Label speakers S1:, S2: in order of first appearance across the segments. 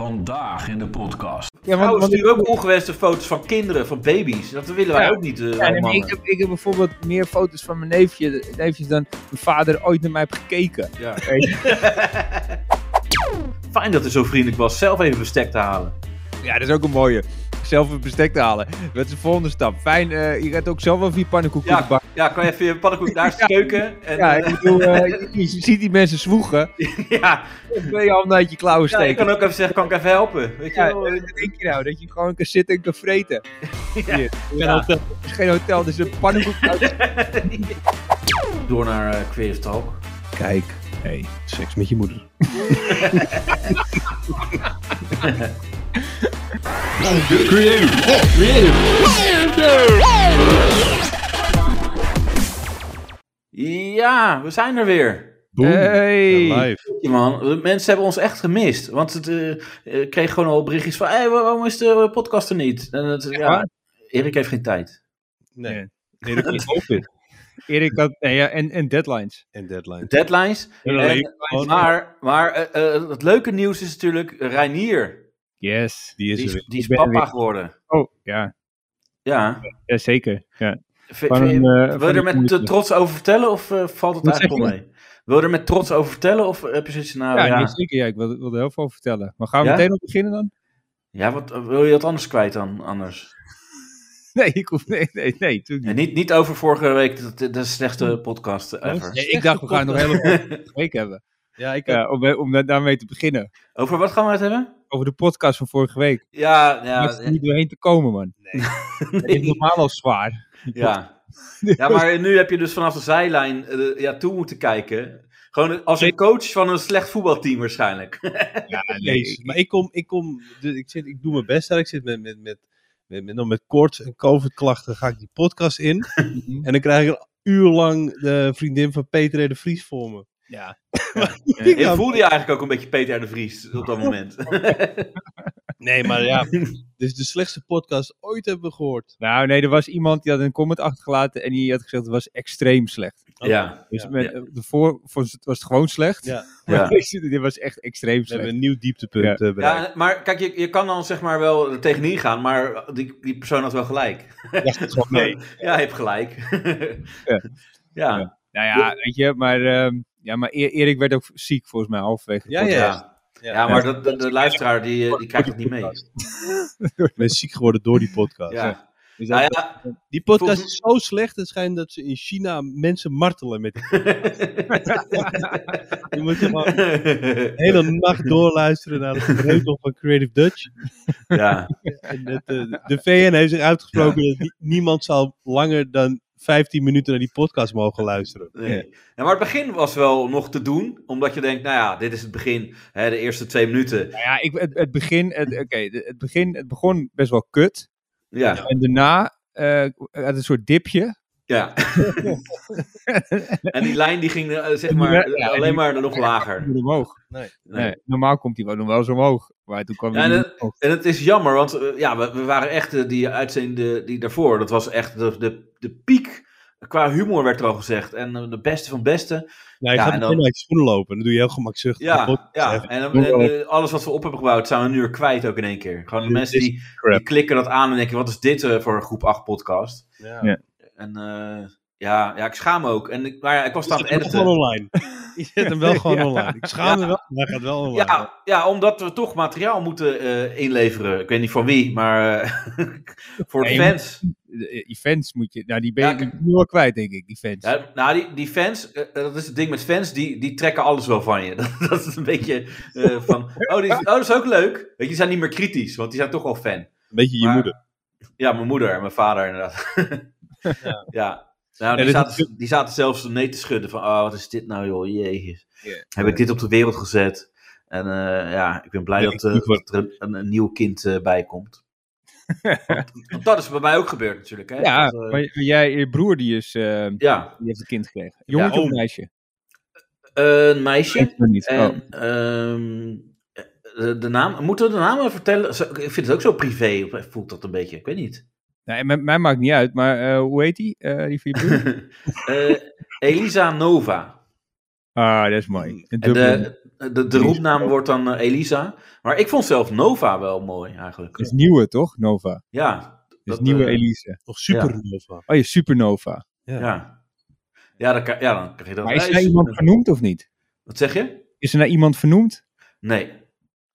S1: Vandaag in de podcast.
S2: Ja, want,
S3: Ouders
S2: want ik,
S3: sturen Oh, ook ongewenste foto's van kinderen, van baby's. Dat willen wij
S2: Ja.
S3: ook niet. eh,
S2: ja, nee,
S3: mannen.
S2: ik, heb, ik heb bijvoorbeeld meer foto's van mijn neefje, neefjes dan mijn vader ooit naar mij heeft gekeken.
S3: Ja.
S2: Weet je?
S3: Fijn dat hij zo vriendelijk was zelf even bestek te halen.
S2: Ja, dat is ook een mooie. Zelf het bestek te halen. Dat is de volgende stap. Fijn, eh, je gaat ook zelf wel vier pannenkoeken
S3: Ja.
S2: in de bak.
S3: Ja, kan je even je pannenkoek daar eens
S2: Ja.
S3: keuken? En,
S2: Ja,
S3: ja,
S2: ik bedoel, eh, je, je ziet die mensen zwoegen.
S3: ja.
S2: Dan kun je handen uit je klauwen
S3: Ja, ik
S2: steken.
S3: kan ook even zeggen, kan ik even helpen? Weet je
S2: Ja,
S3: wel? eh,
S2: dat denk je nou, dat je gewoon kan zitten en kan vreten.
S3: Ja.
S2: Hier, Het is geen hotel, dus een pannenkoek uit
S3: Door naar eh Queer Talk.
S2: Kijk, hey, seks met je moeder.
S3: Ja, we zijn er weer.
S2: Hey!
S3: Ja, man, de mensen hebben ons echt gemist. Want het eh, eh, kreeg gewoon al berichtjes van, hey, waarom is de eh, podcast er niet? En het, ja, Erik heeft geen tijd.
S4: Nee.
S2: Erik had COVID. Erik had, nee, ja, en, en deadlines.
S4: En deadline.
S3: Deadlines.
S4: Alleen
S3: En-
S2: Oh,
S4: gewoon-
S3: maar maar eh, eh, het leuke nieuws is natuurlijk Reinier.
S2: Yes.
S4: die is
S3: Die
S4: er
S3: is,
S4: weer.
S3: die is
S2: Ik ben er
S3: papa
S2: weer.
S3: geworden.
S2: Oh, ja.
S3: Ja.
S2: ja zeker. Ja.
S3: V-
S2: Van
S3: v-
S2: een, eh,
S3: wil
S2: van
S3: je er
S2: een
S3: met
S2: computer.
S3: eh, trots over vertellen of eh, valt het
S2: Wat
S3: eigenlijk wel
S2: zeg
S3: mee? Wil je er met trots over vertellen of heb je zoiets van, nou,
S2: Ja,
S3: ja, ja.
S2: nee, zeker. Ja, ik wil, wil er heel veel over vertellen. Maar gaan we
S3: Ja?
S2: meteen op beginnen dan?
S3: wat, wil je dat anders kwijt dan anders?
S2: Nee, ik hoef, nee, nee, nee. natuurlijk
S3: En
S2: niet.
S3: niet, niet over vorige week, dat, dat is de slechtste podcast ever.
S2: Nee, ik dacht, we gaan nog helemaal een week hebben.
S4: Ja, ik heb
S2: Ja, om eh, om daar- daarmee te beginnen.
S3: Over wat gaan we het hebben?
S2: Over de podcast van vorige week.
S3: Ja,
S2: Ja,
S3: ja,
S2: is er niet doorheen te komen, man. Dat is
S3: nee,
S2: normaal al zwaar.
S3: ja. ja, maar nu heb je dus vanaf de zijlijn eh, ja, toe moeten kijken. Gewoon als een coach van een slecht voetbalteam waarschijnlijk.
S4: ja, nee. Maar ik kom, ik kom, dus ik, zit, ik doe mijn best daar. Ik zit met, met, met, met, met, nog met koorts en COVID-klachten. Ga ik die podcast in. en dan krijg ik een uur lang de vriendin van Peter R. de Vries voor me.
S2: Ja.
S4: Ik
S3: Ik
S4: dan-
S3: voelde je eigenlijk ook een beetje Peter R. de Vries op dat moment.
S4: nee, maar ja. Dit is de slechtste podcast ooit hebben we gehoord.
S2: Nou, nee, er was iemand die had een comment achtergelaten en die had gezegd het was extreem slecht.
S4: Oh,
S3: ja,
S2: Dus
S4: Ja.
S2: met, de voor, voor, was het gewoon slecht.
S4: Ja.
S2: Maar
S3: ja.
S2: deze, dit was echt extreem
S4: We hebben
S2: slecht.
S4: een nieuw dieptepunt
S2: Ja.
S4: eh, bereikt.
S3: Ja, maar kijk, je, je kan dan zeg maar wel er tegenin gaan, maar die, die persoon had wel gelijk.
S4: nee.
S3: Ja, je hebt gelijk.
S2: Ja.
S3: ja.
S2: Ja. Nou ja, weet je, maar, ehm, ja, maar E- Erik werd ook ziek volgens mij halverwege. de
S4: Ja,
S2: podcast.
S4: ja.
S3: Ja. Ja, maar dat, de, de luisteraar die, eh, die krijgt het niet mee.
S4: Ik ben ziek geworden door die podcast.
S3: Ja.
S2: Dus dat-
S3: Nou ja,
S4: Die podcast
S3: Volgens-
S4: is zo slecht. Het schijnt dat ze in China mensen martelen met die Je moet gewoon de hele nacht doorluisteren naar de reutel van Creative Dutch.
S3: ja.
S4: En dat, eh, de VN heeft zich uitgesproken dat ni- niemand zal langer dan 15 minuten naar die podcast mogen luisteren.
S3: Nee. Ja, maar het begin was wel nog te doen, omdat je denkt, nou ja, dit is het begin, hè, de eerste twee minuten.
S2: nou ja, ik, het, het begin, het, oké, de- het begin, het begon best wel kut.
S3: Ja,
S2: En daarna eh, had een soort dipje.
S3: ja. en die lijn die ging eh, zeg maar eh,
S2: Ja, en
S3: alleen
S2: die-
S3: maar nog lager.
S2: Weer omhoog.
S3: Nee.
S2: Nee, normaal komt hij wel nog wel zo omhoog. Maar toen kwam
S3: Ja,
S2: hij
S3: en
S2: niet
S3: dat-
S2: omhoog.
S3: En het is jammer, want eh, ja, we, we waren echt eh, die uitzending de- die daarvoor. Dat was echt de, de, de piek qua humor, werd er al gezegd. En eh, de beste van beste.
S4: Nou, je
S3: Ja,
S4: gaat
S3: en
S4: meteen
S3: dan-
S4: naar je schoenen lopen. Dan doe je heel gemakzuchtig. de
S3: Ja,
S4: podcast
S3: ja.
S4: even.
S3: en, dan- en, eh, alles wat we op hebben gebouwd, zijn we nu weer kwijt ook in één keer. Gewoon de
S4: Dit
S3: mensen
S4: is
S3: die,
S4: crap.
S3: die klikken dat aan en denken, wat is dit eh, voor een groep 8 podcast?
S4: Ja.
S2: Ja.
S3: En eh, ja, ja, ik schaam me ook. En ik, maar ja, ik was
S4: Je
S3: het aan
S4: zet
S3: het eh,
S4: hem wel gewoon
S3: editen.
S4: online. Je zet hem wel gewoon online. Ik schaam me
S3: Ja.
S4: wel, maar hij gaat wel online.
S3: Ja, ja, omdat we toch materiaal moeten eh, inleveren. Ik weet niet van wie, maar eh, voor de
S2: Nee,
S3: fans.
S2: De- eh, Events moet je, nou die ben
S3: Ja,
S2: je die ben je wel kwijt denk ik, die fans.
S3: Ja, nou, die, die fans, eh, dat is het ding met fans, die, die trekken alles wel van je. Dat, dat is een beetje eh, van, oh, die, is- oh, dat is ook leuk. Weet je, die zijn niet meer kritisch, want die zijn toch wel fan.
S4: Een beetje je
S3: Maar-
S4: moeder.
S3: Ja, mijn moeder en mijn vader inderdaad. ja. Nou,
S4: Ja,
S3: die
S4: dit
S3: zaten, die zaten zelfs nee te schudden van, oh, wat is dit nou joh, jezus.
S2: Ja.
S3: Heb ik dit op de wereld gezet? En eh, ja, ik ben blij
S4: Ja,
S3: dat,
S4: ik-
S3: eh, dat er een, een nieuw kind eh, bij komt. want, want dat is bij mij ook gebeurd natuurlijk. Hè?
S2: Ja,
S3: Dat, eh,
S2: maar jij, je broer die is, eh,
S3: ja.
S2: die heeft een kind gekregen. Jongetje
S4: Ja,
S2: of
S4: oh.
S2: meisje?
S3: Eh, een meisje.
S2: weet niet.
S3: En,
S2: Oh.
S3: ehm, de, de naam, moeten we de naam vertellen? Zo- Ik vind het ook zo privé, of eh, voelt dat een beetje, ik weet niet.
S2: Nou, en mij, mij maakt niet uit, maar eh, hoe heet die? eh, die van je broer?
S3: Eh, Elisa Nova.
S2: Ah, dat is mooi. In
S3: En
S2: Dublin.
S3: de, de, de roepnaam wordt dan eh, Elisa. Maar ik vond zelf Nova wel mooi eigenlijk.
S2: Dat is nieuwe, toch? Nova. Dat
S3: Ja.
S2: is nieuwe
S3: eh,
S2: Elise.
S4: Nog supernova.
S2: Oh, je supernova.
S3: Ja. Ja, dan, kan- ja, dan krijg je dat.
S2: Maar is
S3: Nee,
S2: er naar iemand vernoemd of niet?
S3: Wat zeg je?
S2: Is er naar iemand vernoemd?
S3: Nee.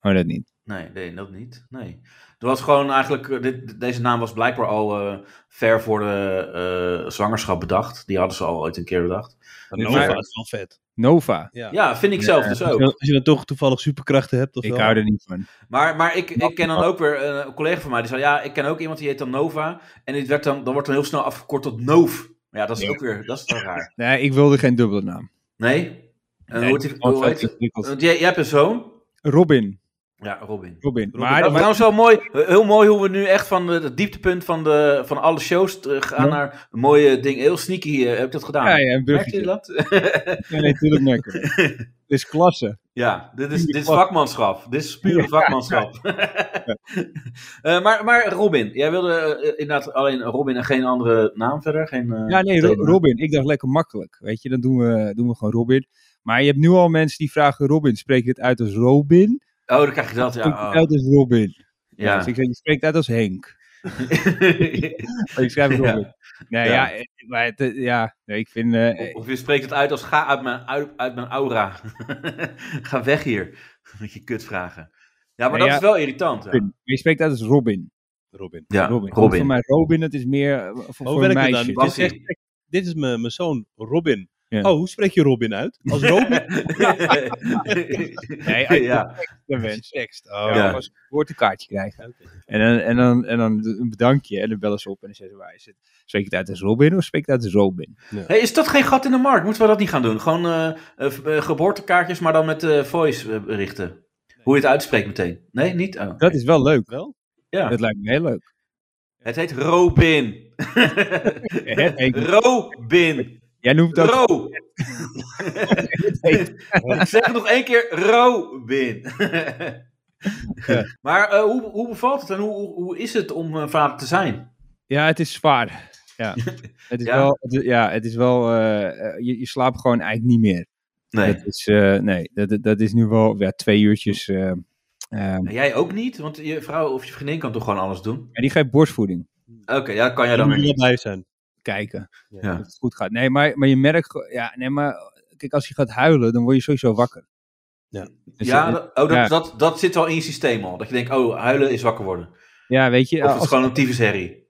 S2: Oh, dat niet.
S3: Nee, nee, dat niet. Nee. Er was gewoon eigenlijk, eh, dit, deze naam was blijkbaar al eh, ver voor de eh, zwangerschap bedacht. Die hadden ze al ooit een keer bedacht.
S4: Nova
S2: maar-
S4: is wel vet.
S2: Nova.
S4: Ja.
S3: Ja, vind ik zelf dus
S4: Als, je
S3: ook.
S4: dan, als je dan toch toevallig superkrachten hebt of
S2: Ik
S4: wel.
S2: hou er niet van.
S3: Maar, maar ik, ik ken dan ook weer eh, een collega van mij die zei: Ja, ik ken ook iemand die heet dan Nova. En dit werd dan, dan wordt dan heel snel afgekort tot Noof. Maar Ja, dat is
S2: Ja.
S3: ook weer, dat is wel raar.
S2: Nee, ik wilde geen dubbele naam.
S3: Nee? En hoe heet die-
S2: want
S3: hoe heet
S2: dat is ingewikkeld.
S3: die- Want jij, jij hebt een zoon?
S2: Robin.
S3: Ja, Robin.
S2: Robin.
S3: Maar,
S2: Maar,
S3: dat is trouwens wel mooi, heel mooi hoe we nu echt van de- het dieptepunt van, de, van alle shows terug gaan
S2: Ja.
S3: naar een mooie ding. Heel sneaky eh, heb ik dat gedaan.
S2: ja, ja, een
S3: Merk
S2: bruggetje.
S3: je dat?
S2: Ja, nee, natuurlijk merk ik het. Het is klasse.
S3: ja, dit is, dit is vakmanschap. Dit is pure vakmanschap. Eh, maar, maar Robin, jij wilde eh, inderdaad alleen Robin en geen andere naam verder? Geen, eh,
S2: Ja, nee, Ro-
S3: thema.
S2: Robin. Ik dacht lekker makkelijk. Weet je, dan doen we, doen we gewoon Robin. Maar je hebt nu al mensen die vragen: Robin, spreek je het uit als Robin?
S3: Oh, dan krijg je dat,
S2: Spreek je
S3: ja.
S2: het
S3: oh,
S2: uit als Robin?
S3: ja.
S2: Dus ik zeg: je spreekt het uit als Henk. Maar ik schrijf het
S3: Ja.
S2: Robin. Nee,
S3: Ja.
S2: ja, eh, maar het, eh, ja nee, ik vind. eh, eh,
S3: Of je spreekt het uit als ga uit mijn, uit, uit mijn aura. ga weg hier. Met je kutvragen. Ja, maar
S2: Ja,
S3: dat
S2: ja.
S3: is wel irritant. Ja,
S2: Robin. Maar je spreekt het uit als Robin.
S4: Robin.
S3: ja
S2: Robin.
S3: Robin.
S2: Voor mij Robin, dat is meer eh, voor,
S4: Hoe
S2: voor een
S4: werkt het
S2: meisje.
S4: dan? Dit is,
S3: Bassie.
S4: echt, dit is mijn, mijn zoon, Robin.
S2: Ja.
S4: Oh, hoe spreek je Robin uit? Als Robin?
S2: Nee, als je
S3: ja.
S2: dat bent.
S4: tekst. Oh,
S2: Ja,
S3: Ja.
S2: Als je een woordkaartje krijgt.
S4: Oké.
S2: En dan, en, dan, en dan een bedankje en dan bellen ze op en dan zeggen ze waar is het? Spreek het uit als Robin of spreek het uit als Robin?
S3: Hey, is dat geen gat in de markt? Moeten we dat niet gaan doen? Gewoon eh, eh, v- eh, geboortekaartjes, maar dan met eh, voice eh, berichten. Hoe je het uitspreekt meteen. Nee, niet? Oh,
S2: Dat is wel leuk.
S4: Wel?
S3: ja.
S2: Dat lijkt me heel leuk.
S3: Het heet Robin.
S2: Henk,
S3: Robin.
S2: Jij noemt dat
S3: Ro. Ik zeg het nog één keer, Robin. maar eh, hoe, hoe bevalt het en hoe, hoe, hoe is het om eh, vader te zijn?
S2: Ja, het is zwaar. Ja, het is
S3: Ja.
S2: wel. Het is- ja, het is wel eh, eh, je, je slaapt gewoon eigenlijk niet meer. Dat is, eh, nee, dat, dat- dat is nu wel ja, twee uurtjes. eh, eh,
S3: En jij ook niet? Want je vrouw of je vriendin kan toch gewoon alles doen?
S2: maar die geeft borstvoeding
S3: Oké, ja, dat kan jij
S4: Dan
S3: dan weer
S4: moet je wel
S3: niet.
S4: blij zijn.
S2: kijken.
S3: Ja.
S2: Dat het goed gaat. Nee, maar, maar je merkt. gewoon- Ja, nee, maar kijk, als je gaat huilen, dan word je sowieso wakker.
S4: Ja.
S2: Dus
S3: ja,
S2: het-
S3: dat, oh, dat,
S2: ja.
S3: Dat, dat zit al in je systeem al. Dat je denkt, oh, huilen is wakker worden. Of
S2: ja, weet je.
S3: het is
S2: als-
S3: gewoon een tyfusherrie.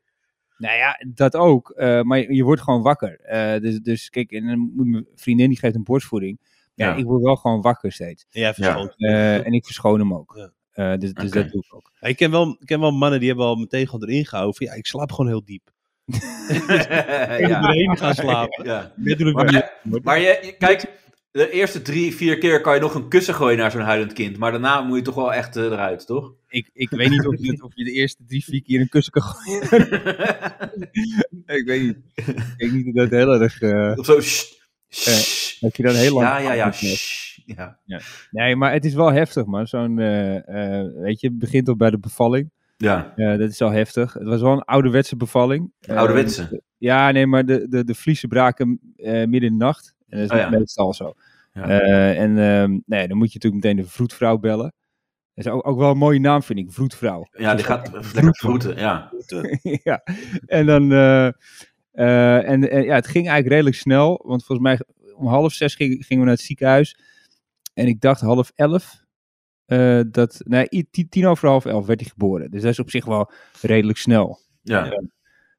S2: Nou ja, dat ook. eh, maar je, je wordt gewoon wakker. Eh, dus, dus kijk, en dan moet mijn vriendin die geeft een borstvoeding. Ja,
S3: Ja.
S2: ik word wel gewoon wakker steeds.
S4: Ja, verschoond.
S2: Eh, en ik verschoon hem ook.
S4: Ja.
S2: Eh, dus dus
S3: Oké.
S2: dat doe ik ook.
S4: Ja, Ik ken wel, ik ken wel mannen die hebben al meteen gewoon erin gehouden. van, Ja, ik slaap gewoon heel diep. Ja.
S3: ja,
S4: Erin gaan slapen.
S3: ja.
S4: Letterlijk diep.
S3: Maar, maar je, je- kijk, de eerste drie, vier keer kan je nog een kussen gooien naar zo'n huilend kind. Maar daarna moet je toch wel echt eh, eruit, toch?
S2: Ik, ik weet niet of je, of je de eerste drie, vier keer een kussen kan gooien. ik weet niet. Ik denk niet dat dat heel erg... eh,
S3: of zo, sst, sst.
S2: dat je dan heel lang...
S3: Ja, ja, ja,
S2: Nee.
S3: sst, ja.
S2: Nee, maar het is wel heftig, man. Zo'n, eh, eh, weet je, het begint al bij de bevalling.
S3: Ja,
S2: Eh, dat is al heftig. Het was wel een ouderwetse bevalling. Eh,
S3: ouderwetse.
S2: Ja, nee, maar de, de, de vliezen braken eh, midden in de nacht. En dat is
S3: Oh ja.
S2: meestal zo.
S3: Ja.
S2: Eh, en ehm, nee, dan moet je natuurlijk meteen de vroedvrouw bellen. Dat is ook, ook wel een mooie naam, vind ik, vroedvrouw.
S3: Ja, die gaat lekker vroeten, ja.
S2: ja. En dan... eh, eh, en en ja, het ging eigenlijk redelijk snel. Want volgens mij om half zes ging- gingen we naar het ziekenhuis. En ik dacht half elf. eh, dat, nee, i- tien, tien over half elf werd hij geboren. Dus dat is op zich wel redelijk snel.
S3: Ja,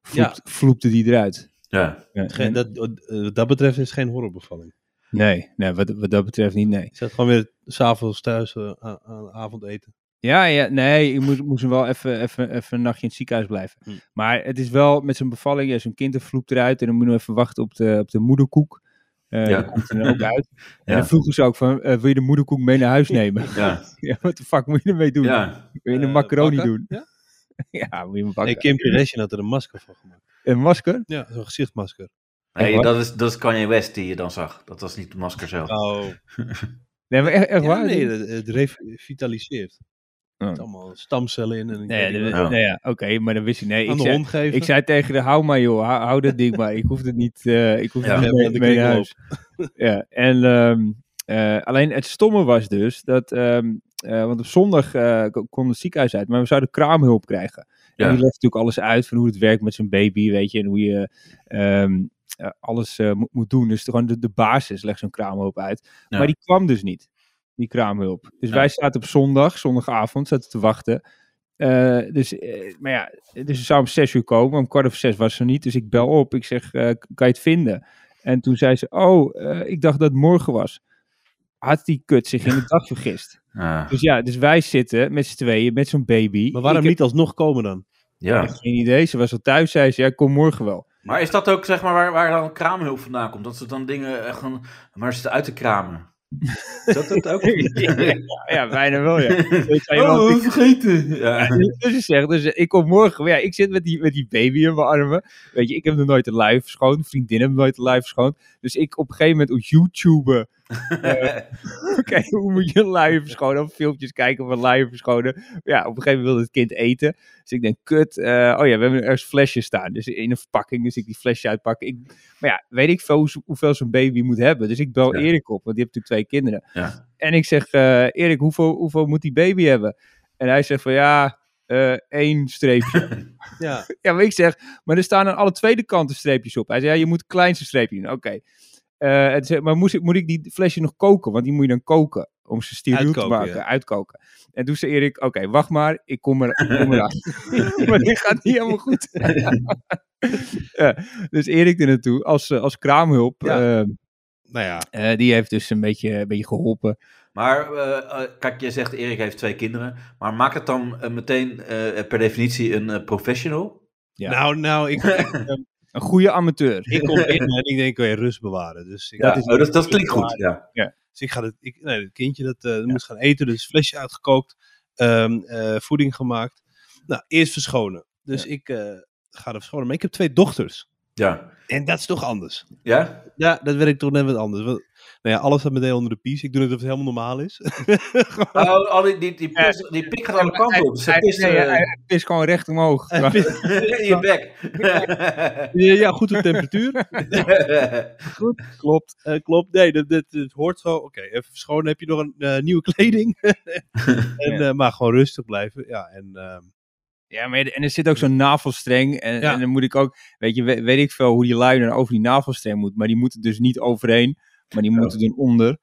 S2: Vloept, Vloepte die eruit.
S3: ja.
S2: Ja,
S4: Geen- dat, eh, wat dat betreft is het geen horrorbevalling.
S2: Nee, nee wat, wat dat betreft niet, nee.
S4: Je zat gewoon weer s'avonds thuis eh, aan, aan avondeten.
S2: Ja, ja nee, ik moest, moest hem wel even, even, even een nachtje in het ziekenhuis blijven.
S4: Hm.
S2: Maar het is wel met zo'n bevalling, ja, zo'n kind er vloept eruit en dan moet je nog even wachten op de, op de moederkoek. Eh
S3: Ja.
S2: Die komt er dan ook uit. En
S3: Ja.
S2: dan vroegen ze ook van, eh, wil je de moederkoek mee naar huis nemen?
S3: ja.
S2: ja, wat de fuck moet je ermee doen?
S3: ja.
S2: Wil je een
S4: Eh,
S2: macaroni
S4: bakken?
S2: doen?
S4: Ja?
S2: Ja, moet je hem
S4: Nee,
S2: bakken.
S4: Kim Kardashian had er een masker van gemaakt.
S2: Een masker?
S4: Ja, zo'n gezichtmasker.
S3: Nee,
S2: Echt waar?
S3: dat is, dat is Kanye West die je dan zag. Dat was niet het masker zelf.
S4: Oh.
S2: Nee, maar echt, echt waar?
S4: nee, het, het revitaliseert.
S2: Oh.
S4: Het allemaal stamcellen in. En ik
S2: Nee,
S4: weet niet
S2: dat-
S4: wat.
S3: Ja.
S2: nee, ja, oké, maar dan wist je, nee,
S4: aan
S2: ik
S4: de
S2: zei,
S4: hond geven.
S2: ik zei tegen de, hou maar joh, hou, hou dat ding maar. Ik hoef het niet, eh, ik hoef
S3: Ja.
S2: het niet mee,
S4: de
S2: mee naar
S4: kringloop.
S2: huis. Ja, en ehm, eh, alleen het stomme was dus dat, ehm, eh, want op zondag eh, k- kwam het ziekenhuis uit, maar we zouden kraamhulp krijgen.
S1: Ja.
S2: En die legt natuurlijk alles uit van hoe het werkt met zijn baby, weet je, en hoe je ehm, eh, alles eh, moet, moet doen. Dus gewoon de, de basis legt zo'n kraamhulp uit.
S1: Ja.
S2: Maar die kwam dus niet, die kraamhulp. Dus
S1: Ja.
S2: wij zaten op zondag, zondagavond, zaten te wachten. Eh, dus, eh, maar ja, dus ze zou om zes uur komen. Om kwart over zes was ze niet. Dus ik bel op. Ik zeg, eh, k- kan je het vinden? En toen zei ze, oh, eh, ik dacht dat het morgen was. Had die kut zich in de dag vergist.
S1: Ah,
S2: Dus ja, dus wij zitten met z'n tweeën, met zo'n baby.
S4: Maar waarom
S2: Ik
S4: niet alsnog komen dan?
S1: ja.
S2: heb Geen idee. Ze was al thuis, zei ze. Ja, ik kom morgen wel.
S1: Maar is dat ook zeg maar waar, waar dan kraamhulp vandaan komt? Dat ze dan dingen echt gewoon maar zitten uit te kramen. Is dat dat ook?
S2: Ja, bijna wel, ja. Dus zei iemand,
S1: oh, vergeten. Ja.
S2: Dus ze zegt, dus ik kom morgen. Maar ja, ik zit met die, met die baby in mijn armen. Weet je, ik heb nog nooit een lijf verschoond. Vriendin heeft nooit een lijf verschoond. Dus ik op een gegeven moment op YouTube. Oké, hoe moet je lijf verschonen? Of filmpjes kijken van lijf verschonen. Ja, op een gegeven moment wilde het kind eten. Dus ik denk, kut. eh, oh ja, we hebben ergens flesjes staan. Dus in een verpakking. Dus ik die flesje uitpak. Ik, maar ja, weet ik veel hoe- hoeveel zo'n baby moet hebben. Dus ik bel
S1: Ja.
S2: Erik op, want die heeft natuurlijk twee kinderen.
S1: Ja.
S2: En ik zeg, eh, Erik, hoeveel, hoeveel moet die baby hebben? En hij zegt van ja, eh, één streepje.
S4: Ja.
S2: ja, maar ik zeg, maar er staan aan alle tweede kanten streepjes op. Hij zei, ja, je moet het kleinste streepje doen. Oké. Eh, en toen zei ik, maar moest ik, moet ik die flesje nog koken? Want die moet je dan koken om ze steriel te
S4: Uitkoken,
S2: maken,
S4: ja.
S2: uitkoken. En toen zei Erik, oké, wacht maar, ik kom, er, ik kom eraan. maar dit gaat niet helemaal goed. ja, dus Erik er naartoe als, eh, als kraamhulp.
S4: Ja.
S2: eh,
S4: Nou ja,
S2: eh, die heeft dus een beetje, een beetje geholpen.
S1: Maar eh, eh, kijk, jij zegt Erik heeft twee kinderen. Maar maakt het dan eh, meteen eh, per definitie een eh, professional?
S2: Ja.
S4: nou, nou ik, ik,
S2: Een goede amateur.
S4: ik kom binnen en ik denk, kan je rust bewaren. Dus ik,
S1: Ja, oh, dat, dat klinkt goed. Ja.
S4: Dus ik ga het, ik, nee, het kindje dat eh, moest gaan eten, dus flesje uitgekookt, ehm, eh, voeding gemaakt. Nou, eerst verschonen. Dus ik eh, ga er verschonen. Maar ik heb twee dochters.
S1: Ja.
S4: En dat is toch anders?
S1: ja?
S4: Ja, dat werkt toch net wat anders. Want, nou ja, alles staat meteen onder de pies. Ik doe net of het helemaal normaal is.
S1: Oh, al die, die, die, pis- die pik gaat alle kanten op. Ze
S2: Hij,
S1: pist,
S2: nee,
S1: eh,
S2: hij- hij pist gewoon recht omhoog.
S1: in je bek.
S4: ja, ja, goed op temperatuur.
S2: Klopt.
S4: Eh, klopt. Nee, dat, dat, dat hoort zo. Oké, even verschonen. Heb je nog een eh, nieuwe kleding? en, eh, maar gewoon rustig blijven. Ja, en ehm,
S2: Ja, maar, en er zit ook zo'n navelstreng. En,
S4: Ja.
S2: en dan moet ik ook, weet je, we- weet ik veel hoe die lui dan over die navelstreng moet. Maar die moeten dus niet overheen, maar die moeten er onder.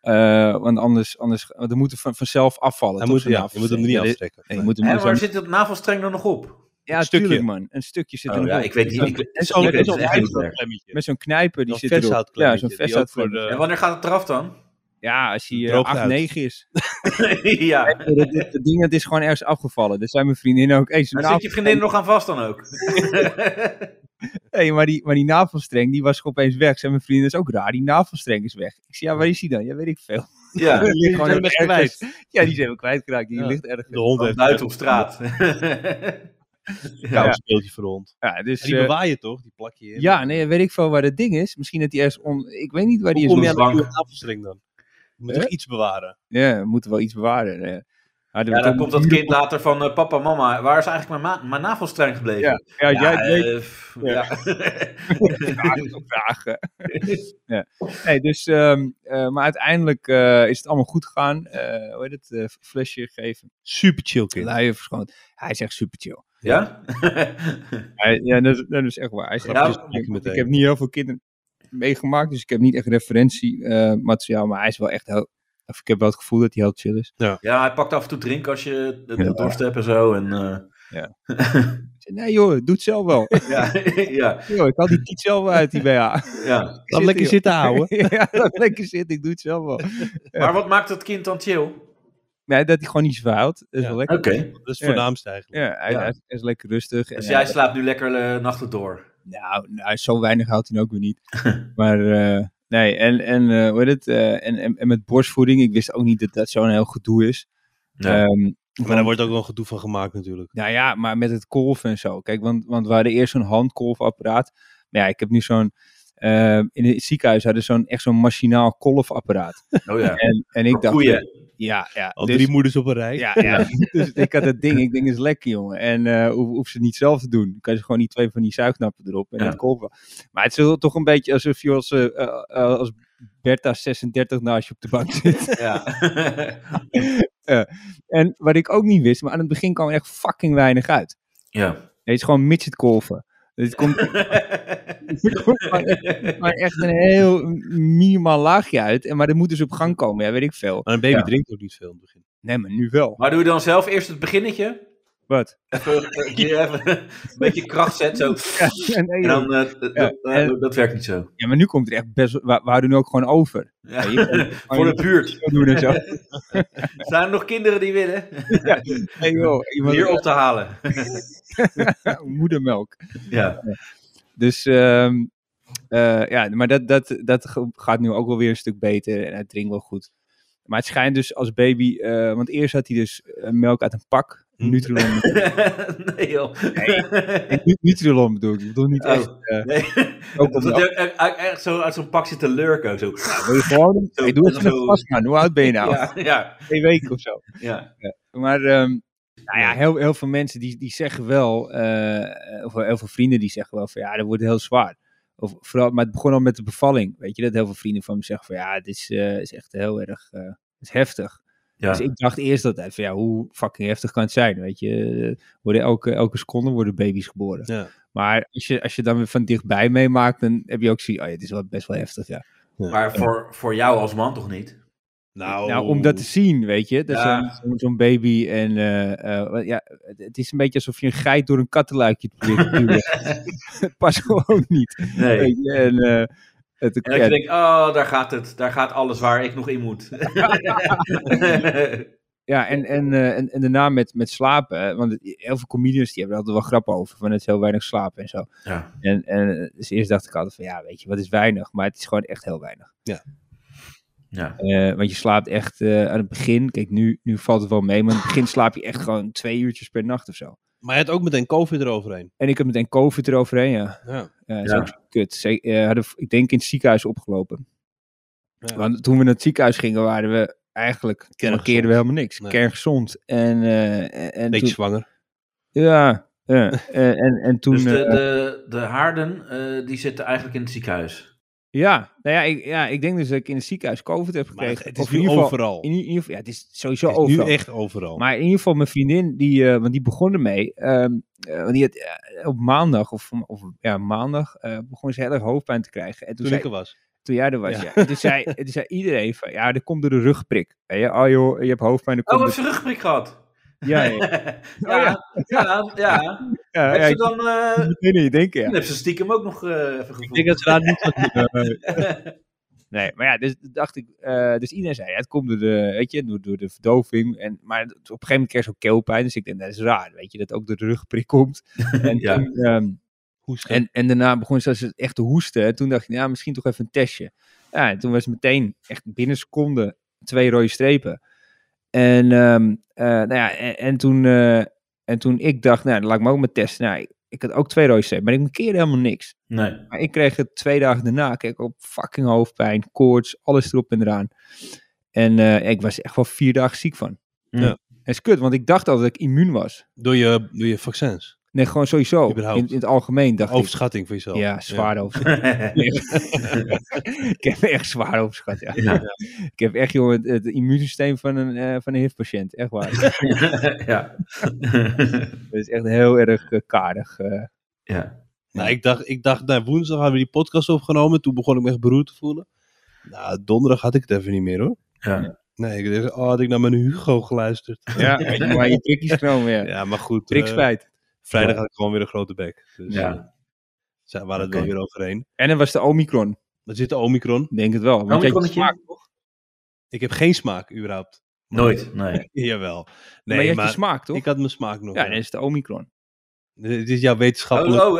S2: Eh, want anders, anders want er moeten van, vanzelf afvallen.
S4: hij
S2: toch,
S4: moet,
S2: zo'n
S4: ja, je moet hem er niet
S2: navelstreng? Ja, dit-
S4: aftrekken.
S2: nee, je moet hem
S1: Hè,
S2: niet
S1: waar
S2: zo-
S1: zit dat navelstreng dan nog op?
S2: Ja,
S4: Een stukje. Oh,
S2: tuurlijk, man. Een stukje zit er nog
S1: ja,
S2: op.
S1: ik weet niet. Ik-
S2: En
S4: Zo'n
S2: zo'n-
S1: weet het
S4: zo'n
S1: echt niet meer.
S4: ijsblokklemmetje.
S2: Met zo'n knijper, die
S4: Zo'n
S2: zit erop. Ja,
S4: vershoutklemmetje,
S2: zo'n
S4: die ook voor
S2: vesthoutklemmetje.
S4: de-
S1: En wanneer gaat het eraf dan?
S2: Ja, als hij eh,
S4: Droogt
S2: 8,
S4: uit.
S2: 9 is.
S1: ja.
S2: Ja, dat, dat, dat ding dat is gewoon ergens afgevallen. Dus zijn mijn vriendin ook. Hey, zo'n
S1: Daar zit je vriendin er nog aan vast dan ook.
S2: Hey, maar, die, maar die navelstreng die was opeens weg. Zijn mijn vriendin is ook raar. Die navelstreng is weg. Ik zei, ja, waar is die dan? Ja, weet ik veel.
S1: ja.
S2: Die ligt gewoon
S4: zijn hem
S2: ergens.
S4: echt
S2: Ja, die zijn we kwijtgeraakt. Die
S4: Ja.
S2: ligt ergens.
S4: De hond
S1: Van
S4: heeft een
S1: buiten op straat.
S4: koud
S2: Ja.
S4: speeltje voor de hond.
S2: Ja, dus,
S4: Die
S2: eh,
S4: bewaar je toch? Die plak je in.
S2: ja, nee, weet ik veel waar dat ding is. Misschien dat die ergens on... Ik weet niet waar die
S4: Hoe
S2: is.
S4: kom nou je
S2: Ja,
S1: ontvangen.
S4: aan de nieuwe tafelstring dan? Je moet
S2: Hè?
S4: toch iets bewaren?
S2: ja, we moeten wel iets bewaren. eh. Hadden we
S1: Ja, dan
S2: toch-
S1: komt dat kind later van eh, papa, mama, waar is eigenlijk mijn, ma- mijn navelstreng gebleven?
S2: Ja, ja, jij
S1: eh,
S2: weet
S1: pff, ja.
S2: vragen op vragen. ja. nee, dus, ehm, eh, maar uiteindelijk eh, is het allemaal goed gegaan. Eh, hoe heet het? Eh, flesje gegeven.
S4: Super chill kind.
S2: Luien verschoond. Hij is echt super chill.
S1: Ja?
S2: Hij- ja, dat, is- dat is echt waar. Hij zegt,
S1: Grapjes
S2: ik-
S4: maken
S2: ik,
S4: meteen.
S2: heb niet heel veel kinderen meegemaakt, dus ik heb niet echt referentiemateriaal. maar hij is wel echt heel... Of ik heb wel het gevoel dat hij heel chill is.
S1: ja, hij pakt af en toe drinken als je de, de
S2: Ja.
S1: dorst hebt en zo. En, eh,
S2: Ik zeg, nee joh, doe het zelf wel.
S1: ja, ja,
S2: joh, ik haal die tiet zelf wel uit die BH.
S1: ja.
S4: Laat lekker
S2: joh.
S1: Ah,
S4: zitten houden.
S2: ja, laat lekker zitten, ik doe het zelf wel.
S1: Maar wat maakt dat kind dan chill? Oké.
S2: Nee, dat hij gewoon niet zwaalt, dat is
S4: Ja.
S2: wel lekker.
S4: Dat is
S2: Ja.
S4: het voornaamste eigenlijk.
S2: Ja, hij,
S1: Ja.
S2: hij is- hij is lekker rustig.
S1: Dus
S2: En,
S1: jij
S2: eh,
S1: slaapt nu lekker eh, nachten door.
S2: nou, nou, zo weinig houdt hij ook weer niet. maar eh, nee, en, en eh, hoe heet het? Eh, en, en, en met borstvoeding, ik wist ook niet dat dat zo'n heel gedoe is.
S1: Ja.
S2: Ehm,
S4: Maar daar wordt ook wel gedoe van gemaakt natuurlijk.
S2: Nou ja, maar met het kolven en zo. Kijk, want, want we hadden eerst zo'n handkolfapparaat. Maar ja, ik heb nu zo'n... eh, in het ziekenhuis hadden ze zo'n echt zo'n machinaal kolfapparaat.
S1: Oh ja.
S2: En, en ik dacht...
S1: Goeie.
S2: Ja, ja.
S4: Al
S2: dus-
S4: drie moeders op een rij.
S2: ja, ja. dus ik had dat ding. Ik denk, dat is lekker, jongen. En eh hoef, hoef ze het niet zelf te doen. Dan kan je gewoon die twee van die zuignappen erop en
S1: Ja.
S2: dat kolven. Maar het is wel toch een beetje alsof je als, eh, eh, eh, als Bertha 36 naast je op de bank zit.
S1: Ja.
S2: En wat ik ook niet wist, maar aan het begin kwam er echt fucking weinig uit.
S1: ja.
S2: Nee, het is gewoon midget golven. Het komt er komt gewoon echt- maar echt een heel minimaal laagje uit. En, maar dat moet dus op gang komen, ja, weet ik veel.
S4: Maar een baby
S1: Ja.
S4: drinkt ook niet veel in het begin.
S2: Nee, maar nu wel.
S1: maar doe je dan zelf eerst het beginnetje?
S2: Wat?
S1: Even, eh, weer even een beetje kracht zetten. Zo.
S2: Ja, nee,
S1: En
S2: joh.
S1: dan, eh, dat- dat-
S2: Ja, en-
S1: dat werkt niet zo.
S2: Ja, maar nu komt er echt best... We, we houden nu ook gewoon over.
S1: Ja.
S2: Ja, je kan-
S1: Voor de buurt.
S2: Zo doen en zo.
S1: Zijn er nog kinderen die willen?
S2: Nee, joh. Iemand,
S1: Hier op te halen.
S2: moedermelk.
S1: Ja.
S2: Dus ehm, eh, ja, maar dat, dat, dat ge- gaat nu ook wel weer een stuk beter en het drinkt wel goed. Maar het schijnt dus als baby, eh, want eerst had hij dus eh, melk uit een pak,
S4: Hm.
S2: Nutrilon,
S1: nee joh.
S2: Nutrilon bedoel ik, ik bedoel niet
S1: Oh,
S2: echt. eh,
S1: nee.
S2: ook
S1: Dat
S2: op melk.
S1: het er- er- echt zo uit zo'n pak zit te lurken. Zo.
S2: Wil je gewoon,
S1: Zo,
S2: hey, doe even
S1: zo.
S2: een vast man, hoe oud ben je nou?
S1: Ja, ja,
S2: Twee weken of zo.
S1: ja.
S2: Maar ehm, nou ja, heel, heel veel mensen die, die zeggen wel, eh, of heel veel vrienden die zeggen wel van ja, dat wordt heel zwaar. Of vooral, maar het begon al met de bevalling. Weet je, dat heel veel vrienden van me zeggen van ja, het is, eh, is echt heel erg eh, het is heftig.
S1: Ja.
S2: Dus ik dacht eerst dat van ja, hoe fucking heftig kan het zijn? Weet je, Eh, worden elke, elke seconde worden baby's geboren.
S4: Ja.
S2: Maar als je, als je dan weer van dichtbij meemaakt, dan heb je ook zoiets, oh ja, het is wel best wel heftig. Ja.
S1: Maar voor, voor jou als man toch niet?
S4: Nou,
S2: Nou, om dat te zien, weet je. Dat is
S1: Ja.
S2: zo'n- zo'n- zo'n baby en eh, eh, wat- ja, het- het is een beetje alsof je een geit door een kattenluikje probeert te duwen. Het past gewoon niet.
S1: Nee.
S2: Weet je, en, eh, het,
S1: En dat
S2: ja,
S1: je denkt, oh, daar gaat het. Daar gaat alles waar ik nog in moet. Dus
S2: ja, en, en, eh, en, en daarna met, met slapen. hè, Want het- heel veel comedians die hebben er altijd wel grappen over. Van het is heel weinig slapen en zo.
S1: ja.
S2: En, en dus eerst dacht ik altijd van ja, weet je, wat is weinig? Maar het is gewoon echt heel weinig.
S1: Ja.
S2: Eh, want je slaapt echt eh, aan het begin. Kijk, nu, nu valt het wel mee. Maar aan het begin slaap je echt gewoon twee uurtjes per nacht of zo.
S4: Maar je had ook meteen COVID eroverheen.
S2: En ik heb meteen COVID eroverheen, ja.
S4: Ja.
S1: Ja.
S2: Ja, dat Eh, is ook zo kut. Ze, eh, hadden, v- ik denk in het ziekenhuis opgelopen.
S4: Ja.
S2: Want toen we naar het ziekenhuis gingen, waren we eigenlijk... toen
S4: Kerngezond.
S2: markeerden we helemaal niks.
S4: Nee.
S2: Kerngezond. En, eh en
S4: Beetje
S2: toen,
S4: zwanger.
S2: Ja, ja. Eh, en, en toen...
S1: Dus de,
S2: eh,
S1: de, de haarden, eh, die zitten eigenlijk in het ziekenhuis.
S2: ja, nou ja ik, ja, ik denk dus dat ik in het ziekenhuis COVID heb
S4: Maar
S2: gekregen.
S4: het, het is
S2: Of in
S4: nu
S2: ieder geval-
S4: overal.
S2: In,
S4: Het
S2: i- in ieder geval, ja, het is sowieso
S4: is
S2: overal.
S4: nu echt overal.
S2: Maar in ieder geval mijn vriendin, die, eh, want die begon ermee. ehm, eh, want die had, eh, op maandag, of, of ja, maandag, eh, begon ze heel erg hoofdpijn te krijgen. En toen,
S4: toen
S2: zei
S4: ik er was.
S2: Toen jij er was, ja.
S4: Ja.
S2: En Toen, zei, en toen zei iedereen van, ja, dat komt door de rugprik. Weet je, oh joh, je hebt hoofdpijn, dat
S1: Oh,
S2: komt
S1: heeft
S2: door...
S1: ze rugprik gehad?
S2: Ja, ja, Oh,
S1: ja,
S2: ja.
S1: ja, ja, ja.
S2: ja.
S1: Heeft
S2: ja,
S1: ze
S2: ik
S1: dan, eh,
S2: moet er niet denken, ja.
S1: dan heeft ze stiekem ook nog eh, even gevoeld.
S4: Ik denk dat ze daar niet
S2: Nee, maar ja, dus dacht ik, eh, dus iedereen zei, ja, het komt door de, weet je, door, door de verdoving. En, maar op een gegeven moment kreeg ze ook keelpijn, dus ik denk, dat is raar, weet je, dat ook door de rugprik komt. En,
S1: Ja.
S2: toen, ehm,
S4: hoesten.
S2: en, en daarna begon ze als- echt te hoesten. En toen dacht ik, ja, misschien toch even een testje. Ja, en toen was het meteen, echt binnen seconden, twee rode strepen. En, ehm, eh, nou ja, en, en toen, eh, en toen ik dacht, nou, dan laat ik me ook maar testen. Nou, ik, ik had ook twee rode strepen, maar ik markeerde helemaal niks.
S1: Nee.
S2: Maar ik kreeg het twee dagen daarna, kreeg ik op fucking hoofdpijn, koorts, alles erop en eraan. En eh, ik was er echt wel vier dagen ziek van.
S1: Ja.
S2: Dat is kut, want ik dacht altijd dat ik immuun was.
S4: door, je, door je vaccins.
S2: Nee, gewoon sowieso. In,
S4: Überhaupt.
S2: in het algemeen dacht ik.
S4: Overschatting van jezelf.
S2: Ja, zwaar over. ik heb echt zwaar overschat, ja.
S1: Ja.
S2: Ik heb echt, joh, het, het immuunsysteem van een, eh, van een HIV-patiënt. Echt waar.
S1: ja.
S2: Dat is echt heel erg eh, karig. eh.
S1: ja.
S4: Nou, ik dacht, ik dacht nou, woensdag hadden we die podcast opgenomen. Toen begon ik me echt beroerd te voelen. Nou, donderdag had ik het even niet meer hoor.
S1: Ja.
S4: Nee, ik dacht, oh, had ik naar mijn Hugo geluisterd.
S2: ja, weet je, maar je prikjes genomen, ja.
S4: Ja, maar goed. eh,
S2: Prikspijt.
S4: vrijdag had ik gewoon weer een grote bek. Dus
S1: Ja.
S4: ja. zijn, waren het
S1: Oké.
S4: wel weer overheen.
S2: En dan was de Omicron.
S4: Dan zit de Omicron.
S2: Ik Denk het wel. Want jij-
S1: Omicronnetje?
S4: Ik heb geen smaak, überhaupt.
S1: Nooit, nee.
S4: Jawel.
S2: maar
S4: Nee,
S2: je
S4: maar,
S2: hebt je smaak, toch?
S4: ik had mijn smaak nog.
S2: Ja,
S4: Ja,
S2: dan is de Omicron.
S4: Dit is jouw wetenschappelijk.
S1: Oh,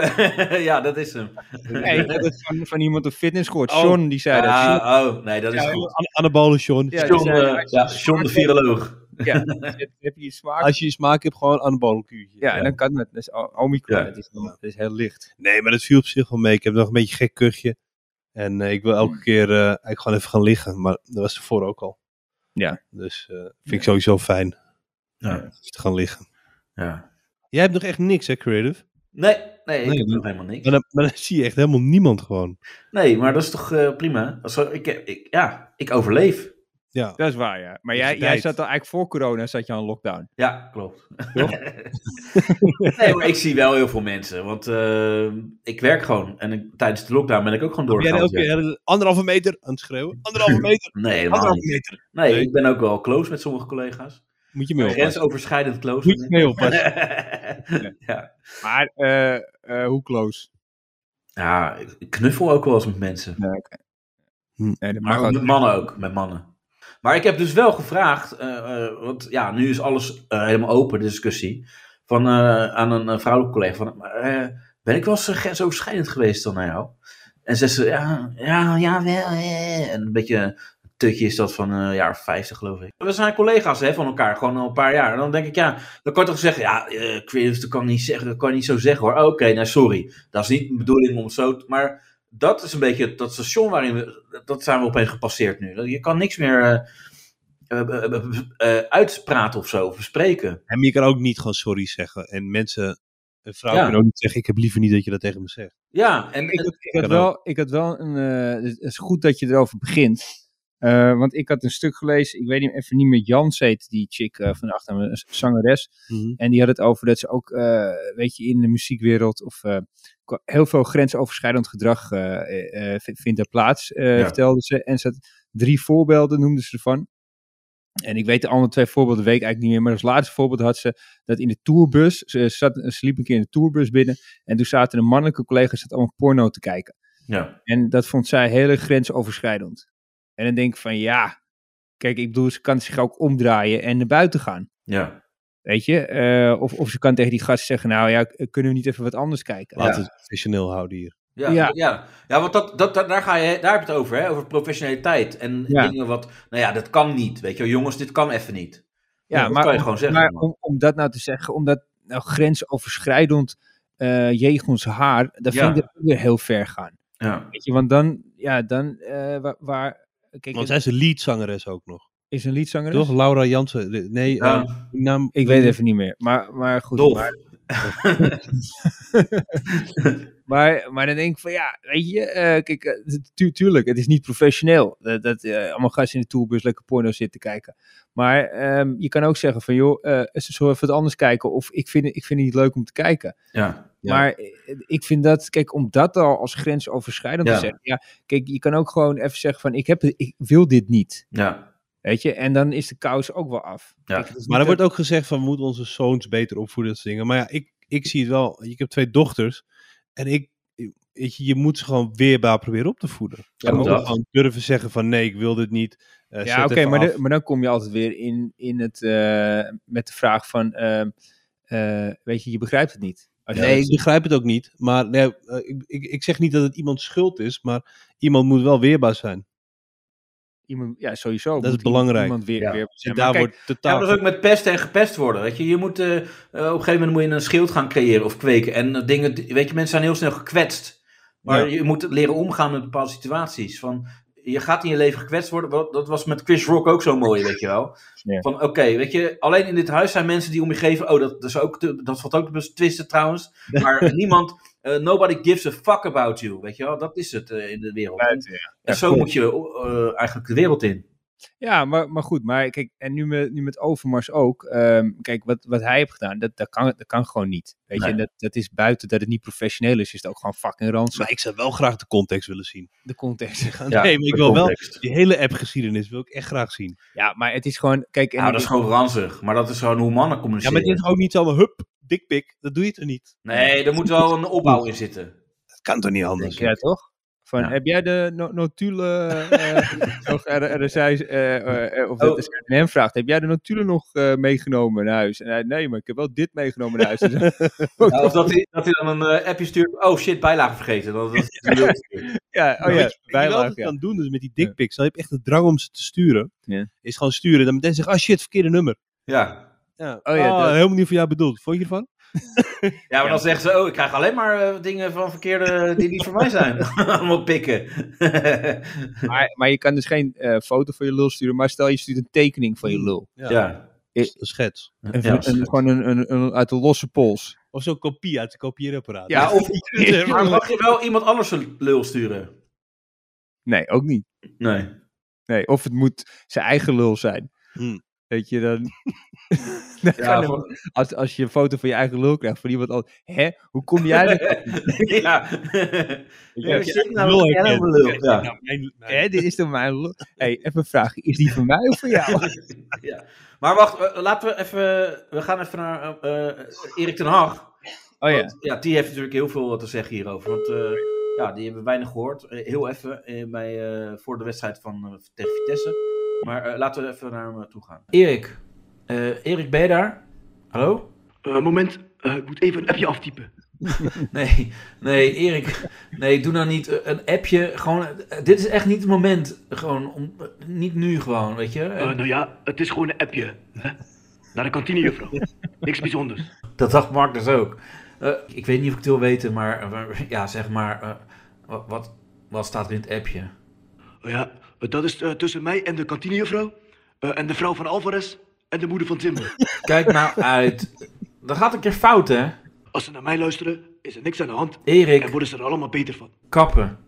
S1: oh, ja, dat is hem.
S2: Nee, ik heb het van, van iemand op fitness gehoord.
S4: Oh.
S2: John, die zei dat. John,
S1: Ah, oh, nee, dat is
S2: Ja,
S1: goed.
S4: An- Anabole Sean.
S2: Ja, die
S1: John,
S2: zei,
S1: eh,
S2: als je
S1: ja,
S2: smaak
S1: John de
S2: hebt-
S1: viroloog.
S2: heb, heb je je smaak?
S4: Als je je smaak hebt, gewoon anabole kuurtje.
S2: ja, dan kan het. Dat is o- Omicron.
S1: Ja.
S2: Het, is, het is heel licht.
S4: Nee, maar dat viel op zich wel mee. Ik heb nog een beetje een gek kuchje. En eh, ik wil
S2: Hmm.
S4: elke keer eh, eigenlijk gewoon even gaan liggen. Maar dat was ervoor ook al.
S2: Ja.
S4: Dus eh, vind ik sowieso fijn.
S1: Ja.
S4: Even te gaan liggen.
S1: Ja.
S4: Jij hebt nog echt niks, hè, Creative?
S1: Nee,
S3: nee, ik
S4: Nee,
S3: heb
S4: maar-
S3: nog helemaal niks.
S4: Maar dan, maar dan zie je echt helemaal niemand gewoon.
S3: Nee, maar dat is toch eh, prima? Als, ik, ik, ja, ik overleef.
S4: Ja.
S2: Dat is waar, ja. Maar
S4: Dat is
S2: jij,
S4: de
S2: jij
S4: tijd.
S2: zat al eigenlijk voor corona zat je aan lockdown.
S3: Ja, klopt.
S4: Toch?
S3: nee, maar ik zie wel heel veel mensen. Want eh, ik werk gewoon. En ik- tijdens de lockdown ben ik ook gewoon
S4: Ben jij dan
S3: doorgegaan.
S4: ook weer anderhalve meter aan het schreeuwen? Anderhalve meter,
S3: Nee, helemaal
S4: anderhalve
S3: niet.
S4: meter.
S3: Nee,
S4: Nee.
S3: ik ben ook wel close met sommige collega's.
S4: Moet je mee oppassen.
S3: Grensoverschrijdend close.
S4: Moet je mee oppassen.
S3: ja.
S2: Maar eh, eh, hoe close?
S3: ja, ik knuffel ook wel eens met mensen.
S2: Nee, dat
S3: Maar
S2: mag ook.
S3: met mannen ook, met mannen. Maar ik heb dus wel gevraagd, eh, eh, want ja, nu is alles eh, helemaal open, de discussie, van, eh, aan een eh, vrouwelijke collega. Van, eh, ben ik wel eens eh, grensoverschrijdend geweest dan naar jou? En ze zei, ja, ja, ja, wel. eh. En een beetje een tutje is dat van eh, een jaar of 50, geloof ik. We zijn collega's hè, van elkaar, gewoon al een paar jaar. En dan denk ik, ja, dan kan je toch zeggen, ja, eh creative, dat kan, ik niet zeggen, dat kan ik niet zo zeggen hoor. Oh, Oké, nou sorry, dat is niet mijn bedoeling om het zo te... Maar dat is een beetje het- dat station waarin we. Dat zijn we opeens gepasseerd nu. Je kan niks meer eh, eh, eh, eh, eh, uitpraten of zo, of bespreken.
S4: En je kan ook niet gewoon sorry zeggen. En mensen, een vrouw
S3: Ja.
S4: kan ook niet zeggen, ik heb liever niet dat je dat tegen me zegt.
S3: Ja, en,
S2: ik,
S3: en-
S2: had, ik, had
S4: Kan
S2: wel, ik had wel een. eh, dus het is goed dat je erover begint. Eh, want ik had een stuk gelezen, ik weet niet, even niet meer, Jans heet die chick eh, van de achternaam, een zangeres. En die had het over dat ze ook, eh, weet je, in de muziekwereld of eh, kwa- heel veel grensoverschrijdend gedrag eh, eh, eh, vindt daar plaats, eh
S3: Ja.
S2: vertelde ze. En ze had drie voorbeelden, noemde ze ervan. En ik weet de andere twee voorbeelden, weet ik eigenlijk niet meer. Maar als laatste voorbeeld had ze dat in de tourbus, ze, zat, ze liep een keer in de tourbus binnen. En toen zaten de mannelijke collega's zat allemaal porno te kijken.
S3: ja.
S2: En dat vond zij heel erg grensoverschrijdend. En dan denk ik van ja, kijk, ik bedoel, ze kan zich ook omdraaien en naar buiten gaan.
S3: ja.
S2: Weet je? eh, of, of ze kan tegen die gast zeggen, nou ja, k- kunnen we niet even wat anders kijken?
S4: Laat
S3: Ja.
S4: het professioneel houden hier.
S3: Ja,
S2: Ja.
S3: ja. ja. want dat, dat, daar, daar ga je, daar heb je het over, hè? over professionaliteit. En
S2: Ja.
S3: dingen wat, nou ja, dat kan niet. Weet je, wel. jongens, dit kan even niet.
S2: Ja,
S3: dat
S2: maar,
S3: kan je gewoon zeggen,
S2: maar
S3: man.
S2: om, om dat nou te zeggen, om dat nou grensoverschrijdend eh jegens haar, dat
S3: Ja.
S2: vind ik dat ook weer heel ver gaan.
S3: Ja,
S2: Weet je, want dan, ja, dan, eh, waar, waar- kijk,
S4: Want
S2: het
S4: zij is een leadzangeres ook nog.
S2: is een liedzanger.
S4: Toch? Laura Jansen. de- Nee,
S3: ja.
S4: eh, die naam,
S2: Ik weet het even niet meer, maar, maar goed.
S3: Dolf.
S2: Maar, maar, maar dan denk ik van ja, weet je, eh, kijk, eh, het- tu- tuurlijk, het is niet professioneel. Dat, dat eh, allemaal gasten in de tourbus lekker porno zitten kijken. Maar ehm, je kan ook zeggen van joh, eh zullen we even wat anders kijken? Of ik vind, ik vind het niet leuk om te kijken.
S3: ja.
S4: Ja.
S2: Maar eh, ik vind dat, kijk, om dat al als grensoverschrijdend
S3: Ja.
S2: te zeggen. Ja, kijk, je kan ook gewoon even zeggen van ik, heb, ik wil dit niet.
S3: ja.
S2: Weet je, en dan is de kous ook wel af.
S3: Ja.
S2: Kijk, het is
S4: Maar er
S2: niet
S4: wordt ook gezegd van, we moeten onze zoons beter opvoeden, dat soort dingen. Maar ja, ik, ik zie het wel. Ik heb twee dochters. En ik, weet je, je moet ze gewoon weerbaar proberen op te voeden.
S2: Ja,
S4: Je moet
S3: dat.
S4: gewoon durven zeggen van, nee, ik wil dit niet. Eh, zet
S2: Ja, oké,
S4: even
S2: maar,
S4: af.
S2: de- maar dan kom je altijd weer in, in het, eh, met de vraag van, ehm, eh, weet je, je begrijpt het niet. Als je
S4: nee,
S2: dat-
S4: ik begrijp het ook niet. Maar nee, eh, ik, ik, ik zeg niet dat het iemand schuld is, maar iemand moet wel weerbaar zijn.
S2: iemand, ja, sowieso.
S4: is
S2: moet iemand-
S4: belangrijk.
S2: Iemand weer,
S3: Ja.
S2: weer
S4: En
S2: zijn. Maar
S4: Dus daar
S2: kijk,
S4: wordt
S3: Ja,
S4: totaal...
S3: maar dat is ook met pesten en gepest worden. Weet je, je moet, eh, eh, op een gegeven moment moet je een schild gaan creëren of kweken. En eh, dingen, die- weet je, mensen zijn heel snel gekwetst. Maar
S4: Ja.
S3: je moet leren omgaan met bepaalde situaties. Van, je gaat in je leven gekwetst worden. Wat- Dat was met Chris Rock ook zo mooi, weet je wel.
S2: Ja.
S3: Van oké, weet je, alleen in dit huis zijn mensen die om je geven. Oh, dat, dat, is ook te- dat valt ook te twisten trouwens. Maar niemand, eh, nobody gives a fuck about you. Weet je wel, dat is het eh, in de wereld.
S2: Ja,
S3: en zo
S2: klopt.
S3: moet je eh, eigenlijk de wereld in.
S2: Ja, maar, maar goed, maar kijk, en nu met, nu met Overmars ook. ehm, kijk, wat, wat hij heeft gedaan, dat, dat, kan, dat kan gewoon niet. Weet
S3: Nee.
S2: je, en dat, dat is buiten dat het niet professioneel is, is het ook gewoon fucking ranzig.
S4: Maar ik zou wel graag de context willen zien.
S2: De context.
S4: nee, maar ik
S3: de
S4: wil wel...
S3: context.
S4: Die hele app-geschiedenis wil ik echt graag zien.
S2: Ja, maar het is gewoon, kijk, en
S3: Nou, dat is gewoon ranzig. Maar dat is gewoon hoe mannen
S4: Ja,
S3: communiceren.
S4: maar dit is ook niet zomaar, hup, dikpik. Dat doe je toch niet?
S3: Nee, er moet wel een opbouw in zitten.
S4: Dat kan toch niet anders?
S2: Ja, toch? Van,
S3: Ja.
S2: heb jij de no- notulen, eh, nog, er, er, er zei ze, eh, eh, eh, of dat
S3: Oh.
S2: is aan hem vraagt, heb jij de notulen nog eh, meegenomen naar huis? En hij, nee, maar ik heb wel dit meegenomen naar huis. Dus-
S3: Nou, of dat hij, dat hij dan een eh, appje stuurt. Oh shit, bijlage vergeten. Dat, dat is natuurlijk heel
S2: ja, oh
S4: Maar
S2: ja,
S4: wat Nou, je- Wat je wel
S2: bijlaag,
S4: altijd
S2: ja.
S4: kan doen dus met die dickpics, dan heb je echt de drang om ze te sturen.
S2: Ja.
S4: Is gewoon sturen. Dan meteen zeggen, ah shit, verkeerde nummer.
S3: ja.
S4: Ja.
S2: Oh ja,
S4: Ah,
S2: dat-
S4: helemaal niet voor jou bedoeld. Vond je ervan?
S3: ja, maar dan zeggen ze, oh, ik krijg alleen maar eh, dingen van verkeerde die niet voor mij zijn. Allemaal pikken.
S2: Maar, maar je kan dus geen eh, foto van je lul sturen, maar stel je stuurt een tekening van je lul.
S3: ja.
S2: Ik-
S4: Een schets.
S2: Een,
S3: Ja,
S2: een- gewoon een, een, een- uit de losse pols.
S4: Of zo'n kopie uit de kopieerapparaat.
S3: Ja, of maar
S4: ja,
S3: mag je wel iemand anders een lul sturen?
S2: Nee, ook niet.
S3: Nee.
S2: Nee, of het moet zijn eigen lul zijn.
S4: Hmm.
S2: Weet je, dan... dan
S3: Ja,
S2: gaan er- als, als je een foto van je eigen lul krijgt van iemand anders. Hè, hoe kom jij er?
S3: ja.
S4: Ja,
S3: ja zit nou
S4: lul
S3: een
S4: herkent.
S3: elke lul. Ja.
S4: nou, mijn- mijn-
S2: Hè, dit is toch mijn lul? hey, even een vraag. Is die van mij of van jou?
S3: Ja. Maar wacht, eh, laten we even. We gaan even naar eh, eh, Erik ten Hag.
S2: Oh ja.
S3: Want, ja, die heeft natuurlijk heel veel te zeggen hierover. Want eh, ja, die hebben we weinig gehoord. Eh, heel even eh, bij, eh, voor de wedstrijd van eh, tegen Vitesse. Maar eh, laten we even naar hem eh, toe gaan. Erik. Eh, Erik, ben je daar? Hallo?
S5: Eh, moment, Eh, ik moet even een appje aftypen.
S3: Nee, nee, Erik. Nee, doe nou niet eh, een appje. Gewoon, eh, dit is echt niet het moment. Gewoon, om, eh, niet nu gewoon, weet je.
S5: Eh,
S2: Oh.
S3: En
S5: nou ja, het is gewoon een appje. Hè? Naar de kantine, juffrouw. Niks bijzonders.
S3: dat dacht Mark dus ook. Eh, ik weet niet of ik het wil weten, maar eh, ja, zeg maar. eh, wat, wat, wat staat er in het appje?
S5: Oh ja, eh, dat is eh, tussen mij en de kantine, juffrouw. Eh, en de vrouw van Alvarez. En de moeder van Timber.
S3: Kijk nou uit. Dat gaat een keer fout, hè?
S5: Als ze naar mij luisteren, is er niks aan de hand. En
S3: Erik,
S5: worden ze er allemaal beter van.
S3: kappen.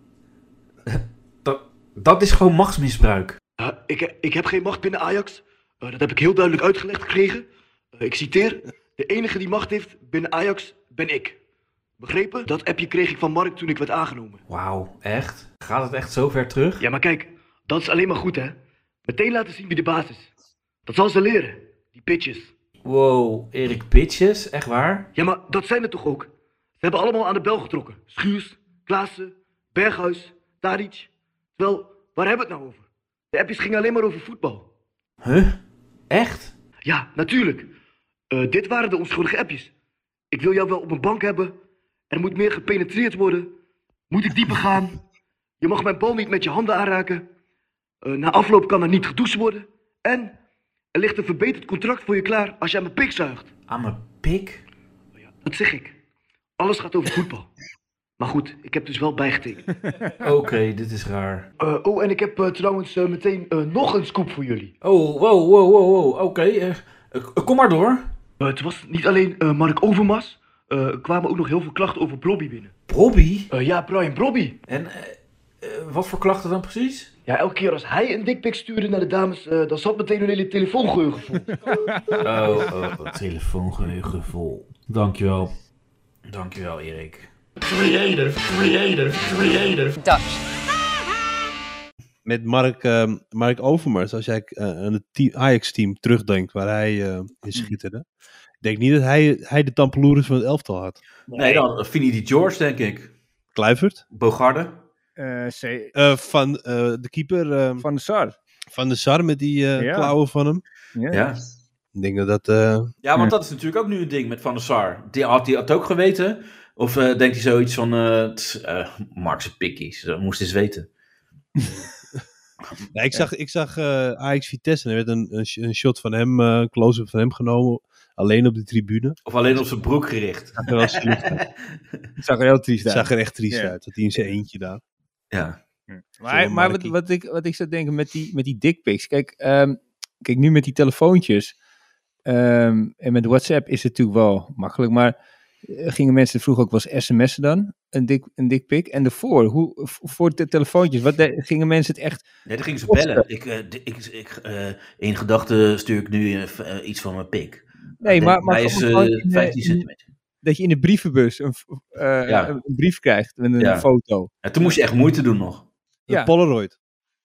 S3: Dat, dat is gewoon machtsmisbruik.
S5: Eh, ik, he- ik heb geen macht binnen Ajax. Eh, dat heb ik heel duidelijk uitgelegd gekregen. Eh, ik citeer. De enige die macht heeft binnen Ajax ben ik. Begrepen? Dat appje kreeg ik van Mark toen ik werd aangenomen.
S3: Wauw, echt? Gaat het echt zo ver terug?
S5: Ja, maar kijk, dat is alleen maar goed, hè? Meteen laten zien wie de baas is. Dat zal ze leren, die pitches.
S3: Wow, Erik Pitches, echt waar?
S5: Ja, maar dat zijn er toch ook? Ze hebben allemaal aan de bel getrokken. Schuurs, Klaassen, Berghuis, Tadic. Wel, waar hebben we het nou over? De appjes gingen alleen maar over voetbal.
S3: Huh? Echt?
S5: Ja, natuurlijk. Eh, dit waren de onschuldige appjes. Ik wil jou wel op mijn bank hebben. Er moet meer gepenetreerd worden. Moet ik dieper gaan? Je mag mijn bal niet met je handen aanraken. Eh, na afloop kan er niet gedoucht worden. En er ligt een verbeterd contract voor je klaar als je aan mijn pik zuigt.
S3: Aan mijn pik?
S5: Dat zeg ik. Alles gaat over voetbal. Maar goed, ik heb dus wel bijgetekend.
S3: Oké, dit is raar.
S5: Eh, oh, en ik heb eh, trouwens eh, meteen eh, nog een scoop voor jullie.
S3: Oh, wow, wow, wow, wow. Oké, eh, eh, k- kom maar door.
S5: Eh, het was niet alleen eh, Mark Overmars. eh, er kwamen ook nog heel veel klachten over Blobby binnen.
S3: Bobby?
S5: Eh, ja, Brian Blobby.
S3: En eh, eh, wat voor klachten dan precies?
S5: Ja, elke keer als hij een dikpik stuurde naar de dames, eh, dan zat meteen hun hele telefoongeheugen vol.
S3: Oh, oh, oh, telefoongeheugen vol. Dankjewel. Dankjewel, Erik.
S4: Met Mark, ehm, Mark Overmars, als jij eh, aan het team- Ajax-team terugdenkt waar hij eh, in schitterde. Ik denk niet dat hij, hij de tampeloeres van het elftal had.
S3: Nee, dan Fini die George, denk ik.
S4: Kluivert,
S3: Bogarde.
S2: Eh, C-
S4: eh, van eh, de keeper ehm,
S2: van de Sar.
S4: van de Sar met die eh,
S2: Ja.
S4: klauwen van hem.
S2: Ja.
S3: Ja.
S4: Ik denk dat dat... eh,
S3: ja, want dat is natuurlijk ook nu een ding met Van der Sar. Die had hij het ook geweten. Of eh, denkt hij zoiets van, eh t- eh, Markse pikkies, dat moest eens weten.
S4: Ja, ik zag, ik zag eh, Ajax Vitesse en er werd een, een, sh- een shot van hem, eh, een close-up van hem genomen. Alleen op de tribune.
S3: Of alleen op zijn broek gericht.
S4: Zag er wel triest uit.
S2: Het zag er heel triest uit.
S4: Zag er echt triest
S2: Ja.
S4: uit. Dat hij in zijn eentje daar.
S3: Ja.
S2: Maar, maar wat,
S4: Markie.
S2: wat, ik, wat ik zou denken met die, met die dickpics. Kijk, ehm, kijk, nu met die telefoontjes ehm, en met WhatsApp is het natuurlijk wel makkelijk. Maar eh, gingen mensen vroeger ook wel eens sms'en dan? Een, dik, een dickpic? En daarvoor, hoe, v- voor de telefoontjes, wat, de- gingen mensen het echt...
S3: Nee, dan gingen ze bellen. Ik, eh, d- ik, ik, eh, in gedachten stuur ik nu eh, v- eh, iets van mijn pik.
S2: Nee,
S3: Denk,
S2: maar, maar
S3: hij is
S2: gewoon
S3: eh,
S2: in, eh,
S3: 15
S2: in-
S3: centimeter.
S2: dat je in de brievenbus een, v- eh,
S3: Ja.
S2: een brief krijgt met een
S3: Ja.
S2: foto.
S3: En toen moest je echt moeite doen nog.
S4: Een
S2: Ja.
S4: Polaroid.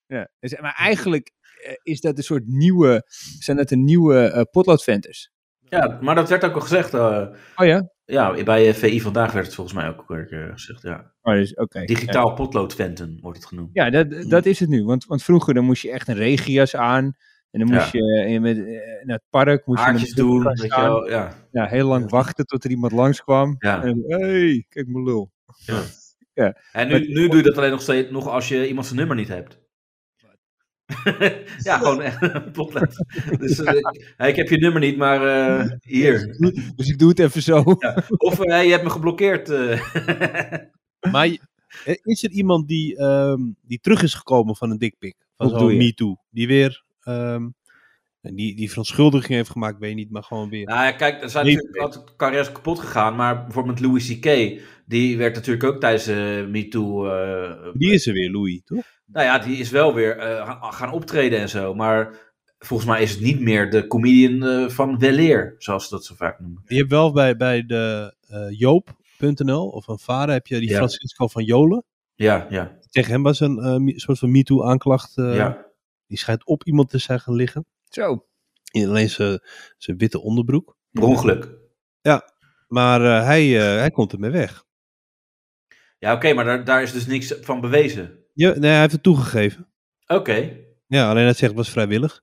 S2: Ja. Dus- Maar eigenlijk eh, is dat een soort nieuwe, zijn dat een nieuwe eh, potloodventers.
S3: Ja, maar dat werd ook al gezegd. eh,
S2: Oh ja?
S3: ja, bij eh, VI vandaag werd het volgens mij ook een keer eh, gezegd. Ja.
S2: Oh, dus, oké.
S3: Digitaal potloodventen wordt het genoemd.
S2: Ja, dat, dat is het nu. Want, want vroeger dan moest je echt een regenjas aan. En dan moest je eh, met, eh, naar het park. Moest
S3: Haartjes
S2: je met de
S3: doen,
S2: podcast
S3: weet je
S2: aan.
S3: wel. Ja,
S2: Ja, heel lang wachten tot er iemand langskwam.
S3: ja.
S2: En dan, hey, kijk mijn lul.
S3: En
S2: Maar-
S3: nu, nu doe je dat alleen nog steeds nog als je iemand zijn nummer niet hebt. ja, gewoon echt een potlet. Dus eh, hey, ik heb je nummer niet, maar eh, hier.
S2: Dus ik doe het even zo.
S3: Of eh, hey, je hebt me geblokkeerd. eh.
S4: Maar je- eh, is er iemand die, ehm, die terug is gekomen van een dikpik? Van
S2: Hoe bedoel
S4: zo'n
S2: je?
S4: MeToo. Die weer ehm, En die, die verontschuldiging heeft gemaakt, ben je niet, maar gewoon weer.
S3: Nou ja, kijk, er zijn
S4: Niet.
S3: natuurlijk altijd carrières kapot gegaan. Maar bijvoorbeeld Louis C.K., die werd natuurlijk ook tijdens eh MeToo... eh,
S4: Die is er weer, Louis, toch?
S3: Nou ja, die is wel weer eh, gaan- gaan optreden en zo. Maar volgens mij is het niet meer de comedian eh, van weleer, zoals ze dat zo vaak noemen.
S4: Je hebt wel bij, bij de eh, Joop.nl of een vader heb je die
S3: Ja.
S4: Francisco van Jolen.
S3: Ja, ja,
S4: Tegen hem was een eh, mi- soort van MeToo-aanklacht. eh,
S3: ja.
S4: Die schijnt op iemand te zijn gaan liggen.
S2: Zo.
S4: In alleen zijn zijn witte onderbroek.
S3: Per ongeluk.
S4: Maar eh, hij, eh, hij komt ermee weg.
S3: Ja, oké, maar daar, daar is dus niks van bewezen.
S4: Ja, nee, hij heeft het toegegeven.
S3: Oké.
S4: Ja, alleen hij zegt het was vrijwillig.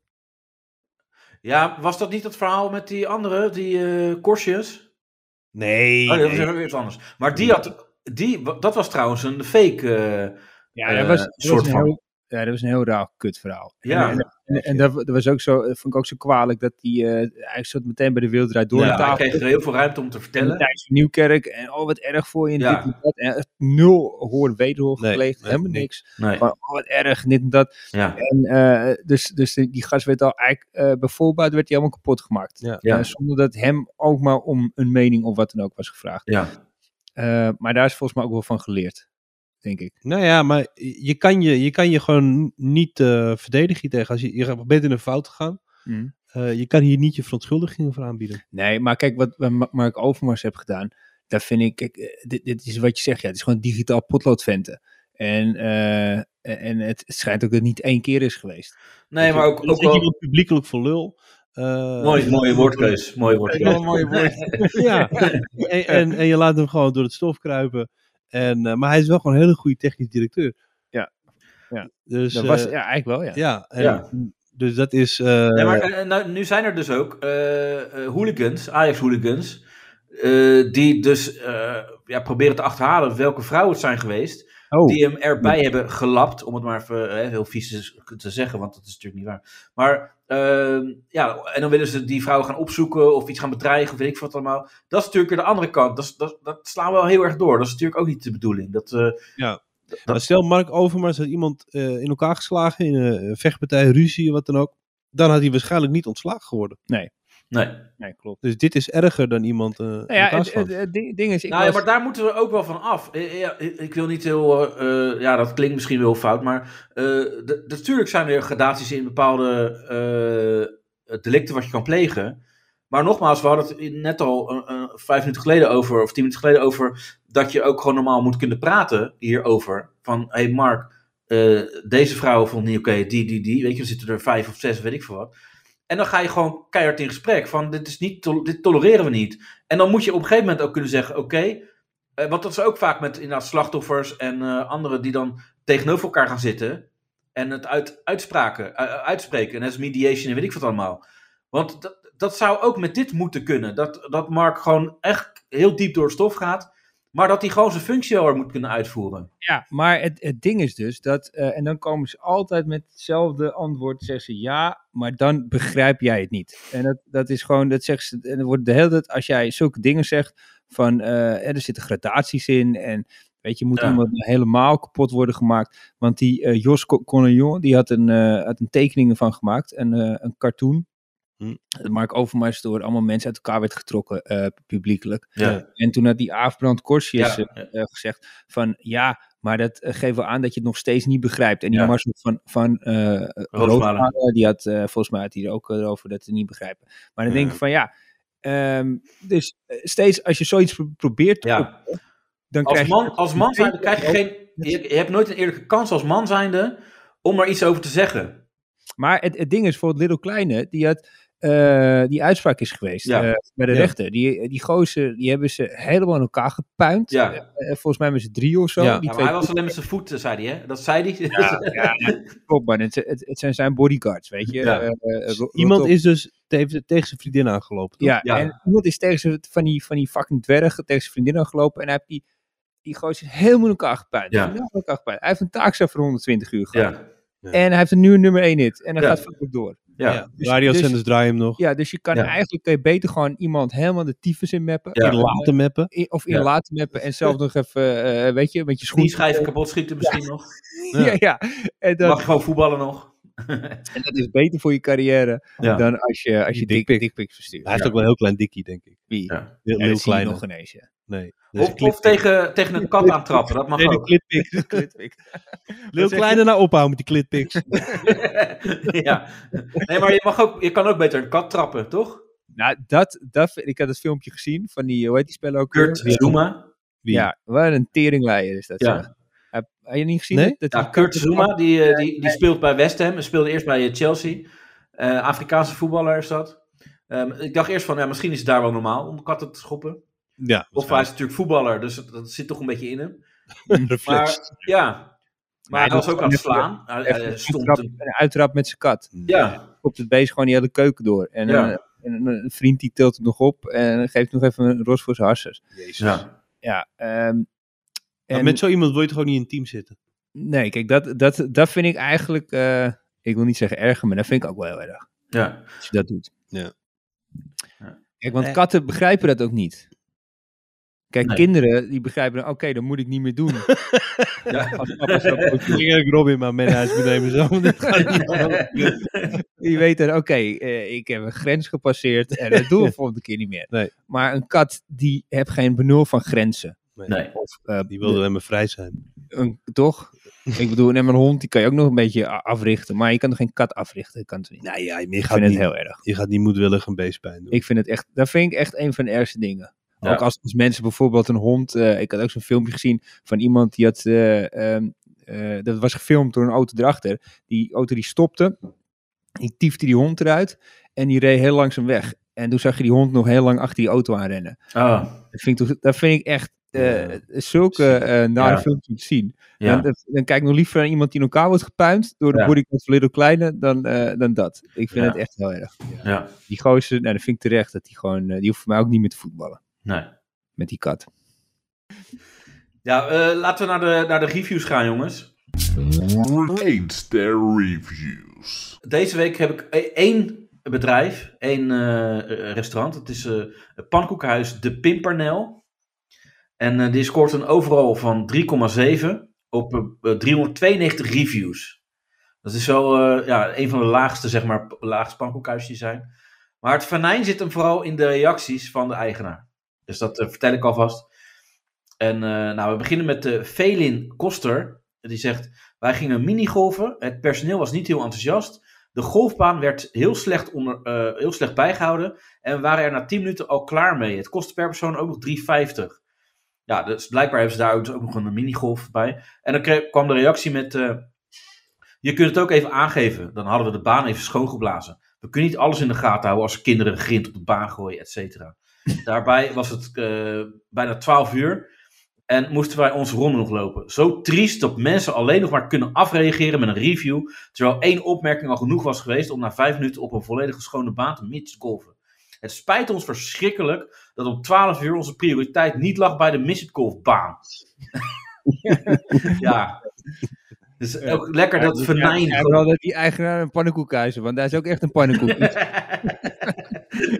S3: Ja, was dat niet het verhaal met die andere, die eh Korsjes?
S4: Nee.
S3: Oh, nee, dat is weer iets anders. Maar die had, die, dat was trouwens een fake. eh,
S2: Ja, dat
S3: Eh,
S2: was, dat
S3: soort
S2: was een
S3: van.
S2: heel, ja, dat was een heel raar kutverhaal.
S3: Ja.
S2: En, en, en, en dat, dat was ook zo, dat vond ik ook zo kwalijk dat die, eh hij zat meteen bij de Wildrijd door
S3: nou ja,
S2: de
S3: hij
S2: tafel.
S3: kreeg er heel veel ruimte om te
S2: En
S3: vertellen.
S2: Thijs van Nieuwkerk en oh wat erg voor je en
S3: Ja.
S2: dit en dat. En echt nul hoor wederhoor
S4: Nee,
S2: gepleegd,
S4: nee,
S2: helemaal
S4: nee.
S2: niks.
S3: Nee,
S2: Gewoon oh wat erg, dit en dat.
S3: ja.
S2: En eh, dus, dus die, die gast werd al eigenlijk eh bij voorbaat werd hij helemaal kapot gemaakt.
S4: Ja.
S3: Ja.
S2: Eh, zonder dat hem ook maar om een mening of wat dan ook was gevraagd.
S3: Ja.
S2: Eh, maar daar is volgens mij ook wel van geleerd, denk ik.
S4: Nou ja, maar je kan je, je, kan je gewoon niet eh, verdedigen hier tegen. Als je, je bent in een fout gegaan. Eh, je kan hier niet je verontschuldigingen voor aanbieden.
S2: Nee, maar kijk, wat eh, Ma- Mark Overmars heeft gedaan, daar vind ik, kijk, eh, dit, dit is wat je zegt, ja, het is gewoon digitaal potloodventen. En, eh, en- en het schijnt ook dat het niet één keer is geweest.
S3: nee maar ook,
S4: Dan
S3: ook
S4: zet je
S3: wel.
S4: iemand publiekelijk voor lul. Eh,
S3: Mooi, mooie woordkeus. Mooie woordkeus.
S2: mooie woord.
S4: Ja, en, en, en je laat hem gewoon door het stof kruipen. En, eh, maar hij is wel gewoon een hele goede technisch directeur.
S2: Ja. Ja.
S4: Dus,
S2: Dat was,
S4: eh,
S2: ja, eigenlijk wel, ja.
S4: ja, en-
S3: Ja.
S4: Dus dat is... eh,
S3: Ja, maar eh, nou, nu zijn er dus ook eh, eh, hooligans, Ajax-hooligans, eh, die dus eh, ja, proberen te achterhalen welke vrouwen het zijn geweest,
S2: Oh,
S3: die hem erbij hebben gelapt, om het maar even eh, heel vies te, te zeggen, want dat is natuurlijk niet waar. Maar ehm, ja, en dan willen ze die vrouwen gaan opzoeken of iets gaan bedreigen, of weet ik wat allemaal. Dat is natuurlijk weer de andere kant, dat, is- dat, dat slaan we wel heel erg door. Dat is natuurlijk ook niet de bedoeling. Dat, eh,
S4: Maar stel Mark Overmars had iemand eh, in elkaar geslagen in een eh, vechtpartij, ruzie, wat dan ook. Dan had hij waarschijnlijk niet ontslagen geworden.
S3: nee.
S2: nee, klopt.
S4: Dus dit is erger dan iemand eh in
S2: Nou ja,
S4: elkaar
S2: het,
S4: slaan.
S2: het- het ding, ding is, ik
S3: nou ja,
S2: was-
S3: maar daar moeten we ook wel van af. Eh, ja, Ik, ik wil niet heel. eh, eh, ja, dat klinkt misschien wel fout, maar. eh, de- natuurlijk zijn er gradaties in bepaalde. eh, delicten wat je kan plegen. Maar nogmaals, we hadden het net al eh, eh, vijf minuten geleden over. of tien minuten geleden over. dat je ook gewoon normaal moet kunnen praten hierover. Van hé, hey Mark, eh, deze vrouw vond niet oké, die, die, die. Weet je, er zitten er vijf of zes, weet ik veel wat. En dan ga je gewoon keihard in gesprek. Van dit, is niet tol- dit tolereren we niet. En dan moet je op een gegeven moment ook kunnen zeggen: oké. eh, want dat is ook vaak met inderdaad slachtoffers en eh, anderen die dan tegenover elkaar gaan zitten. En het uit, uitspraken, u- u- uitspreken. En dat is mediation en weet ik wat allemaal. Want dat, dat zou ook met dit moeten kunnen. Dat, dat Mark gewoon echt heel diep door het stof gaat. Maar dat hij gewoon zijn functie wel weer moet kunnen uitvoeren.
S2: Ja, maar het, het ding is dus dat, eh, en dan komen ze altijd met hetzelfde antwoord, zeggen ze ja, maar dan begrijp jij het niet. En dat, dat is gewoon, dat zeggen ze, en dan wordt de hele tijd, als jij zulke dingen zegt, van eh, er zitten gradaties in en weet je, moet
S3: Ja.
S2: iemand helemaal kapot worden gemaakt. Want die eh, Jos Co- Collignon, die had een, eh had een tekening ervan gemaakt, een, eh, een cartoon.
S4: Hm.
S2: Mark Overmars door allemaal mensen uit elkaar werd getrokken, eh, publiekelijk.
S3: Ja.
S2: En toen had die Aafbrand Korsjes
S3: Ja.
S2: eh, eh, gezegd van ja, maar dat eh, geeft wel aan dat je het nog steeds niet begrijpt. En die
S3: Ja.
S2: Marcel van, van eh Roosmalen, die had eh, volgens mij had hij er ook eh, over dat ze niet begrijpen. Maar dan
S3: Ja.
S2: denk ik van ja, ehm, dus eh, steeds als je zoiets pro- probeert,
S3: Ja.
S2: op- dan
S3: Als
S2: krijg
S3: man,
S2: je...
S3: als man zijnde krijg je geen. Je, je hebt nooit een eerlijke kans als man zijnde om er iets over te zeggen.
S2: Maar het, het ding is, voor het Little Kleine, die had... eh, die uitspraak is geweest
S3: Ja.
S2: eh, bij de
S4: Ja.
S2: rechter. Die, die gozer, die hebben ze helemaal in elkaar gepuind.
S3: Ja.
S2: Eh, volgens mij met z'n drie of zo.
S4: Ja.
S2: die
S3: Ja, maar
S2: twee
S3: hij was alleen met zijn voeten, zei hij, hè? Dat zei hij.
S2: ja, ja, klopt, maar het, het, het zijn zijn bodyguards, weet je.
S3: Ja.
S2: Eh, eh, ro-
S4: Iemand
S2: rot op.
S4: is dus tegen, tegen zijn vriendin aangelopen. toch?
S2: Ja,
S3: Ja.
S2: en iemand is tegen zijn, van, die, van die fucking dwerg, tegen zijn vriendin aangelopen en hij heeft die, die gozer helemaal in elkaar gepuind.
S3: Ja.
S2: Helemaal in elkaar gepuind. Hij heeft een taakstraf voor 120 uur gehad.
S3: ja.
S2: En hij heeft een nieuwe nummer 1 hit. En hij
S3: Ja.
S2: gaat fucking door.
S3: ja.
S4: Ja,
S2: Dus-
S4: Radio
S2: dus-
S4: zenders draaien hem nog.
S2: Ja, dus je kan
S3: Ja.
S2: eigenlijk kun je beter gewoon iemand helemaal de tyfus in mappen.
S3: Ja.
S4: Die laten meppen.
S2: In- Of in
S3: Ja.
S2: laten mappen en zelf nog even, eh, weet je, met je schoen.
S3: Knieschijven kapot schieten misschien nog.
S2: Ja, ja. En dan,
S3: Mag je gewoon voetballen nog.
S2: En dat is beter voor je carrière
S1: Ja.
S2: dan als je, als je
S4: Dick
S2: dik,
S4: pic.
S2: dikpik verstuurt.
S4: Hij heeft ook wel een heel klein dikkie, denk ik.
S2: Wie?
S1: Ja.
S4: Heel,
S2: Ja,
S4: heel
S2: dat zie je
S4: klein.
S2: nog ineens, ja.
S4: Nee. dat is
S1: Of,
S4: een clip-
S1: of tegen, tegen een kat aantrappen, dat mag
S4: Nee, de
S1: ook.
S4: clitpik. Heel kleine nou ophouden met die clitpiks.
S1: ja. Nee, maar je, mag ook, je kan ook beter een kat trappen, toch?
S2: Nou, dat, dat, vind- ik had het filmpje gezien van die, hoe heet die speler ook?
S1: Kurt
S2: weer?
S1: Zuma.
S2: Ja, wat een teringleier is dat.
S1: Ja.
S2: zeg. Heb, heb je niet gezien?
S4: Nee?
S2: dat- dat
S1: Ja,
S2: die
S1: Kurt
S2: kat-
S1: Zuma, die, eh, die, die speelt bij West Ham. Hij speelde eerst bij eh, Chelsea. Eh, Afrikaanse voetballer is dat. Ehm, ik dacht eerst van, ja, misschien is het daar wel normaal om katten te schoppen.
S4: Ja,
S1: Of hij is natuurlijk voetballer, dus dat, dat zit toch een beetje in hem.
S4: reflex.
S1: Maar ja, maar hij
S2: dat
S1: was
S2: is
S1: ook aan het
S2: gewoon
S1: slaan. Hij,
S2: Echt
S1: hij
S2: een
S1: stond
S2: uitrap-
S1: hem.
S2: een uitrap met zijn kat.
S1: Ja,
S2: Op het beest gewoon die hele keuken door. En,
S1: Ja.
S2: eh, en een vriend die tilt het nog op en geeft nog even een ros voor zijn harsers.
S1: ja.
S2: Ja, ehm,
S4: Maar
S2: en-
S4: met zo iemand wil je toch ook niet in een team zitten?
S2: Nee, kijk, dat, dat, dat vind ik eigenlijk, eh, ik wil niet zeggen erger, maar dat vind ik ook wel heel erg.
S1: ja.
S2: Als je dat doet.
S4: Ja.
S1: Ja.
S2: Kijk, want
S4: Eh.
S2: katten begrijpen dat ook niet. Kijk,
S1: Nee.
S2: kinderen die begrijpen, dan, oké, dat moet ik niet meer doen.
S1: Ja.
S2: Als papa zo
S4: Ik ging ook Robin maar mee naar huis meenemen. Zo, want dit gaat niet zo.
S2: Je weet dan, oké, eh, ik heb een grens gepasseerd en dat doe ik volgende keer niet meer.
S4: Nee.
S2: Maar een kat, die heeft geen benul van grenzen.
S1: Nee. Oh,
S2: Of, eh,
S4: Die wilde alleen maar vrij zijn.
S2: een, toch? ik bedoel, en een hond, die kan je ook nog een beetje a- africhten. Maar je kan toch geen kat africhten? Dat kan toch niet?
S4: Nou ja, je
S2: ik
S4: gaat,
S2: vind het
S4: niet,
S2: heel erg.
S4: je gaat niet moedwillig een beestpijn doen.
S2: Ik vind het echt, dat vind ik echt een van de ergste dingen.
S1: Ja.
S2: Ook als, als mensen bijvoorbeeld een hond. eh, ik had ook zo'n filmpje gezien van iemand die had. eh, ehm, eh, dat was gefilmd door een auto erachter. Die auto die stopte. Die tiefde die hond eruit. En die reed heel langzaam weg. En toen zag je die hond nog heel lang achter die auto aanrennen.
S1: Ah,
S2: Dat vind ik, toch- dat vind ik echt. eh,
S4: Ja.
S2: Zulke eh nare
S1: Ja.
S2: filmpjes om te zien.
S1: ja.
S2: Dan, dan kijk ik nog liever naar iemand die in elkaar wordt gepuind. door de
S1: Ja.
S2: bodyguard van Little Kleine. dan, eh, dan dat. Ik vind
S1: Ja.
S2: het echt heel erg
S1: ja.
S2: die gozer, nou, dat vind ik terecht, dat die gewoon, eh, die hoeft voor mij ook niet meer te voetballen
S1: Nee.
S2: met die kat.
S1: Ja, eh, laten we naar de, naar de reviews gaan, jongens.
S6: Eens de reviews.
S1: Deze week heb ik e- één bedrijf, één eh, restaurant. Het is eh, het pannenkoekhuis De Pimpernel. En eh, die scoort een overal van 3,7 op eh, eh, 392 reviews. Dat is wel eh, ja, een van de laagste, zeg maar, p- laagste pannenkoekhuisjes die zijn. Maar het venijn zit hem vooral in de reacties van de eigenaar. Dus dat eh, vertel ik alvast. En eh, nou, we beginnen met eh Felin Koster. Die zegt, wij gingen minigolven. Het personeel was niet heel enthousiast. De golfbaan werd heel slecht, onder, eh, heel slecht bijgehouden. En we waren er na 10 minuten al klaar mee. Het kostte per persoon ook nog 3,50. Ja, dus blijkbaar hebben ze daar ook, dus ook nog een minigolf bij. En dan kreeg- kwam de reactie met... eh, je kunt het ook even aangeven. Dan hadden we de baan even schoongeblazen. We kunnen niet alles in de gaten houden als kinderen grind op de baan gooien, et cetera. Daarbij was het eh, bijna 12 uur. En moesten wij onze ronde nog lopen. Zo triest dat mensen alleen nog maar kunnen afreageren met een review. Terwijl één opmerking al genoeg was geweest om na vijf minuten op een volledig geschone baan te mitsgolven. Het spijt ons verschrikkelijk dat om 12 uur onze prioriteit niet lag bij de mitsgolfbaan. ja. Dus ook lekker dat venijn.
S2: Ja, wel dat die eigenaar een pannenkoekhuizen, want daar is ook echt een pannenkoek.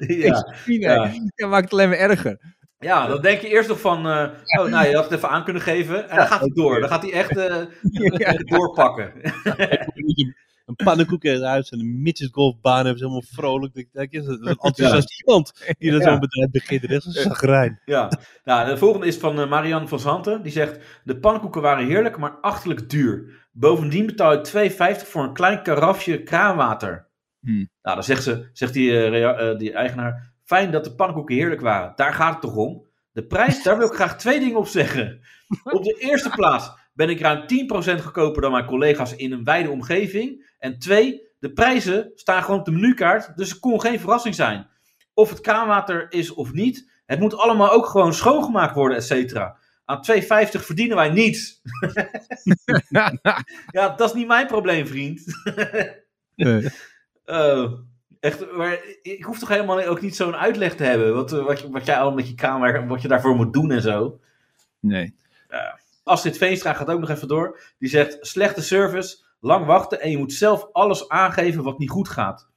S1: ja.
S2: ja. Dat maakt het alleen maar erger.
S1: ja, dan denk je eerst nog van, eh, oh nou je had het even aan kunnen geven. En dan gaat hij door, dan gaat hij echt eh,
S2: Ja.
S1: doorpakken.
S4: Moet je Een pannenkoek in het huis en een midgetgolfbaan hebben ze helemaal vrolijk. Ik denk, dat is een enthousiast iemand die dat
S1: Ja.
S4: zo'n bedrijf begint. Echt een zagrijn.
S1: Ja, nou, de volgende is van eh, Marianne van Zanten. Die zegt: De pannenkoeken waren heerlijk, maar achterlijk duur. Bovendien betaal ik 2,50 voor een klein karafje kraanwater.
S2: Hmm.
S1: Nou, dan zegt, ze, zegt die, eh, rea- eh, die eigenaar: Fijn dat de pannenkoeken heerlijk waren. Daar gaat het toch om? De prijs, daar wil ik graag twee dingen op zeggen. Op de eerste plaats ben ik ruim 10% goedkoper dan mijn collega's in een wijde omgeving. En twee, de prijzen staan gewoon op de menukaart, dus het kon geen verrassing zijn. Of het kraanwater is of niet, het moet allemaal ook gewoon schoongemaakt worden, et cetera. Aan 2,50 verdienen wij niets. Ja, dat is niet mijn probleem, vriend.
S2: Nee.
S1: Eh, echt, maar ik hoef toch helemaal ook niet zo'n uitleg te hebben. Wat, eh, wat, je- wat jij al met je kraanwerk, wat je daarvoor moet doen en zo.
S2: nee.
S1: Astrid Veenstra gaat ook nog even door. Die zegt: slechte service, lang wachten en je moet zelf alles aangeven wat niet goed gaat.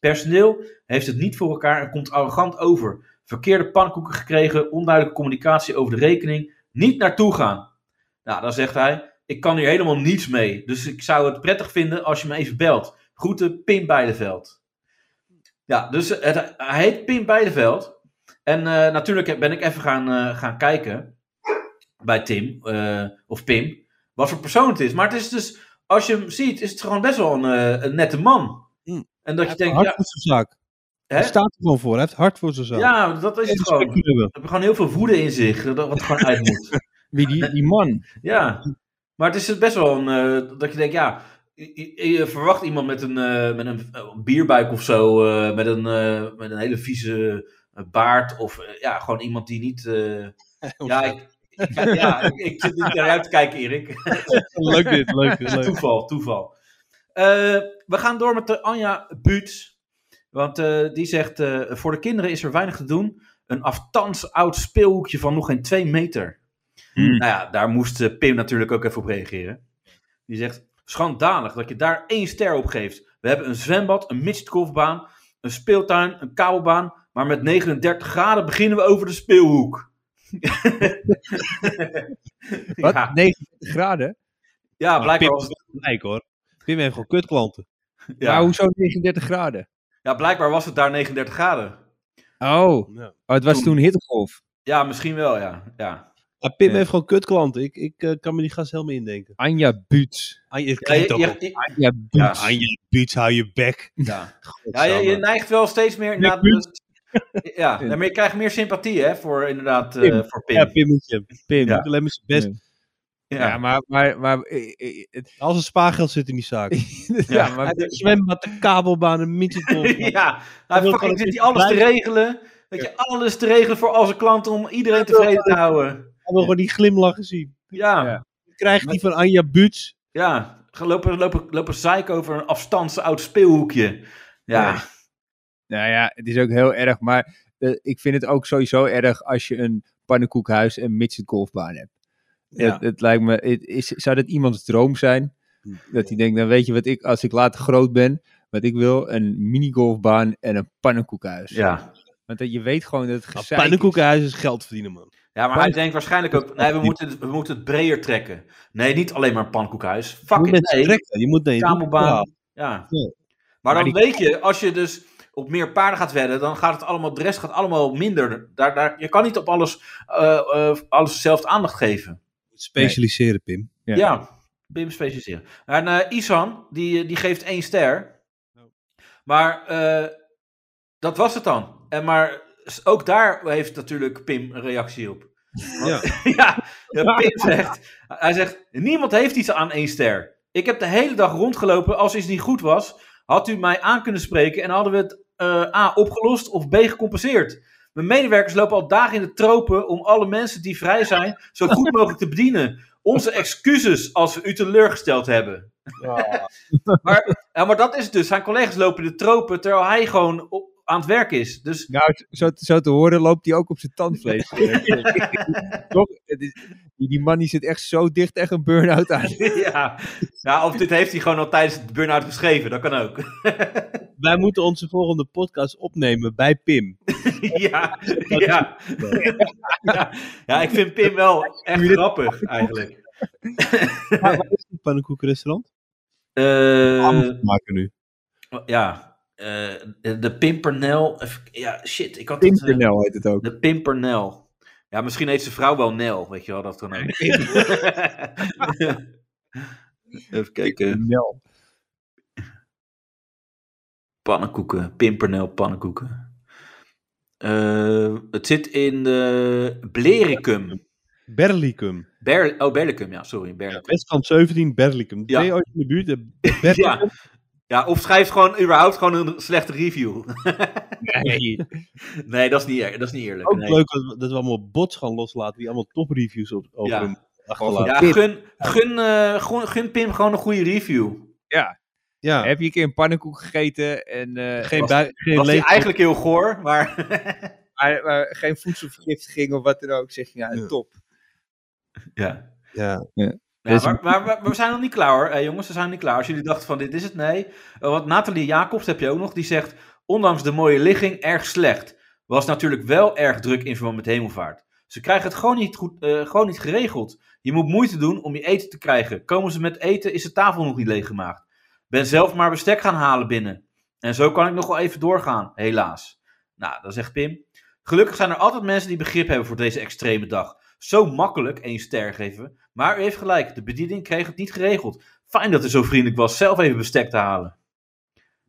S1: Personeel heeft het niet voor elkaar en komt arrogant over. Verkeerde pannenkoeken gekregen, onduidelijke communicatie over de rekening. Niet naartoe gaan. Nou, dan zegt hij: Ik kan hier helemaal niets mee, dus ik zou het prettig vinden als je me even belt. Groeten Pim Beideveld. Ja, dus het, hij heet Pim Beideveld. En eh, natuurlijk ben ik even gaan, eh, gaan kijken bij Tim, eh, of Pim, wat voor persoon het is. Maar het is dus, als je hem ziet, is het gewoon best wel een, eh, een nette man.
S4: Hmm.
S1: En dat je denkt,
S4: hard
S1: ja,
S4: voor zijn zaak.
S1: hè?
S4: Hij staat er gewoon voor. Hij heeft hard voor zijn zaak.
S1: ja, dat is
S4: En
S1: het gewoon.
S4: respect hebben.
S1: Er gewoon heel veel woede in zich, dat dat wat gewoon uit moet.
S2: Wie die, die man?
S1: Ja, maar het is best wel een, eh, dat je denkt, ja, je, je- je verwacht iemand met een, eh, met een eh, bierbuik of zo, eh, met, een, eh, met een hele vieze eh, baard of eh, ja, gewoon iemand die niet... eh, ja, ik, ik- ja, ik, ik zit niet naar uit te kijken, Erik.
S4: Leuk dit, leuk dit, leuk.
S1: Toeval, toeval. Eh, we gaan door met de Anja Buut. Want eh, die zegt, eh, voor de kinderen is er weinig te doen. Een aftans oud speelhoekje van nog geen twee meter.
S2: Hmm.
S1: Nou ja, daar moest eh, Pim natuurlijk ook even op reageren. Die zegt, schandalig dat je daar één ster op geeft. We hebben een zwembad, een mistgolfbaan, een speeltuin, een kabelbaan. Maar met 39 graden beginnen we over de speelhoek.
S2: Wat?
S1: Ja,
S2: 90 graden?
S1: ja,
S4: Maar Pim
S1: blijkbaar
S4: was
S1: was,
S4: wel gelijk hoor. Pim heeft gewoon kutklanten.
S1: ja.
S2: Maar hoezo 39 graden?
S1: Ja, blijkbaar was het daar 39 graden.
S2: Oh, oh
S4: Ja.
S2: het was toen hittegolf.
S1: Ja, misschien wel, ja. ja.
S4: Maar Pim
S2: Ja.
S4: heeft gewoon kutklanten. Ik, ik eh, kan me die gast helemaal indenken.
S2: Anja Buut.
S4: Anja, het
S1: Ja, je,
S4: klinkt ook
S1: je-
S4: wel.
S1: je-
S2: Anja Buut.
S1: Ja,
S4: Anja, Buuts, hou je bek.
S1: ja. Ja, je, je neigt wel steeds meer naar de... Ja, nee, maar je krijgt meer sympathie, hè, voor inderdaad, eh,
S2: Pim.
S1: voor Pim.
S4: Ja, Pimmetje.
S2: Pim.
S4: Ja.
S2: Ja,
S4: Alleen met zijn best.
S1: Ja.
S2: maar... maar, maar eh, eh, het-
S4: Als een spaargeld zit in die zaak.
S2: ja, maar
S4: Een zwembad, een kabelbaan, een midgetbol.
S1: ja, hij
S4: wil
S1: fucking
S4: gewoon
S1: zit hier alles te
S4: blijven.
S1: regelen. Dat je alles te regelen voor al zijn klanten om iedereen tevreden te houden.
S4: We hebben gewoon die glimlachen zien.
S1: Ja,
S2: Ja.
S4: Krijgt die van Anja Buuts.
S1: ja. Ga Lopen, lopen, lopen zeiken over een afstandse oud speelhoekje. Ja,
S2: Ja. Nou ja, het is ook heel erg, maar eh, ik vind het ook sowieso erg als je een pannenkoekhuis en midget golfbaan hebt.
S4: Ja.
S2: Het, het lijkt me, het is, zou dat iemands droom zijn?
S4: Hm.
S2: Dat hij denkt, dan weet je wat ik, als ik later groot ben, wat ik wil, een minigolfbaan en een pannenkoekhuis.
S1: ja.
S2: Want dat, je weet gewoon dat het
S4: Nou,
S2: gezeik
S4: pannenkoekenhuis is geld verdienen, man.
S1: Ja, maar hij denkt waarschijnlijk ook, nee, we moeten, het- we moeten het breder trekken. Nee, niet alleen maar een pannenkoekhuis. Fuck
S4: je
S1: it,
S4: moet mensen
S1: nee.
S4: trekken. Je moet naar je doel
S1: kabelbaan.
S4: halen.
S1: Ja.
S4: Ja.
S1: Maar dan
S2: Maar
S1: weet je, als je dus op meer paarden gaat wedden, dan gaat het allemaal, de rest gaat allemaal minder. Daar, daar, je kan niet op alles, eh, eh, alles zelf aandacht geven.
S4: Je moet Specialiseren, Pim.
S1: Ja,
S2: Ja.
S1: Bim specialiseren. En eh, Isan, die, eh, die geeft één ster. Maar eh, dat was het dan. En maar s- ook daar heeft natuurlijk Pim een reactie op.
S4: Ja.
S1: ja, ja, Pim zegt, hij zegt, niemand heeft iets aan één ster. Ik heb de hele dag rondgelopen als iets niet goed was. Had u mij aan kunnen spreken en hadden we het eh, A opgelost of B gecompenseerd. Mijn medewerkers lopen al dagen in de tropen om alle mensen die vrij zijn zo goed mogelijk te bedienen. Onze excuses als we u teleurgesteld hebben. Maar, ja, maar dat is het dus. Zijn collega's lopen in de tropen terwijl hij gewoon op- aan het werk is. Dus
S2: Nou, het- zo, zo te horen loopt hij ook op zijn tandvlees. Toch? Het is- Die, die man die zit echt zo dicht echt een burn-out aan.
S1: Eh, ja. ja, of dit heeft hij gewoon al tijdens de burn-out geschreven. Dat kan ook.
S4: Wij moeten onze volgende podcast opnemen bij Pim.
S1: ja, ja. ja. Ja, ik vind Pim wel echt grappig eigenlijk.
S4: Waar waar is het pannenkoekenrestaurant?
S1: Eh,
S4: maken nu.
S1: ja, eh, de Pimpernel. even- Ja, shit, ik had het. eh,
S2: Pimpernel heet het ook.
S1: de Pimpernel. Ja, misschien heet zijn vrouw wel Nel, weet je wel, dat kan ook. Even kijken.
S2: Nel.
S1: Pannenkoeken, Pimpernel pannenkoeken. Eh, het zit in de Blericum.
S4: Berlicum.
S1: Ber oh, Berlicum, ja, sorry. Berlicum.
S4: Westkamp 17, Berlicum.
S1: Ja.
S4: Ben je ooit in de buurt? De Berlicum.
S1: Ja. ja, of schrijf gewoon überhaupt gewoon een slechte review.
S4: Nee.
S1: Nee, dat is niet, eer- dat is niet eerlijk.
S4: Ook
S1: nee.
S4: leuk dat we, dat we allemaal bots gaan loslaten die allemaal topreviews op, over
S1: Ja.
S4: hem achterlaten.
S1: Ja,
S2: Pim.
S1: gun, gun, eh, gun, gun Pim gewoon een goede review.
S4: Ja.
S2: Heb je een keer een pannenkoek gegeten en eh,
S4: Geen,
S2: was-
S4: bui- geen
S1: Was die
S4: leeg.
S1: eigenlijk heel goor, maar...
S2: maar- maar geen voedselvergiftiging of wat dan ook, zeg je, ja,
S4: Ja.
S2: top.
S1: ja.
S4: Ja.
S1: Ja,
S2: Dus-
S1: maar, maar, maar we zijn nog niet klaar hoor, Eh, jongens. We zijn nog niet klaar. Als jullie dachten van dit is het, nee. Eh, want Nathalie Jacobs heb je ook nog. Die zegt, ondanks de mooie ligging, erg slecht. Was natuurlijk wel erg druk in verband met hemelvaart. Ze krijgen het gewoon niet, goed, eh, gewoon niet geregeld. Je moet moeite doen om je eten te krijgen. Komen ze met eten, is de tafel nog niet leeggemaakt. Ben zelf maar bestek gaan halen binnen. En zo kan ik nog wel even doorgaan, helaas. Nou, dan zegt Pim. Gelukkig zijn er altijd mensen die begrip hebben voor deze extreme dag. Zo makkelijk één ster geven. Maar u heeft gelijk, de bediening kreeg het niet geregeld. Fijn dat u zo vriendelijk was zelf even bestek te halen.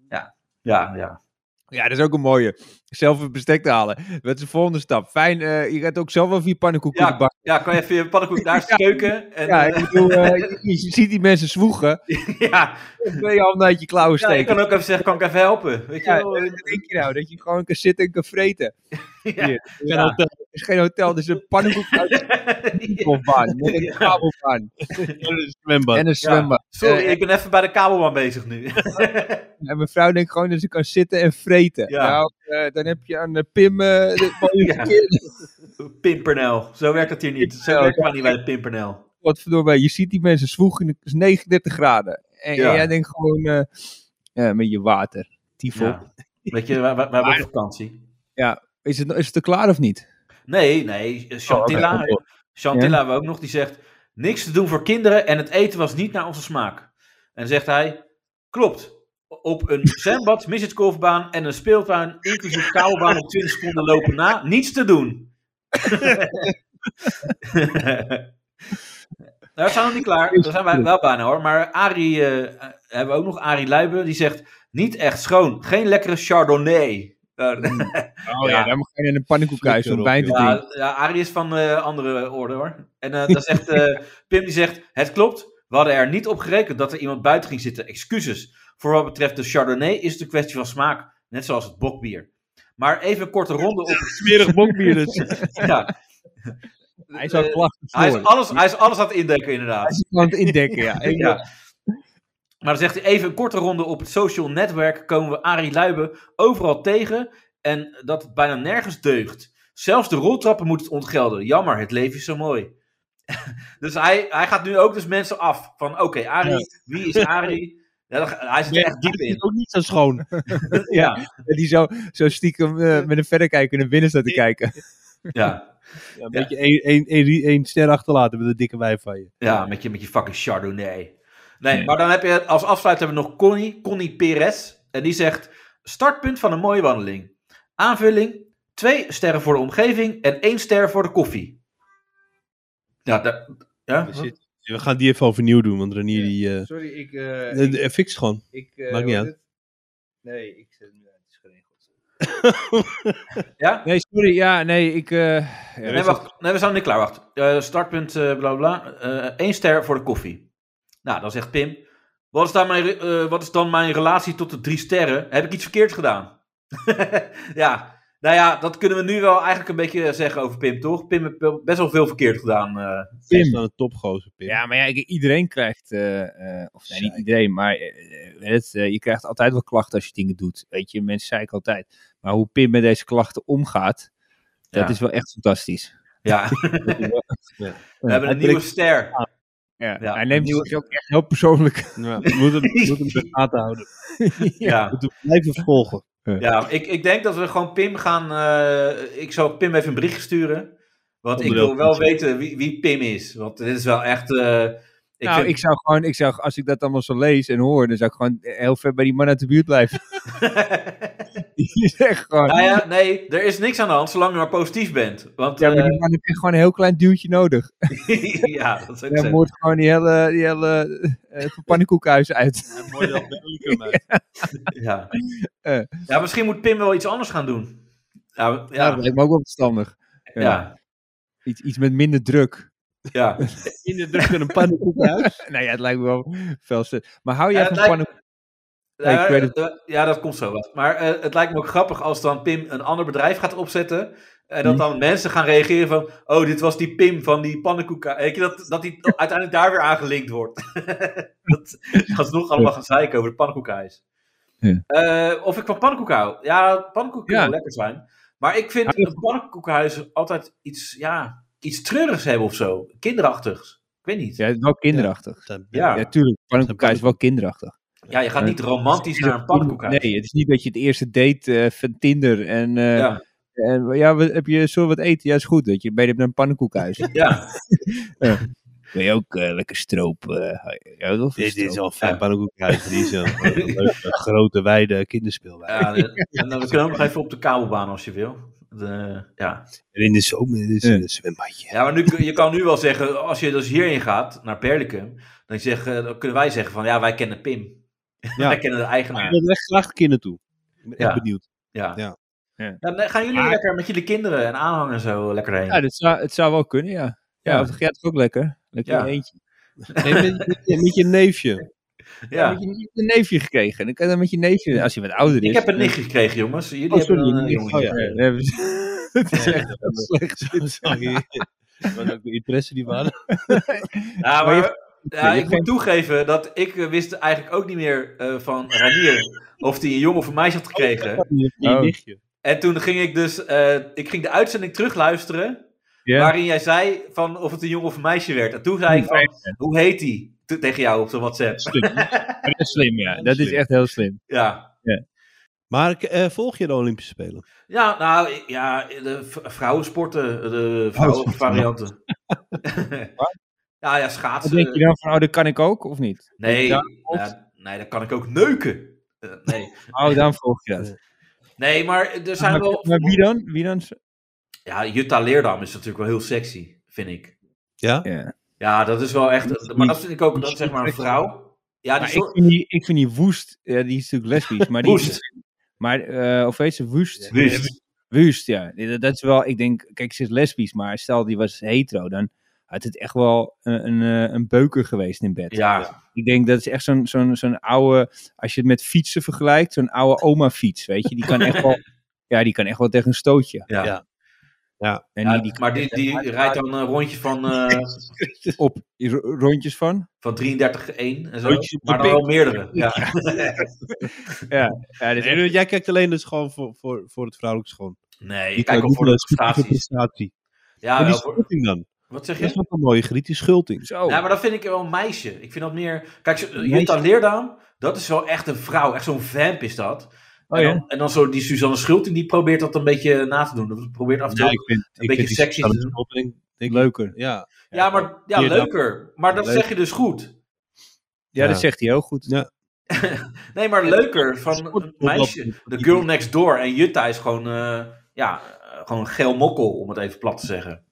S1: Ja, ja, ja.
S2: Ja, dat is ook een mooie. Zelf het bestek te halen. Dat is de volgende stap. Fijn, eh, je gaat ook zelf wel vier pannenkoeken
S1: Ja,
S2: in de bak.
S1: Ja, kan je even je pannenkoek daar steuken? En,
S2: Ja,
S1: ja,
S2: ik bedoel, eh, je, je ziet die mensen zwoegen.
S1: ja,
S2: Twee handen uit je klauwen
S1: Ja, ik
S2: steken.
S1: kan ook even zeggen, kan ik even helpen? Weet je
S2: Ja,
S1: wel?
S2: dat denk je nou, dat je gewoon kan zitten en kan vreten.
S1: Ja.
S4: Geen
S2: Ja.
S4: hotel.
S2: Het is geen hotel, het is een pannenkoek uit de voetbalbaan. Met een
S1: Ja.
S2: kabelbaan
S4: een zwembad.
S2: en een zwembad.
S1: Sorry,
S2: Eh,
S1: ik ben even bij de kabelman bezig nu.
S2: En mijn vrouw denkt gewoon dat ze kan zitten en vreten.
S1: Ja.
S2: Nou, eh, dan heb je aan eh, Pim eh, de mooie
S1: Ja.
S2: verkeerde.
S1: Pimpernel. Zo werkt dat hier niet. Zo
S2: Ja,
S1: werkt het niet bij de Pimpernel.
S2: Godverdomme, je ziet die mensen zwoegen, het is 39 graden. En,
S1: Ja.
S2: en jij denkt gewoon eh, ja, met je water, tyfel.
S1: Ja. Weet je, wij, wij, wij hebben op vakantie.
S2: Is, het, is het er klaar of niet?
S1: Nee, nee. Chantilla,
S2: Oh, oké.
S1: Chantilla hebben we ook nog, die zegt... Niks te doen voor kinderen en het eten was niet naar onze smaak. En dan zegt hij... Klopt. Op een zwembad, midgetgolfbaan en een speeltuin... inclusief kabelbaan op 20 seconden lopen na... niets te doen. Daar zijn Nou, we nog niet klaar. Daar zijn wij wel bijna hoor. Maar Arie, eh, hebben we ook nog Arie Luiben. Die zegt, niet echt schoon. Geen lekkere chardonnay. Nou,
S2: Oh ja,
S1: ja.
S2: dan mag je in een pannenkoekhuis
S4: Flikker
S2: om
S4: op,
S2: wijn te
S4: joh.
S2: drinken.
S1: ja, ja, Arie is van eh, andere orde hoor. En eh dan zegt eh, Pim die zegt: Het klopt, we hadden er niet op gerekend dat er iemand buiten ging zitten. Excuses. Voor wat betreft de Chardonnay is het een kwestie van smaak, net zoals het bokbier. Maar even een korte ronde op.
S4: Smerig bokbier dus.
S1: Ja,
S2: Hij is aan het
S1: Eh,
S2: klachten
S1: hij, is
S2: voor.
S1: alles, hij is alles aan het indekken, inderdaad.
S2: Hij is gewoon aan het indekken, ja. Ik-
S1: Ja. eh, Maar dan zegt hij even een korte ronde op het social netwerk komen we Arie Luiben overal tegen en dat het bijna nergens deugt. Zelfs de roltrappen moet het ontgelden. Jammer, het leven is zo mooi. dus hij, hij gaat nu ook dus mensen af van oké, Arie, wie is Arie? Ja, dat- hij zit er echt diep
S4: Die is
S1: in.
S4: ook niet zo schoon.
S1: Ja,
S2: Die zo, zo stiekem eh, met een verrekijker naar binnen staat te kijken.
S1: ja,
S4: Ja, een beetje één- één- één- één ster achterlaten met een dikke wijf van je.
S1: ja met, je, met je fucking Chardonnay. Nee, maar dan heb je als afsluiter hebben we nog Connie, Connie Perez. En die zegt, startpunt van een mooie wandeling. Aanvulling, twee sterren voor de omgeving en één ster voor de koffie. Ja, daar- ja?
S4: Shit. We gaan die even overnieuw doen, want Renier die... eh,
S2: Sorry, ik...
S4: eh, eh, fix gewoon.
S2: ik
S4: maakt niet hoe uit.
S2: Nee, ik zet hem uit.
S1: ja?
S2: Nee, sorry, ja, nee, ik... eh, ja,
S1: Nee, wacht. Nee, we zijn nog niet klaar. Wacht. Eh, startpunt, eh bla bla. Eén ster voor de koffie. Nou, dan zegt Pim. Wat is, dan mijn, re- eh, wat is dan mijn relatie tot de drie sterren? Heb ik iets verkeerds gedaan? ja. Nou ja, dat kunnen we nu wel eigenlijk een beetje zeggen over Pim, toch? Pim heeft wel- best wel veel verkeerd gedaan. eh.
S4: Hij is dan een topgozer, Pim.
S2: Ja, maar ja, ik- iedereen krijgt, eh, eh, of nee, niet iedereen, maar eh, eh, het, eh, je krijgt altijd wel klachten als je dingen doet. Weet je, mensen zeiken altijd. Maar hoe Pim met deze klachten omgaat, dat
S1: Ja.
S2: is wel echt fantastisch.
S1: ja. we hebben een nieuwe ster.
S2: Ja,
S1: Ja.
S2: hij neemt het ook echt heel persoonlijk.
S4: Ja, we moeten hem, we moeten hem in de gaten houden. We
S1: Ja.
S4: moeten hem blijven volgen.
S1: Ja, ik, ik denk dat we gewoon Pim gaan. eh, ik zal Pim even een bericht sturen. Want ik
S4: Onderdeel
S1: wil wel
S4: van het-
S1: weten wie, wie Pim is. Want dit is wel echt. eh, ik
S2: nou,
S1: vind-
S2: ik zou gewoon, ik zou, als ik dat allemaal zo lees en hoor, dan zou ik gewoon eh, heel ver bij die man uit de buurt blijven. Die is echt gewoon.
S1: nou ja, nee, er is niks aan de hand zolang je maar positief bent. Want
S2: ja,
S1: ja,
S2: maar die man heeft echt gewoon een heel klein duwtje nodig.
S1: ja dat is ook
S2: Hij
S1: zo.
S2: moet gewoon die hele, die hele eh, pannenkoekhuis uit.
S4: Mooi dat
S1: Ja.
S2: Eh.
S1: ja, misschien moet Pim wel iets anders gaan doen. Ja, we-
S2: Ja,
S1: ja,
S2: dat lijkt me ook wel verstandig.
S1: ja, ja.
S2: Iets, iets met minder druk.
S1: ja.
S4: In de
S2: dus
S4: druk van een pannenkoekhuis.
S2: nou ja, het lijkt me wel veel ster- Maar hou
S1: Ja,
S2: jij
S1: het
S2: van
S1: lijkt-
S2: pannenkoeken? Ja, ik weet het.
S1: eh, ja, dat komt zo wel. Maar eh, het lijkt me ook grappig als dan Pim een ander bedrijf gaat opzetten. En
S2: Mhm.
S1: dat dan mensen gaan reageren van... Oh, dit was die Pim van die pannenkoek. Weet je, dat, dat die uiteindelijk daar weer aangelinkt wordt. dat is nog allemaal gaan zeiken over de pannenkoekhuis.
S2: Ja.
S1: Eh, of ik van pannenkoek hou. Ja, pannenkoeken kunnen wel
S2: Ja.
S1: lekker zijn. Maar ik vind een pannenkoekhuis altijd iets, ja, iets treurigs hebben of zo. Kinderachtigs. Ik weet niet. Ja,
S2: Ja, het is wel kinderachtig.
S1: ja.
S2: Ja, tuurlijk. Pannenkoekhuis is wel kinderachtig.
S1: je gaat niet romantisch naar een pannenkoekhuis.
S2: Nee, het is niet dat je het eerste date eh, van Tinder en... eh,
S1: Ja.
S2: en, ja, wat- heb je, zullen we wat eten? Ja, is goed. Dat je bij hebt naar een pannenkoekhuis.
S1: Ja.
S2: Ja. Wil je ook eh, lekker stroop? eh, jij houdt wel van
S4: Dit is
S2: stroop?
S4: al fijn, pannenkoekhuis. Die is een een leuke, grote, wijde kinderspeelwijk.
S1: Ja, en dan kunnen we nog even op de kabelbaan als je wil. De, ja.
S4: En in de zomer is
S2: Ja.
S4: het een zwembadje.
S1: ja, maar nu, kun- je kan nu wel zeggen, als je dus hierin gaat, naar Perlicum, dan, zeg, eh, dan kunnen wij zeggen van, ja, wij kennen Pim.
S4: Ja.
S1: wij kennen de
S4: Ik
S1: eigenaar.
S4: wil er echt graag een keer naartoe. Ik ben
S1: Ja.
S4: echt benieuwd.
S1: Ja.
S4: Ja.
S2: Ja.
S1: Ja, nee, gaan jullie
S4: Maar-
S1: lekker met jullie kinderen en aanhang en zo lekker heen?
S2: Ja, dat zou, het zou wel kunnen, ja. Ja,
S1: Ja.
S2: of dat gaat ook lekker. Lekker
S1: Ja.
S2: in je eentje.
S4: Nee, met, met je- met je neefje.
S2: Ja.
S1: Ja.
S2: Heb je niet een neefje gekregen? Dan kan je dan met je neefje, als je wat ouder is.
S1: Ik heb een
S2: dan-
S1: nichtje gekregen, jongens. Jullie
S2: Oh, sorry,
S1: hebben een eh,
S2: een
S1: jongetje.
S2: nichtje. Oh, ja, dan hebben ze- Het is echt heel slecht.
S4: Sorry. Oh. Maar ook de interesse die waren.
S1: Ja,
S2: Maar
S1: maar,
S2: je-
S1: ja,
S2: je
S1: ik
S2: geen-
S1: moet toegeven dat ik eh, wist eigenlijk ook niet meer eh, van Ranier of die een jongen of een meisje had gekregen.
S4: Je
S2: Oh.
S4: nichtje.
S1: En toen ging ik dus eh, ik ging de uitzending terugluisteren
S2: Ja.
S1: waarin jij zei van of het een jongen of een meisje werd. En toen zei ik van, hoe heet die? Te- tegen jou op de WhatsApp.
S2: Slim. Maar Dat is slim, ja. Dat is echt heel slim.
S1: Ja,
S4: Maar eh, volg je de Olympische Spelen?
S1: ja nou ik- ja, de v- vrouwensporten, de vrouwenvarianten. ja, ja,
S2: Wat
S1: schaatsen.
S2: denk je dan van, oh, dat kan ik ook, of niet?
S1: Nee,
S2: Ja,
S1: ja, nee, dan kan ik ook neuken. Eh, nee.
S2: Oh, dan volg je dat.
S1: nee, maar er zijn
S2: maar,
S1: wel...
S2: maar wie dan? Wie dan?
S1: Ja, Jutta Leerdam is natuurlijk wel heel sexy, vind ik.
S4: Ja?
S2: Ja.
S1: Ja, dat is wel echt... Maar dat vind ik ook, dat is zeg maar een vrouw. Ja, die
S2: Maar ik
S1: soort...
S2: vind die, ik vind die woest, ja, die is natuurlijk lesbisch, maar die
S1: Woest.
S2: Maar, eh of heet ze woest?
S1: Wist.
S2: Wust, ja. Dat, dat is wel, ik denk, kijk, ze is lesbisch, maar stel die was hetero, dan had het echt wel een, een, eh, een beuker geweest in bed.
S1: Ja,
S2: Ik denk dat is echt zo'n zo'n zo'n oude, als je het met fietsen vergelijkt, zo'n oude oma fiets, weet je. Die kan echt wel, ja, die kan echt wel tegen een stootje.
S1: ja.
S4: Ja.
S2: En
S1: Ja,
S2: die, die
S1: maar die, die rijdt dan een rondje van, eh,
S2: kan op ro- rondjes van.
S1: van 33-1 en zo.
S2: Rondjes op de
S1: Maar dan
S2: pik.
S1: wel meerdere. Ja.
S2: Ja, dit is
S4: Nee, jij kijkt alleen dus gewoon voor, voor, voor het vrouwelijk schoon.
S1: Nee, ik kijk al voor de prestaties.
S4: prestatie.
S1: Ja,
S4: die
S1: wel voor-
S4: schulting dan.
S1: wat zeg
S4: Dat is
S1: je?
S4: wat een mooie griet, die schulting.
S2: zo.
S1: Ja, maar dat vind ik wel een meisje. Ik vind dat meer... Kijk, zo-
S2: Meisje.
S1: Jutta Leerdam, dat is wel echt een vrouw. Echt zo'n vamp is dat.
S2: oh,
S1: en,
S2: ja.
S1: dan, en dan zo die Suzanne Schulting, die probeert dat een beetje na te doen. Dat probeert af en toe.
S4: Ja,
S1: Ja,
S4: ik vind, ik
S1: beetje
S4: vind die
S1: sexy
S4: Suzanne
S1: te doen.
S4: Schulting, denk ik,
S2: Leuker.
S4: Ja,
S1: maar ja,
S4: Leerdam.
S1: leuker. Maar dat
S4: Leuk.
S1: zeg je dus goed.
S2: Ja, dat
S4: Ja.
S2: zegt hij heel goed.
S4: Ja.
S1: Nee, maar leuker van
S4: goed,
S1: een meisje.
S4: omdat-
S1: De girl next door. En Jutta is gewoon, eh, ja, eh, gewoon geel mokkel, om het even plat te zeggen.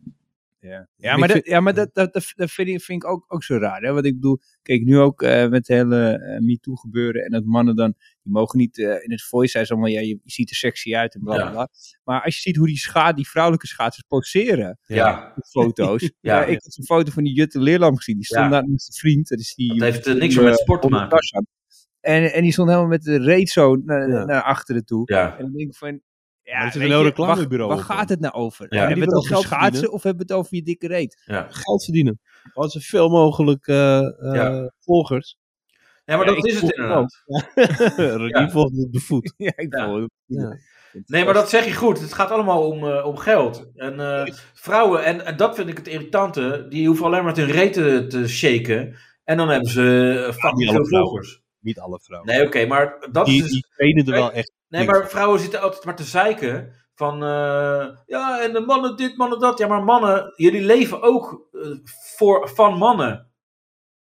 S2: Ja, maar,
S4: Ik vind-
S2: dat, ja, maar dat, dat, dat dat vind ik, vind ik ook, ook zo raar. Hè? Wat ik bedoel, kijk, nu ook eh, met het hele eh, MeToo gebeuren en dat mannen dan, die mogen niet eh, in het voice zijn, allemaal, ja, je, je ziet er sexy uit en bla bla
S1: Ja.
S2: bla. Maar als je ziet hoe die, scha die vrouwelijke schaatsers poseren
S1: Ja,
S2: op foto's. ja,
S1: Ja.
S2: ik heb een foto van die Jutte Leerlam gezien, die stond
S1: Ja.
S2: daar met zijn vriend. Dat is die,
S1: dat heeft eh, niks meer met sport te
S2: Robert
S1: maken.
S2: Tarzan. En, en die stond helemaal met de reet zo naar,
S4: Ja.
S2: naar achteren toe.
S1: Ja,
S2: En dan denk ik van. Ja,
S4: Maar er zit
S2: weet
S4: een heel
S2: je,
S4: reclamebureau
S2: Waar,
S4: op,
S2: waar gaat
S4: hoor.
S2: het nou over?
S1: Ja.
S2: Hebben we
S4: Die
S2: het
S4: wil
S2: over
S4: geld
S2: schaatsen
S4: verdienen.
S2: of hebben we het over je dikke reet?
S1: ja.
S4: geld verdienen. Als zoveel mogelijk eh, eh,
S1: Ja.
S4: volgers.
S1: ja maar
S2: Ja,
S1: dat
S2: ik
S1: is het
S2: voel het
S1: inderdaad.
S4: René
S1: Ja.
S4: volgt op de voet.
S2: Ja, ik
S1: Ja.
S2: vond het.
S4: Ja.
S1: Nee, maar dat zeg je goed. Het gaat allemaal om, eh, om geld. En eh, vrouwen, en, en dat vind ik het irritante, die hoeven alleen maar met hun reten te shaken. En dan hebben ze eh, fucking
S4: alle
S1: veel
S4: vrouwen.
S1: volgers.
S4: Niet alle vrouwen.
S1: Nee, oké, maar dat is
S4: die,
S1: dus-
S4: die trainen er wel echt.
S1: Nee, maar vrouwen zitten altijd maar te zeiken. Van eh, ja, en de mannen dit, mannen dat. Ja, maar mannen, jullie leven ook eh, voor, van mannen.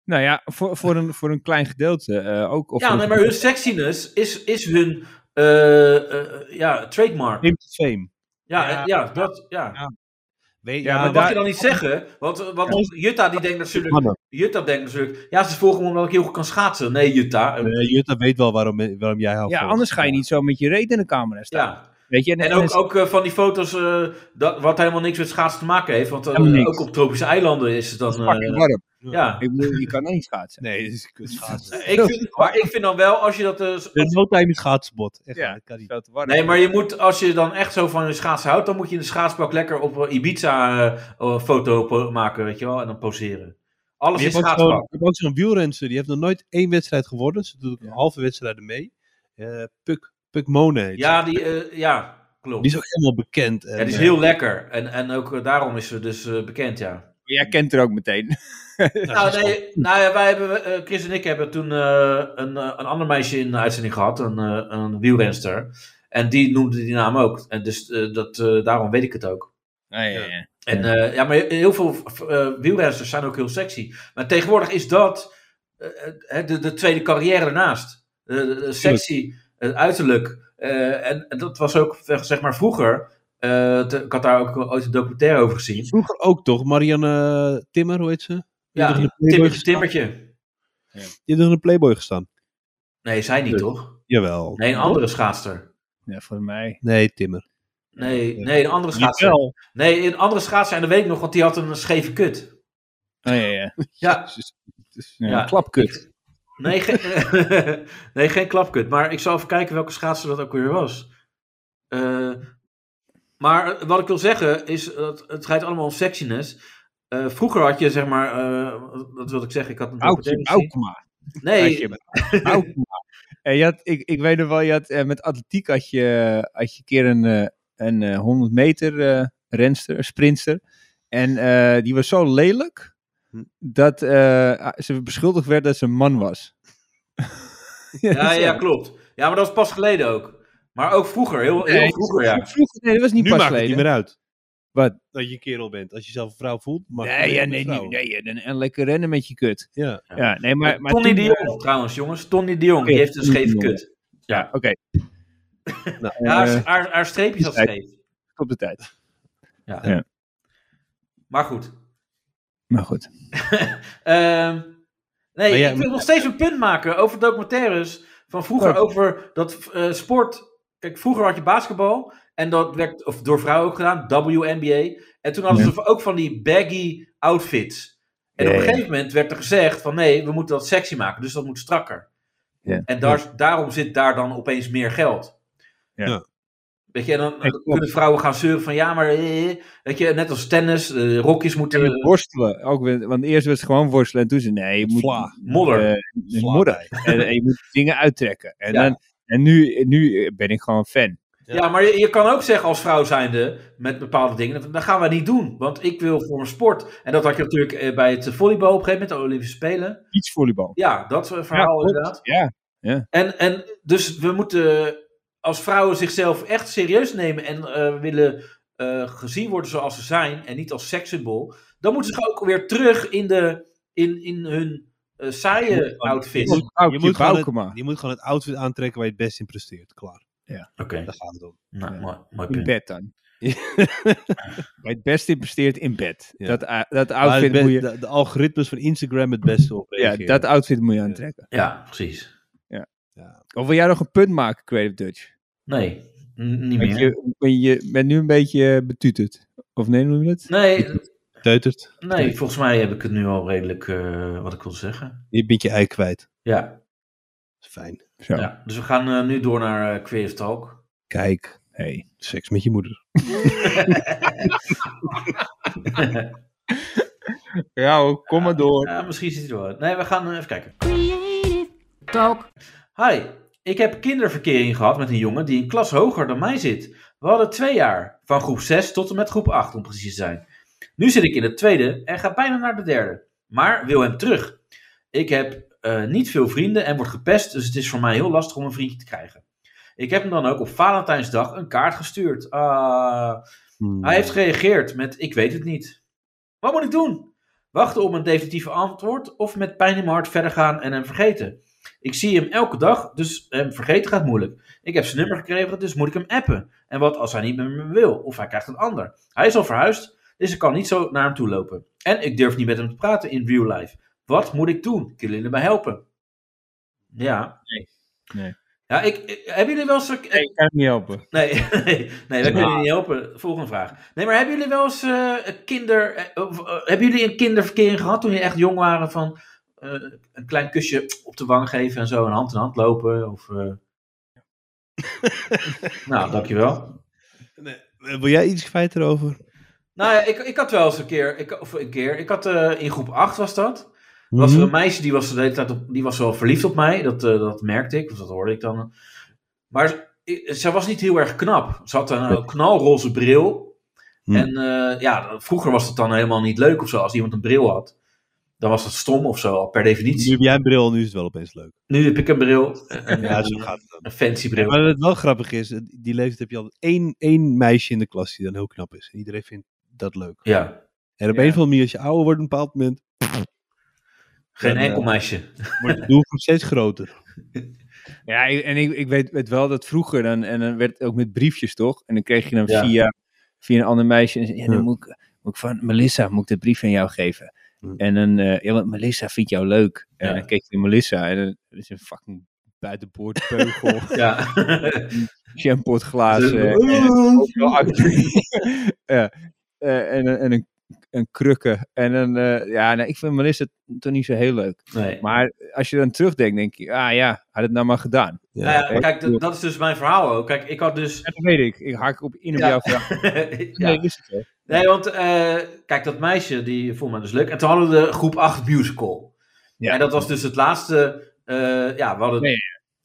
S2: Nou ja, voor, voor, een, voor een klein gedeelte eh, ook. Of
S1: ja,
S2: voor
S1: nee,
S2: een-
S1: maar hun sexiness is, is hun eh, eh, ja, trademark. Ja,
S4: Claim to fame.
S1: ja, eh, ja, dat, ja.
S4: Ja, Weet,
S2: Ja,
S1: Maar
S2: maar
S1: dat mag
S2: daar-
S1: je dan niet zeggen, want, eh, want Jutta die denkt natuurlijk,
S4: Mannen.
S1: Jutta denkt natuurlijk, ja, ze volgen me omdat ik heel goed kan schaatsen. Nee, Jutta. eh,
S4: Eh, Jutta weet wel waarom, eh, waarom jij haar
S2: ja,
S4: volgt.
S2: anders ga je niet zo met je reet in de camera staan.
S1: ja.
S2: Weet je?
S1: En ook, ook eh, van die foto's, eh, dat, wat helemaal niks met schaatsen te maken heeft. Want eh,
S2: Helemaal niks.
S1: ook op tropische eilanden is het dan. eh,
S2: fucking warm.
S1: ja.
S2: Ik bedoel, je kan dan niet schaatsen.
S4: Nee, dat is kut schaatsen.
S1: Ik vind, maar ik vind dan wel, als je dat... eh, s-
S4: Er is no time is schaatsbot. Echt,
S2: Ja.
S4: waar, dat kan niet.
S2: Veel te warm.
S1: nee, maar je moet, als je dan echt zo van je schaatsen houdt... dan moet je in de schaatsbak lekker op eh, Ibiza eh, een foto po- maken, weet je wel. En dan poseren. Alles
S4: Je
S1: in
S4: hebt ook zo'n-
S1: schaatsbak.
S4: je hebt ook zo'n wielrenster, die heeft nog nooit één wedstrijd gewonnen. Ze doet ook een halve wedstrijd mee. Eh Puk, Puk Mone heet ze.
S1: Ja, die, eh, ja, klopt.
S4: Die is ook helemaal bekend.
S1: ja,
S4: En,
S1: die is
S4: eh,
S1: heel lekker. En, en ook eh, daarom is ze dus eh, bekend, ja.
S2: Jij kent er ook meteen.
S4: eh,
S1: Nou, nee, nou ja, wij hebben, eh, Chris en ik hebben toen eh, een, eh, een ander meisje in de uitzending gehad, een, eh, een wielrenster. En die noemde die naam ook. En dus eh, dat, eh, daarom weet ik het ook.
S2: Ah, Ja, ja, ja.
S1: En eh, ja, maar heel veel eh wielrensters zijn ook heel sexy. Maar tegenwoordig is dat eh, eh, de, de tweede carrière ernaast. De, de- de sexy, het uiterlijk. Eh, en, en dat was ook, zeg maar, vroeger. eh, te- ik had daar ook ooit een documentaire over gezien.
S4: Vroeger ook toch, Marianne Timmer, hoe heet ze? Die
S1: Ja,
S4: heeft toch in de Playboy
S1: Timmertje,
S4: gestaan?
S1: Timmertje.
S4: Die heeft nog in de Playboy gestaan.
S1: Nee, zij niet,
S4: Nee.
S1: toch?
S4: Jawel.
S1: Nee, een andere schaatster.
S2: Ja, voor mij.
S4: Nee, Timmer.
S1: Nee, nee een andere schaatser.
S2: wel.
S1: Nee, een andere schaatser, en dat weet ik nog, want die had een scheve kut.
S2: Oh, ja, ja. dus,
S1: Ja,
S2: ja.
S1: Ja.
S2: Klapkut.
S1: nee, geen, nee, geen klapkut. Maar ik zal even kijken welke schaatser dat ook weer was. Eh, maar wat ik wil zeggen is, dat het gaat allemaal om sexiness. Eh, vroeger had je, zeg maar, eh, dat wil ik zeggen, ik had een
S2: Aukje,
S1: documentaire gezien.
S2: Aukma.
S1: Nee,
S2: Aukma. En je had, ik, ik weet nog wel, je had, eh, met atletiek had je, eh, had je een keer een, eh, een eh, 100 meter eh renster, sprinster. En eh, die was zo lelijk
S1: Hm.
S2: dat eh, ze beschuldigd werd dat ze een man was.
S1: ja, ja, klopt. Ja, maar dat was pas geleden ook. Maar ook vroeger, heel, heel
S2: Nee,
S1: vroeger, ja.
S2: Vroeger, nee, dat was niet
S4: nu
S2: pas
S4: maakt het
S2: geleden.
S4: niet meer uit.
S2: Wat?
S4: Dat je kerel bent. Als je zelf een vrouw voelt, mag
S2: Nee, ja, nee, nee,
S4: niet.
S2: nee, ja, en, en lekker rennen met je kut.
S4: Ja.
S2: Ja, nee, maar, maar
S1: Tony
S2: toen,
S1: de
S2: eh,
S1: Jong, trouwens, jongens. Tony de Jong, die
S2: Oké,
S1: heeft een
S2: Tony de
S1: scheve
S2: Jong.
S1: kut. Ja,
S2: Oké,
S1: Ja, haar,
S2: eh,
S1: haar, haar streepje zat
S2: kijk.
S1: scheef.
S2: op de tijd.
S1: Ja.
S2: Ja.
S1: Maar goed.
S2: Maar goed.
S1: Ehm, nee,
S4: Maar jij-
S1: ik wil nog steeds een punt maken over documentaires van vroeger
S2: Oké.
S1: over dat eh, sport. Kijk, vroeger had je basketbal en dat werd of door vrouwen ook gedaan, WNBA. En toen hadden ze ook van die baggy outfits. En op
S2: Ja,
S1: een
S2: ja.
S1: gegeven moment werd er gezegd van nee, we moeten dat sexy maken, dus dat moet strakker.
S2: Ja.
S1: En daar, daarom zit daar dan opeens meer geld.
S2: Ja.
S4: Ja.
S1: Weet je, en dan
S2: klopt.
S1: kunnen vrouwen gaan zeuren van ja, maar eh, weet je, net als tennis, eh, rokjes moeten
S2: En worstelen. Ook, weer- want eerst was het gewoon worstelen. En toen ze, nee, je moet
S4: Vla.
S1: modder.
S2: eh,
S4: Vla
S2: modder. En, en je moet dingen uittrekken. En,
S1: Ja.
S2: dan, en nu, nu ben ik gewoon fan.
S1: Ja, Ja, maar je, je kan ook zeggen als vrouw zijnde met bepaalde dingen, dat, dat gaan we niet doen, want ik wil voor mijn sport. En dat had je natuurlijk eh, bij het volleybal op een gegeven moment, de Olympische Spelen.
S2: Beachvolleybal.
S1: Ja, dat eh, verhaal
S2: klopt.
S1: inderdaad.
S2: Ja.
S1: En, en dus we moeten als vrouwen zichzelf echt serieus nemen en eh, willen eh, gezien worden zoals ze zijn en niet als sekssymbool. Dan moeten ze ook weer terug in, de, in, in hun eh, saaie outfit. Oké.
S2: Je moet
S4: gewoon
S2: Baukema.
S4: het, je moet gewoon het outfit aantrekken waar je het best in presteert. Klaar. Daar gaat het om.
S1: Nou,
S4: Ja.
S1: mooi, mooi
S2: In
S1: punt.
S2: bed dan. Bij het beste investeert in bed.
S4: Ja.
S2: Dat, a- dat
S4: Maar het
S2: outfit
S4: be-
S2: moet je...
S4: de, de algoritmes van Instagram het beste op.
S2: Ja, dat outfit moet je aantrekken.
S1: Ja, precies.
S2: Of wil jij nog een punt maken, Creative Dutch?
S1: Nee, n- niet
S2: Want
S1: meer.
S2: je, ben je bent nu een beetje eh, betuteld. Of nee, noem je dat?
S1: Nee,
S4: Teutert.
S1: Nee, volgens mij heb ik het nu al redelijk eh, wat ik wil zeggen.
S4: Je bent je ei kwijt.
S1: Ja,
S4: Fijn.
S2: Zo.
S1: ja. dus we gaan eh, nu door naar eh Creative Talk.
S4: Kijk. Hey, seks met je moeder.
S2: Ja, hoor, kom maar door.
S1: Ja, misschien zit hij er wel uit. Nee, we gaan eh, even kijken.
S7: Creative Talk.
S1: Hi, ik heb kinderverkering gehad met een jongen die een klas hoger dan mij zit. We hadden twee jaar, van groep 6 tot en met groep 8 om precies te zijn. Nu zit ik in het tweede en ga bijna naar de derde, maar wil hem terug. Ik heb eh, niet veel vrienden en word gepest, dus het is voor mij heel lastig om een vriendje te krijgen. Ik heb hem dan ook op Valentijnsdag een kaart gestuurd. Ah,
S4: Hmm.
S1: hij heeft gereageerd met ik weet het niet. Wat moet ik doen? Wachten op een definitieve antwoord of met pijn in mijn hart verder gaan en hem vergeten? Ik zie hem elke dag, dus hem vergeten gaat moeilijk. Ik heb zijn nummer gekregen, dus moet ik hem appen. En wat als hij niet met me wil, of hij krijgt een ander? Hij is al verhuisd, dus ik kan niet zo naar hem toe lopen. En ik durf niet met hem te praten in real life. Wat moet ik doen? Kunnen jullie mij helpen? Ja.
S2: Nee. Nee.
S1: Ja, ik, ik- hebben jullie wel eens...
S2: Ik kan het niet helpen.
S1: Nee, nee, nee, wij kunnen jullie niet helpen. Volgende vraag. Nee, maar hebben jullie wel eens eh, een kinder... eh, of, eh, hebben jullie een kinderverkering gehad toen jullie echt jong waren van... eh, een klein kusje op de wang geven en zo en hand in hand lopen? Of, eh, nou, dankjewel.
S4: Wil jij iets kwijt erover?
S1: Nou ja, ik, ik had wel eens een keer... Ik, of een keer, ik had eh, in groep 8 was dat... was
S4: Hmm?
S1: er een meisje die was de hele tijd op, die was wel verliefd op mij. Dat, eh, dat merkte ik, of dat hoorde ik dan. Maar ze- ik- zij was niet heel erg knap. Ze had een eh, knalroze bril.
S4: Hmm.
S1: En eh, ja, vroeger was dat dan helemaal niet leuk of zo. Als iemand een bril had, dan was dat stom of zo, al per
S4: Nu
S1: definitie.
S4: heb jij een bril, nu is het wel opeens leuk.
S1: Nu heb ik een bril, een,
S4: Ja, zo gaat het dan.
S1: een fancy bril.
S4: eh, Maar wat wel grappig is, die leeftijd heb je altijd één, één meisje in de klas die dan heel knap is. En iedereen vindt dat leuk.
S1: Ja.
S4: En op
S2: Ja.
S4: een of andere manier, als je ouder wordt op een bepaald moment,
S1: Geen
S4: Dan,
S1: enkel
S4: eh,
S1: meisje.
S4: wordt het doelgroep steeds groter.
S2: Ja, ik- en ik, ik weet, weet wel dat vroeger dan, en dan werd het ook met briefjes toch? En dan kreeg je dan
S1: Ja.
S2: via, via een ander meisje. En zei, ja, dan
S4: Ja.
S2: moet, ik, moet ik van Melissa moet ik de brief aan jou geven.
S4: Hm.
S2: En dan, eh, ja, want Melissa vindt jou leuk. En
S1: Ja.
S2: dan keek je naar Melissa en dan dat is een fucking buitenboordbeugel,
S1: Ja.
S2: shampootglazen. en, ook wel actief. ja. Eh, en, een- en een, een krukken. En een, eh, ja, nou, ik vind Melissa toch niet zo heel leuk.
S1: nee.
S2: Maar als je dan terugdenkt, denk je, ah ja, had het nou maar gedaan.
S1: Nou ja, maar kijk,
S2: Ja.
S1: dat, dat is dus mijn verhaal ook. Kijk, ik had dus.
S2: Ja, dat weet ik. Ik haak op in op
S1: Ja.
S2: jouw vraag.
S1: ja.
S2: Nee, wist ik wel.
S1: Nee, want eh, kijk, dat meisje die vond me dus leuk. En toen hadden we de groep 8 musical.
S2: Ja.
S1: En dat was dus het laatste. eh, ja, we hadden.
S2: Nee,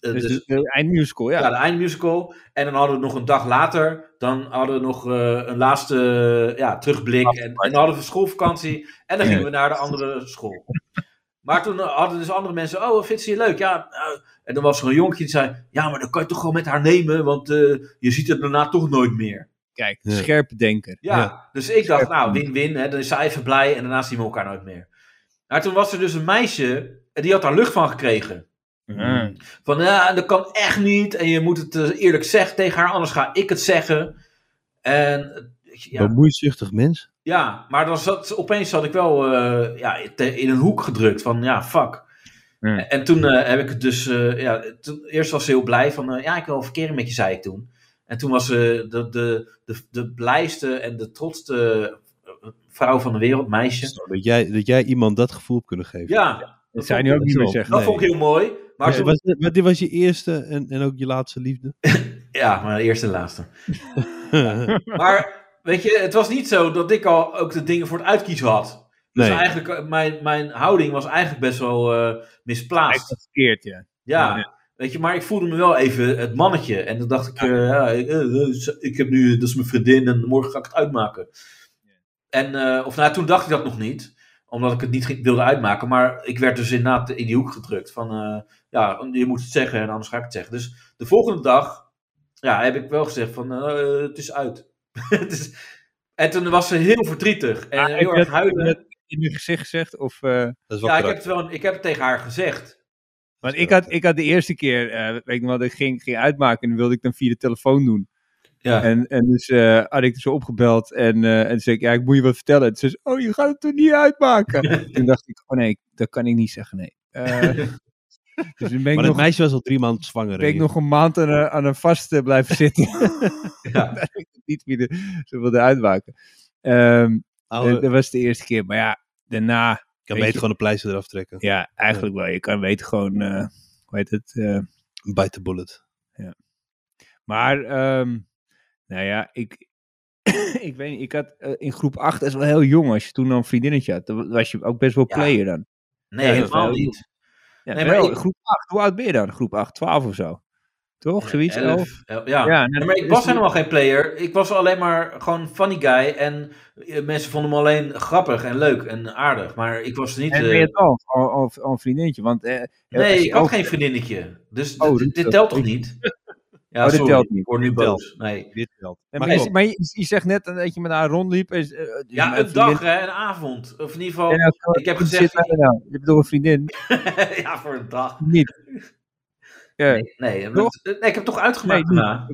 S1: eh,
S2: Dus
S1: dus-
S2: de- de eindmusical, ja.
S1: ja. de eindmusical. En dan hadden we nog een dag later. Dan hadden we nog eh, een laatste eh, ja, terugblik. En, en dan hadden we schoolvakantie. En dan gingen we naar de andere school. Maar toen eh, hadden dus andere mensen. Oh, vindt ze je leuk? Ja. nou, en dan was er een jonkje die zei. Ja, maar dan kan je toch gewoon met haar nemen. Want eh, je ziet het daarna toch nooit meer.
S2: Kijk,
S4: Ja.
S2: scherpe denker.
S1: Ja,
S4: Ja.
S1: dus ik dacht, nou, win-win. hè, Dan is zij even blij en daarna zien we elkaar nooit meer. Maar toen was er dus een meisje, en die had daar lucht van gekregen.
S2: Mm.
S1: Van, ja, dat kan echt niet. En je moet het eh, eerlijk zeggen tegen haar, anders ga ik het zeggen. En eh, ja,
S4: Bemoeizuchtig mens.
S1: ja maar dan zat, opeens zat ik wel eh, ja, te- in een hoek gedrukt van, ja, fuck.
S2: Ja.
S1: En, en toen eh, heb ik het dus, eh, ja, toen, eerst was ze heel blij van, eh, ja, ik wil verkering met je, zei ik toen. En toen was ze de, de, de, de blijste en de trotste eh, vrouw van de wereld, meisje.
S4: Zo, Dat jij, dat jij iemand dat gevoel hebt kunnen geven.
S1: Ja,
S2: Dat
S1: dat
S2: zou je
S1: vond,
S2: nu ook niet meer
S4: wel.
S2: zeggen.
S1: dat vond ik heel mooi. Maar
S4: Maar
S1: toen-
S4: was, maar dit was je eerste en, en ook je laatste liefde?
S1: ja, maar eerst en laatste. Maar weet je, het was niet zo dat ik al ook de dingen voor het uitkiezen had. Dus
S4: Nee.
S1: eigenlijk, eh, mijn, mijn houding was eigenlijk best wel eh,
S2: Eigenlijk
S1: misplaatst.
S2: was verkeerd, ja.
S1: Ja,
S2: Nee.
S1: weet je, maar ik voelde me wel even het mannetje. En dan dacht ik, eh, ja, ik, eh, eh, ze- ik heb nu, dat is mijn vriendin en morgen ga ik het uitmaken. En, eh, of nou, toen dacht ik dat nog niet, omdat ik het niet ging- wilde uitmaken. Maar ik werd dus inderdaad in die hoek gedrukt van, eh, ja, je moet het zeggen en anders ga ik het zeggen. Dus de volgende dag, ja, heb ik wel gezegd van, eh, het is uit. het is... En toen was ze heel verdrietig en
S2: Ah, heb
S1: Eh, heel
S2: je
S1: erg
S2: dat- heb je
S1: huilen.
S2: dat in je gezicht gezegd? Of, eh,
S4: Dat is wel
S1: ja, ik heb,
S4: karakter.
S1: het wel, ik heb het tegen haar gezegd.
S2: want ik had, ik had de eerste keer, eh, weet ik nog wel, dat ik ging, ging uitmaken en dat wilde ik dan via de telefoon doen.
S1: Ja.
S2: En, en dus eh had ik er zo opgebeld en, eh en toen zei ik, ja, ik moet je wat vertellen. En toen zei ze, oh, je gaat het toch niet uitmaken? toen dacht ik, oh nee, dat kan ik niet zeggen, nee. Eh, dus toen ben ik,
S4: Maar dat
S2: nog,
S4: meisje was al drie maanden zwanger.
S2: ben ik
S4: hè?
S2: nog een maand aan, een- aan een vast eh, blijven zitten.
S1: Ja.
S2: niet wie de, ze wilde uitmaken. Ehm,
S4: Oude,
S1: Oh,
S2: dat-
S1: eh.
S2: dat was de eerste keer. Maar ja, daarna,
S4: kan
S2: weet
S4: beter
S2: je-
S4: gewoon een pleister eraf trekken.
S2: ja, eigenlijk wel. Je kan weten gewoon, eh, hoe heet het? eh,
S4: Bite the bullet.
S2: maar, ehm, nou ja, ik, ik weet niet. Ik had eh, in groep 8, dat is wel heel jong. Als je toen al een vriendinnetje had, dan was je ook best wel
S1: Ja.
S2: player dan.
S1: Nee,
S2: Ja, dat
S1: helemaal
S2: wel.
S1: niet.
S2: Ja,
S1: Nee,
S2: wel,
S1: maar ik-
S2: groep 8, hoe oud ben je dan? Groep 8, 12 of zo? Toch? Zoiets?
S1: Elf,
S2: elf?
S1: elf, ja.
S2: Ja, nou,
S1: Nee, maar ik
S2: dus-
S1: was helemaal geen player. Ik was alleen maar gewoon funny guy. En eh, mensen vonden me alleen grappig en leuk en aardig. Maar ik was niet...
S2: En
S1: eh,
S2: ben je het al, al, al, al een vriendinnetje? Want, eh, als
S1: nee,
S2: je
S1: ik had
S2: elf-
S1: geen vriendinnetje. Dus
S2: Oh,
S1: dit-
S2: dat-
S1: dit
S2: dat-
S1: telt toch niet? Ja,
S2: Oh, dit
S1: sorry,
S2: telt niet.
S1: Ik word nu
S4: Dit telt.
S1: boos. Nee.
S4: Dit geldt.
S2: Nee,
S4: Maar
S2: maar, je,
S4: klopt.
S2: maar je, je zegt net dat je met haar rondliep. en ze- eh, dus
S1: Ja,
S2: mijn
S1: een dag,
S2: vriendin-
S1: hè, een avond. Of in ieder geval...
S2: Ja, zo-
S1: ik heb
S2: Hoe
S1: gezegd-
S2: zit dat nou? Je hebt toch een vriendin?
S1: ja, voor een dag.
S2: Niet. Ja.
S1: Nee, want-
S2: Toch?
S1: nee, ik heb toch uitgemaakt
S2: Nee,
S1: daarna.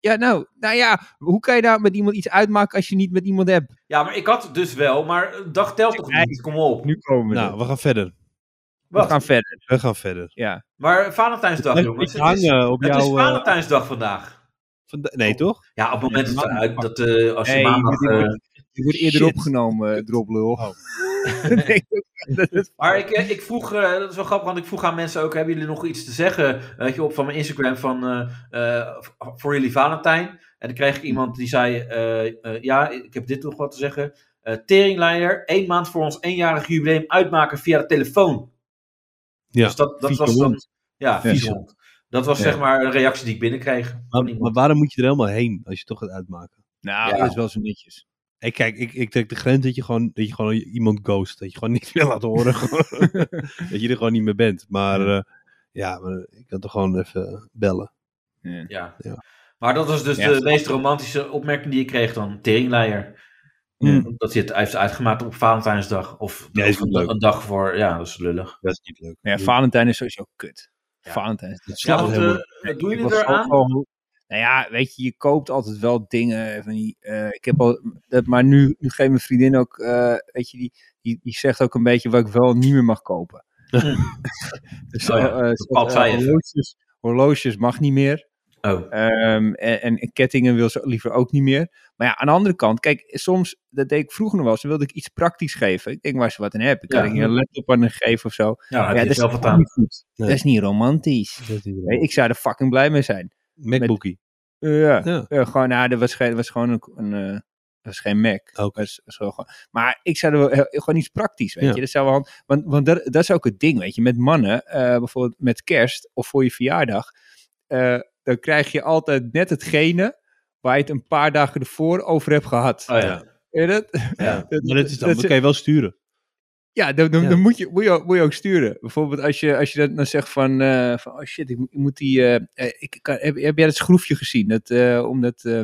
S2: Ja, nou, nou ja, hoe kan je daar met iemand iets uitmaken als je niet met iemand hebt?
S1: Ja, maar ik had het dus wel. Maar een dag telt toch
S2: Nee.
S1: niet? Kom op.
S2: Nu komen we,
S4: Nou, we gaan verder.
S2: we gaan verder.
S4: We gaan verder.
S2: Ja.
S1: Maar Valentijnsdag,
S4: Blijf
S1: jongens.
S4: niet
S1: Het is,
S4: hangen op
S1: het is
S4: jouw... eh,
S1: Valentijnsdag vandaag.
S4: vanda-
S2: Oh.
S4: nee, toch?
S1: Ja, op het moment dat,
S4: Ja,
S1: uit, dat eh, als je
S2: Nee,
S1: maandag...
S2: dit
S1: eh,
S2: wordt- Je wordt eerder
S4: Shit.
S2: opgenomen, eh, droplul.
S4: Oh.
S2: Ik denk ook dat het-
S1: maar ik, eh, ik vroeg, eh, dat is wel grappig, want ik vroeg aan mensen ook, hebben jullie nog iets te zeggen? eh, Weet je, op van mijn Instagram van, eh, eh, v- voor jullie Valentijn. En dan kreeg ik iemand die zei, eh, eh, ja, ik heb dit nog wat te zeggen. Eh Teringleider, één maand voor ons eenjarig jubileum uitmaken via de telefoon.
S4: Ja,
S1: dus dat, dat
S4: vieze
S1: was dan...
S4: hond.
S1: Ja,
S2: Ja.
S1: vieze hond. Dat was
S2: Ja.
S1: zeg maar een reactie die ik binnenkreeg. van
S4: Maar,
S1: iemand.
S4: maar waarom moet je er helemaal heen als je toch gaat uitmaken?
S2: Nou,
S1: Ja.
S2: dat is wel zo netjes.
S4: Hey, kijk, ik, ik trek de grens dat je, gewoon, dat je gewoon iemand ghost. Dat je gewoon niks meer laat horen. Gewoon. dat je er gewoon niet meer bent. Maar eh, ja, maar ik kan toch gewoon even bellen.
S1: Ja.
S4: Ja.
S1: Maar dat was dus
S2: Ja,
S1: de
S2: snap
S1: meest romantische opmerking die ik kreeg dan. Teringleier.
S2: Ja.
S1: Dat hij het hij heeft uitgemaakt op Valentijnsdag. Of,
S4: Nee, is
S1: of
S4: niet
S1: een,
S4: leuk.
S1: een dag voor, ja, dat is lullig.
S4: Dat is niet leuk.
S2: Ja, Valentijn is sowieso kut.
S1: Ja.
S2: Valentijn is
S4: Dat
S1: Ja,
S4: slaat
S1: wat, eh,
S4: helemaal...
S1: wat doen
S2: Ik
S1: jullie
S2: was
S1: eraan?
S2: ook wel- Nou ja, weet je, je koopt altijd wel dingen. Van die, eh, ik heb al, dat, maar nu, nu geeft mijn vriendin ook, eh, weet je, die, die, die zegt ook een beetje wat ik wel en niet meer mag kopen. dus,
S1: Oh ja,
S2: eh, eh,
S1: bepaalt
S2: zoals, eh,
S1: zij even.
S2: horloges, horloges mag niet meer.
S1: Oh,
S2: Ehm, en, en, en kettingen wil ze liever ook niet meer. Maar ja, aan de andere kant, kijk, soms, dat deed ik vroeger nog wel eens, dan wilde ik iets praktisch geven. Ik denk, waar ze wat aan hebben. Ik
S1: Ja.
S2: kan ik je een laptop aan haar geven of zo.
S1: ja, dan heb
S2: Ja,
S1: je
S2: dat
S1: zelf
S2: is
S1: wat
S2: ook
S1: aan.
S2: eh, niet goed.
S4: Nee.
S2: Dat is niet romantisch.
S4: Dat is
S2: Nee, ik zou er fucking blij mee zijn. Eh,
S4: MacBookie.
S2: Ja,
S4: Ja.
S2: ja, gewoon, nou, dat was, geen- was gewoon een, een eh, was geen Mac.
S4: Oké.
S2: Was, was wel gewoon- maar ik zou er wel heel- gewoon iets praktisch, weet
S4: Ja.
S2: je. Dat zou wel, hand- want want dat, dat is ook het ding, weet je. Met mannen, eh, bijvoorbeeld met kerst of voor je verjaardag, eh, dan krijg je altijd net hetgene waar je het een paar dagen ervoor over hebt gehad.
S1: Oh ja.
S2: Weet je dat?
S1: Ja.
S2: Dat-
S4: Maar dat is dan,
S2: dat
S4: dat kan je wel sturen.
S2: ja, dan, dan,
S4: Ja.
S2: dan moet, je, moet, je, ook- moet je ook sturen. Bijvoorbeeld als je, als je dan, dan zegt van, eh, van, oh shit, ik, moet- ik moet die, eh, eh, ik kan, heb, heb jij dat schroefje gezien dat, eh, om dat, eh,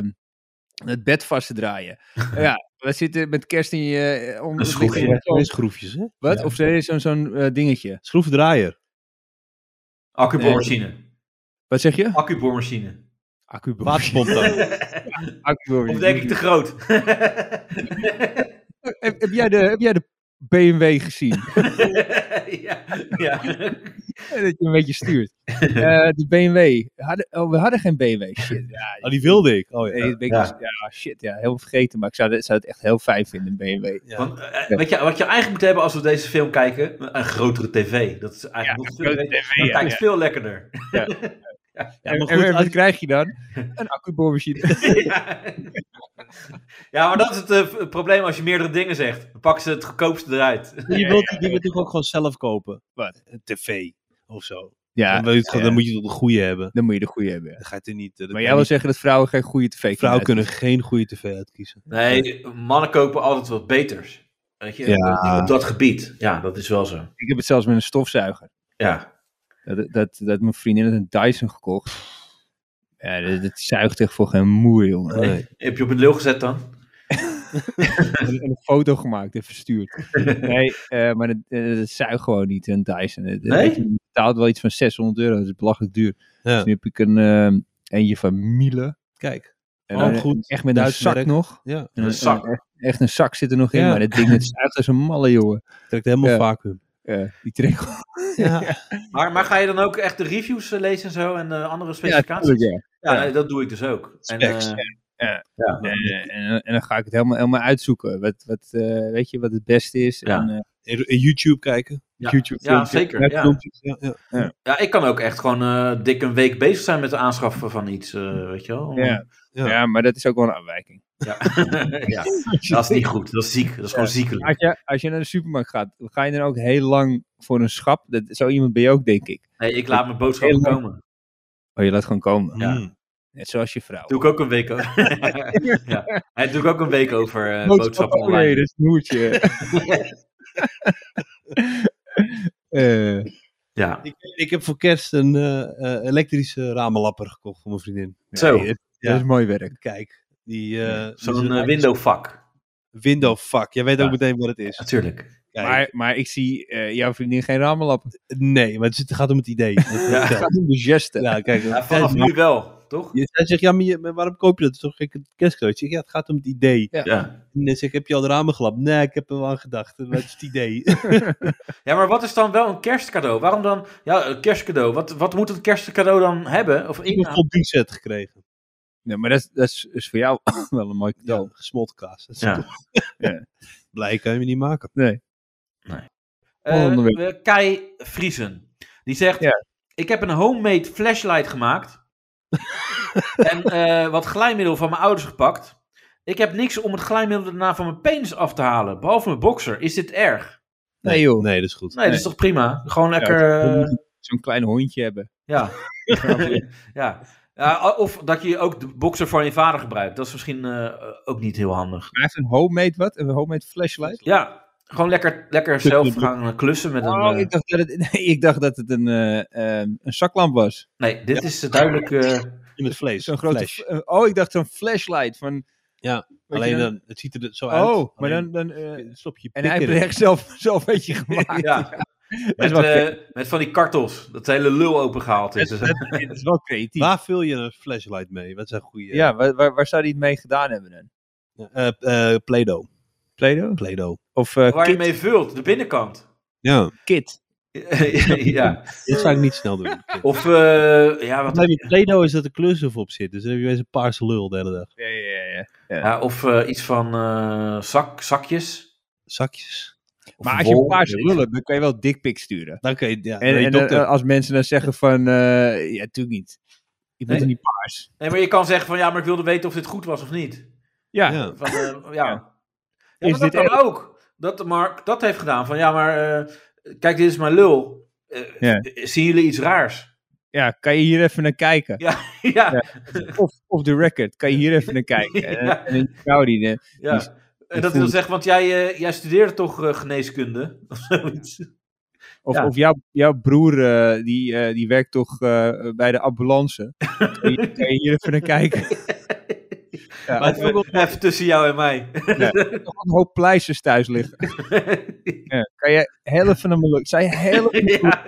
S2: dat bed vast te draaien? Nou ja, we zitten met kerst in je... eh, om-
S1: Een schroefje.
S2: om-
S4: Ja, Twee schroefjes, hè?
S2: Wat?
S4: Ja.
S2: Of er is zo'n zo'n, eh, dingetje.
S4: Schroefdraaier.
S1: Accuboormachine.
S2: Wat zeg je?
S1: Accuboormachine.
S2: Accuboor.
S4: Waterpomp dan.
S2: Accuboor.
S1: Of denk ik te groot?
S2: heb, heb, jij de, heb jij de BMW gezien?
S1: ja, ja.
S2: dat je een beetje stuurt. Eh, de BMW. Hadden, oh, we hadden geen BMW. Shit, ja,
S4: Oh, die wilde ik. Oh, ja.
S2: Nee, dat ben ik
S1: Ja.
S2: dus- ja. shit, ja, heel vergeten. Maar ik zou, dat- zou het echt heel fijn vinden, BMW.
S4: Ja.
S1: Want, eh, wat, je, wat je eigenlijk moet hebben als we deze film kijken, een grotere tv. Dat is eigenlijk nog veel,
S2: grotere
S1: beter.
S2: tv,
S1: dan
S2: ja,
S1: kijkt het veel lekkerder.
S4: Ja, maar
S2: en, en
S4: goed,
S2: wat
S4: als-
S2: krijg je dan? Een accuboormachine.
S1: ja. ja, maar dat is het, eh, het probleem als je meerdere dingen zegt. Dan pakken ze het goedkoopste eruit.
S4: je
S2: Ja,
S4: wilt
S2: ja,
S4: die dingen natuurlijk ook gewoon zelf kopen.
S2: Wat?
S4: Een tv of zo.
S2: Ja,
S4: dan, wil je het gewoon-
S2: ja.
S4: dan moet je het op de goede hebben.
S2: dan moet je de goede hebben. ja.
S4: Dan ga je het er niet... eh, dat
S2: Maar
S4: kan
S2: jij wil
S4: niet.
S2: zeggen dat vrouwen geen goede tv kunnen
S4: Vrouwen
S2: uitzoeken.
S4: kunnen geen goede tv uitkiezen.
S1: Nee, mannen kopen altijd wat beters. Weet je,
S4: Ja.
S1: op dat gebied. Ja, dat is wel zo.
S2: Ik heb het zelfs met een stofzuiger.
S1: Ja,
S2: Dat, dat, dat mijn vriendin had een Dyson gekocht. Ja, dat, dat zuigt echt voor geen moer, jongen.
S4: Nee.
S1: heb je op het lul gezet dan?
S2: En, en een foto gemaakt en verstuurd. Nee, eh, maar dat, eh, dat zuigt gewoon niet, een Dyson. Het-
S1: Nee?
S2: het- Je betaalt wel iets van 600 euro. Dat is belachelijk duur.
S4: Ja.
S2: Dus nu heb ik een eh, eentje van Miele.
S4: Kijk.
S2: En
S4: Oh,
S2: dan
S4: goed.
S2: Echt met
S4: Duits
S2: een zak
S4: merk.
S2: nog.
S4: Ja.
S2: En
S1: Een zak.
S2: en echt, echt een zak zit er nog in.
S4: Ja.
S2: Maar dat ding dat zuigt als een malle, jongen.
S4: Trekt helemaal
S2: Ja.
S4: vacuüm.
S2: Ja, die trekt gewoon.
S4: Ja.
S1: Maar, maar ga je dan ook echt de reviews eh, lezen en zo en eh, andere specificaties? Ja,
S2: tuurlijk,
S1: nee, dat doe ik dus ook. En,
S4: Specs,
S1: eh,
S2: ja.
S1: ja.
S2: ja. En, eh, en, en dan ga ik het helemaal, helemaal uitzoeken. Wat, wat, eh, weet je, wat het beste is.
S1: Ja.
S2: En, eh,
S4: In, in YouTube kijken.
S1: Ja.
S4: YouTube
S1: Ja, zeker, ja.
S4: filmpjes, Ja, ja.
S1: Ja, ik kan ook echt gewoon eh, dik een week bezig zijn met de aanschaffen van iets, eh, weet je wel.
S2: ja. Ja.
S4: Ja.
S2: maar dat is ook wel een afwijking.
S1: Ja. Ja, dat is niet goed. Dat is ziek. Dat is gewoon ziekelijk.
S2: Als je, als je naar de supermarkt gaat, ga je dan ook heel lang voor een schap? Dat, zo iemand ben je ook, denk ik.
S1: Nee, ik laat mijn boodschappen
S2: Heel-
S1: komen.
S2: Oh, je laat gewoon komen.
S1: Ja.
S4: Mm.
S2: Net zoals je vrouw.
S1: Doe ik ook een week over. ja. Hij doe ik ook een week over eh, boodschappen
S2: Oh, nee,
S1: online.
S2: dat is een hoertje. Eh,
S1: Ja.
S4: Ik, ik heb voor kerst een eh, eh, elektrische ramenlapper gekocht voor mijn vriendin.
S1: Zo.
S4: Nee,
S2: Dat is mooi werk.
S4: Kijk. Die, eh,
S1: Zo'n
S4: die-
S1: eh, windowvak.
S4: window fuck. Jij weet
S1: Ja.
S4: ook meteen wat het is.
S1: Natuurlijk.
S4: Kijk.
S2: Maar, maar ik zie eh, jouw vriendin geen ramenlappen.
S4: nee, maar het zit- gaat om het idee. eh,
S1: Ja.
S4: ja.
S2: Het gaat om de geste.
S4: ja, kijk.
S1: Ja, vanaf nu wel, toch?
S4: Je- Hij zegt, ja, maar, je- maar waarom koop je dat? Dat is toch geen kerstcadeau? Ik zeg, ja, het gaat om het idee.
S1: Ja.
S4: En dan zeg ik, heb je al de ramen gelapt? Nee, ik heb er wel aan gedacht. Wat is het idee?
S1: ja, maar wat is dan wel een kerstcadeau? Waarom dan? Ja, een kerstcadeau. Wat, wat moet een kerstcadeau dan hebben? Of
S4: ik heb een
S1: inhoud?
S4: voldoen set gekregen.
S2: Nee, maar dat, is- dat is, is voor jou wel een mooi
S4: Ja,
S2: cadeau.
S4: gesmolten kaas. Dat is
S1: Ja.
S4: toch-
S2: Ja.
S4: Blij kan je me niet maken.
S1: Eh,
S2: Onderwerp.
S1: eh, Kai Vriesen. Die zegt:
S2: Ja.
S1: Ik heb een homemade flashlight gemaakt. en eh, wat glijmiddel van mijn ouders gepakt. Ik heb niks om het glijmiddel daarna van mijn penis af te halen. Behalve mijn boxer. Is dit erg?
S2: Nee, dus joh.
S4: Nee, dat is goed.
S1: Nee, dat is toch prima? Gewoon lekker.
S2: Ja,
S1: eh,
S2: Zo'n klein hondje hebben.
S1: Ja. ja. Ja, Of dat je ook de boxer van je vader gebruikt. Dat is misschien eh, ook niet heel handig.
S2: Maar hij heeft een homemade wat? Een homemade flashlight?
S1: Ja. Gewoon lekker, lekker zelf gaan eh, klussen met een.
S2: Oh,
S1: eh,
S2: ik dacht dat het, nee, ik dacht dat het een, eh, eh, een zaklamp was.
S1: Nee, dit is eh, duidelijk. eh,
S4: In het vlees.
S2: Zo'n grote.
S4: Flash.
S2: eh, Oh, ik dacht zo'n flashlight van.
S4: Ja.
S2: Weet
S4: Alleen
S2: je dan-
S4: dan, het ziet er zo uit.
S2: Oh, maar
S4: Alleen
S2: dan... dan eh,
S4: stop je
S2: en hij
S4: pik
S2: heeft
S4: erin.
S2: er echt zelf, zelf een beetje gemaakt.
S1: Ja.
S2: Dat is
S1: Met,
S2: wel
S1: eh, met van die kartels. Dat de hele lul opengehaald is. Dus,
S2: Dat is wel creatief.
S4: Waar vul je een flashlight mee? Wat zijn goede...
S2: Ja, waar, waar, waar zou hij het mee gedaan hebben dan?
S4: Eh, eh, Play-Doh.
S2: Play-Doh?
S4: Play-Doh.
S2: Of eh,
S1: waar je
S2: kit,
S1: mee vult, de binnenkant.
S4: Ja,
S2: kit.
S1: ja.
S4: dit zou ik niet snel doen.
S1: Of, eh, ja, wat,
S4: Probleem met Play-Doh is dat er kleursuf op zit. Dus dan heb je weer een paarse lul de hele dag.
S2: Ja, ja, ja.
S1: ja, of eh, iets van eh, zak, zakjes.
S4: Zakjes.
S1: Of
S2: Maar als je een
S1: wol.
S2: paar zou willen, dan kan je wel dikpik sturen.
S4: Dan kun je... Ja,
S2: En,
S4: dan
S2: en,
S4: je dokter.
S2: eh, als mensen dan zeggen van, eh, ja, natuurlijk niet. Ik moet
S1: Nee.
S2: in die paars.
S1: Nee, maar je kan zeggen van ja, maar ik wilde weten of dit goed was of niet.
S2: Ja,
S4: ja.
S1: Van, eh, ja. ja. maar
S2: Is
S1: dat
S2: dit
S1: kan ook. Dat Mark dat heeft gedaan. Van ja, maar eh, kijk, dit is mijn lul. Eh,
S2: Ja.
S1: eh, Zien jullie iets raars?
S2: ja, kan je hier even naar kijken?
S1: ja, ja.
S2: Of, of the record, kan je hier even naar kijken? En-
S1: Ja.
S2: En een vrouw die... eh, Die-
S1: En dat wil zeggen, want jij, eh, jij studeerde toch eh, geneeskunde? Of zoiets.
S2: Of,
S1: Ja.
S2: of jouw, jouw broer, eh, die, eh, die werkt toch eh, bij de ambulance? kan, je, kan je hier even naar kijken?
S1: Maar
S2: Ja, maar ook
S1: even, even tussen jou en mij.
S2: nog een hoop pleisters thuis liggen. Ja, kan je heel even naar me lukken? Zij heel even-
S1: ja.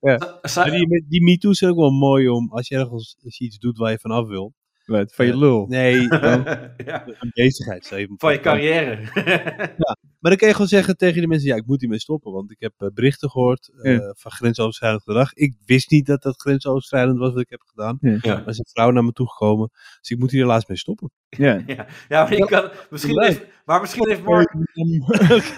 S2: Ja.
S1: Zou-
S4: Maar
S1: zou-
S4: die, die MeToo's zijn ook wel mooi om, als je ergens als je iets doet waar je vanaf wil.
S2: Wat, van je lul.
S4: Nee, dan
S1: ja,
S4: een bezigheid. zou je-
S1: van je carrière.
S4: Maar dan kan je gewoon zeggen tegen de mensen, ja, ik moet hiermee stoppen. Want ik heb eh, berichten gehoord eh, van grensoverschrijdend gedrag. Ik wist niet dat dat grensoverschrijdend was wat ik heb gedaan.
S1: ja.
S4: Er is een vrouw naar me toegekomen. Dus ik moet hier helaas mee stoppen.
S2: Ja.
S1: Ja, ja, maar je kan, misschien
S4: Leuk.
S1: heeft, maar misschien heeft Mark,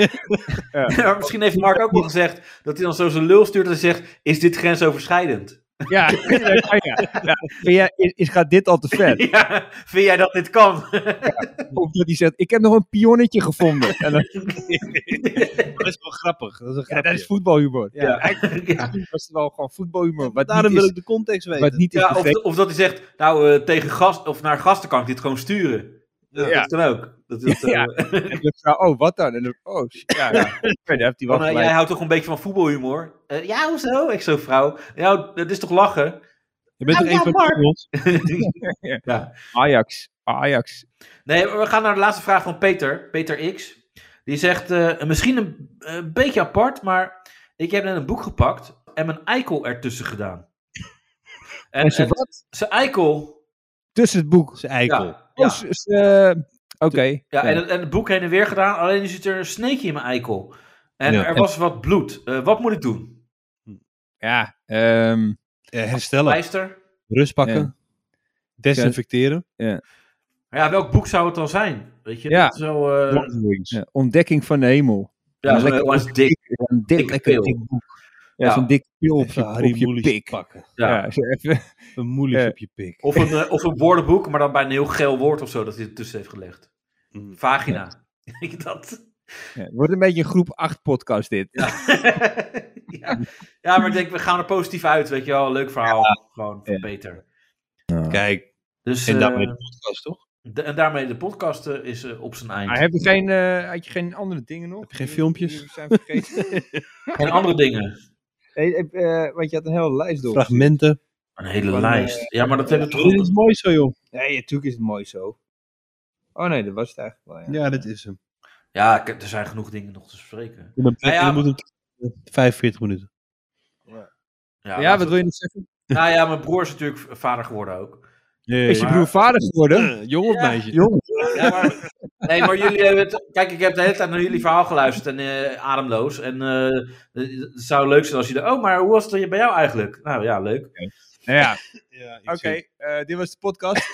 S1: maar misschien heeft Mark ook wel gezegd dat hij dan zo zijn lul stuurt en zegt, is dit grensoverschrijdend?
S2: Ja, ja, kan je. ja. Vind jij- is, is- gaat dit al te ver?
S1: Ja, vind jij dat dit kan?
S2: Of dat hij zegt, ik heb nog een pionnetje gevonden. En dan,
S4: Dat is wel grappig. Dat is een
S2: ja,
S4: grapje.
S2: dat is voetbalhumor. Ja,
S1: Ja.
S2: eigenlijk was het wel gewoon voetbalhumor. Wat
S4: Daarom
S2: niet
S4: wil
S2: is,
S4: ik de context weten.
S2: wat niet is
S1: Ja, of,
S2: begrepen.
S1: of dat hij zegt, nou, eh, tegen gast, of naar gasten kan ik dit gewoon sturen. Dat,
S2: Ja.
S1: dat kan ook. Dat, dat, eh,
S2: Ja. En de vrouw, oh, wat dan? En dan, oh, shit, ja, ja. Ja, daar heeft hij wel
S1: van, eh, jij
S2: gelijk.
S1: houdt toch een beetje van voetbalhumor? Eh, ja, hoezo? Ik zo, vrouw. Ja, dat is toch lachen?
S4: Je bent
S7: Oh,
S1: Nou,
S7: ja,
S4: toch één van
S7: Mark.
S4: de ons?
S2: Ajax, Ajax.
S1: Nee, maar we gaan naar de laatste vraag van Peter, Peter X. Die zegt, eh, misschien een eh, beetje apart, maar ik heb net een boek gepakt en mijn eikel ertussen gedaan. En,
S2: En ze
S1: en
S2: wat?
S1: zijn eikel.
S2: Tussen het boek.
S4: Zijn
S1: Ja,
S4: eikel.
S1: ja,
S2: Oh, ze- ze, eh, Oké.
S1: ja,
S2: Ja.
S1: En, het- en het boek heen en weer gedaan, alleen nu zit er een sneetje in mijn eikel. En
S4: Ja.
S1: er was wat bloed. Eh, wat moet ik doen?
S2: Ja, ehm,
S4: Eh, herstellen.
S1: Pleister?
S4: Rust pakken.
S2: Ja.
S4: Desinfecteren.
S1: Maar ja, welk boek zou het dan zijn? Weet je,
S2: Ja.
S1: dat is wel... eh,
S2: ja, ontdekking van de hemel.
S1: ja,
S2: een
S1: zo'n
S2: lekker-
S1: heel dik.
S2: Een dik,
S1: Dikke
S2: lekker
S1: pil.
S2: dik boek. Ja,
S1: Ja.
S2: zo'n dikke pil op
S4: Even
S2: je, op
S4: Harry
S2: je
S4: Moelis
S2: pik.
S4: pakken.
S1: Ja.
S2: Ja, zo even.
S4: Een moelis
S2: Ja.
S4: op je pik.
S1: Of, een, eh, of een woordenboek, maar dan bij een heel geel woord of zo dat hij ertussen heeft gelegd.
S4: Mm.
S1: Vagina. Ik dat...
S2: Ja, het wordt een beetje een groep 8 podcast dit.
S1: ja. ja, maar ik denk, we gaan er positief uit, weet je wel. Leuk verhaal, gewoon van
S2: Ja.
S1: Peter.
S4: Kijk.
S1: Dus,
S4: En
S1: eh,
S4: daarmee de podcast, toch?
S1: de- en daarmee de podcast eh, is eh, op zijn eind.
S2: Maar heb je geen, eh, had je geen andere dingen nog?
S4: Heb je geen filmpjes?
S2: Die we zijn vergeten?
S1: En andere dingen.
S2: nee, heb, eh, want je had een hele lijst door.
S4: Fragmenten.
S1: Een hele
S2: Van, eh,
S1: lijst. Ja, maar dat hebben we toch
S4: Dit
S1: ook...
S4: is mooi zo, joh.
S2: Nee, natuurlijk is het mooi zo. Oh nee, dat was het eigenlijk wel. Ja.
S4: Ja, dat is hem.
S1: Ja, ik- er zijn genoeg dingen nog te bespreken.
S4: En dan,
S1: Nou ja,
S4: en dan moet het 45 minuten.
S1: Ja,
S2: Ja,
S1: laten
S2: wat
S1: we-
S2: wil je nog zeggen?
S1: Nou ja, mijn broer is natuurlijk v- vader geworden ook.
S2: Is je
S1: maar-
S2: broer vader geworden?
S4: Eh, Jong of
S1: Ja.
S4: meisje?
S2: Jong.
S1: Ja, maar, nee, maar jullie hebben het... Kijk, ik heb de hele tijd naar jullie verhaal geluisterd en eh, ademloos. En eh, het zou leuk zijn als je... er- Oh, maar hoe was het bij jou eigenlijk? Nou ja, leuk.
S2: Nou ja,
S4: Ja, ik
S2: oké.
S4: zie het.
S2: eh, dit was de podcast.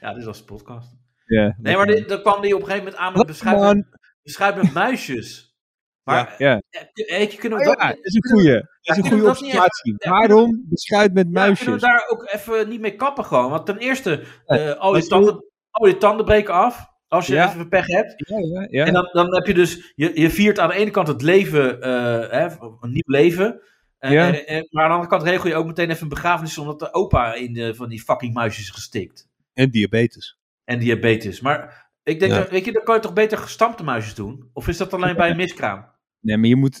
S1: ja, dit was de podcast.
S2: Ja,
S1: Nee, maar dit, dan kwam die op een gegeven moment aan met beschuit,
S2: man.
S1: beschuit met muisjes. Maar
S2: Ja.
S1: eh, eh, kunnen we dat,
S2: Oh Ja, dat is een goeie. Dat is een
S1: kunnen we
S2: goede
S1: dat niet echt-
S2: observatie.
S1: ja.
S2: Waarom beschuit met
S1: ja, kunnen we
S2: muisjes?
S1: daar ook even niet mee kappen gewoon? Want ten eerste, eh, al, je tanden, al je tanden breken af. Als je
S2: Ja.
S1: even pech hebt.
S2: Ja, ja, ja.
S1: En dan, dan heb je dus, je, je viert aan de ene kant het leven, eh, hè, een nieuw leven. En-
S2: Ja.
S1: en- en- maar aan de andere kant regel je ook meteen even een begrafenis omdat de opa in de, van die fucking muisjes is gestikt.
S4: En diabetes.
S1: En diabetes. Maar ik denk,
S4: Ja.
S1: dat- weet je, dan kan je toch beter gestampte muisjes doen? Of is dat alleen bij een miskraam?
S2: Nee, maar je moet...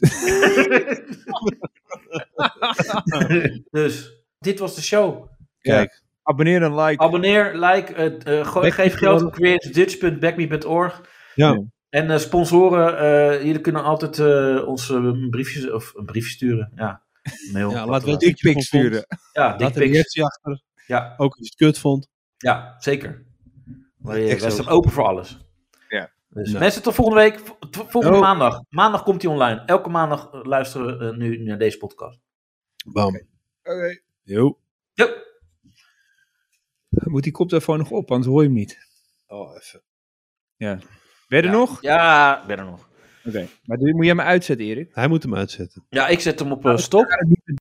S1: dus, dit was de show.
S4: Kijk.
S2: Abonneer en like.
S1: Abonneer, like, het, eh, gooi-
S4: Back
S1: geef
S4: me
S1: geld
S4: door.
S1: op createdutch.backme.org.
S4: Ja.
S1: En eh, sponsoren, eh, jullie kunnen altijd eh, ons eh, een briefje, of een briefje sturen. Ja, een mail.
S4: Ja,
S1: Wat
S4: laat wel
S1: dan ook.
S4: dick
S2: Dick pics sturen.
S1: Ja,
S4: Laat een
S1: dickpics.
S4: reactie achter.
S1: Ja,
S4: Ook als je het kut vond.
S1: ja, zeker. Wij, eh,
S4: Echt
S1: wij
S4: zo.
S1: staan open voor alles.
S2: Ja.
S1: Dus
S4: Nou.
S1: mensen, tot volgende week. V- tot Volgende
S2: Oh.
S1: maandag. Maandag komt hij online. Elke maandag eh, luisteren we eh, nu naar deze podcast.
S4: Bam.
S2: Oké.
S4: Yo.
S1: Yep.
S2: Moet die koptelefoon nog op, anders hoor je hem niet.
S4: Oh, even.
S2: Ben je er
S1: Ja.
S2: nog?
S1: Ja, ik ben er nog.
S2: Oké. Maar doe- moet jij me uitzetten, Erik?
S4: Hij moet hem uitzetten.
S1: Ja, ik zet hem op eh, stop.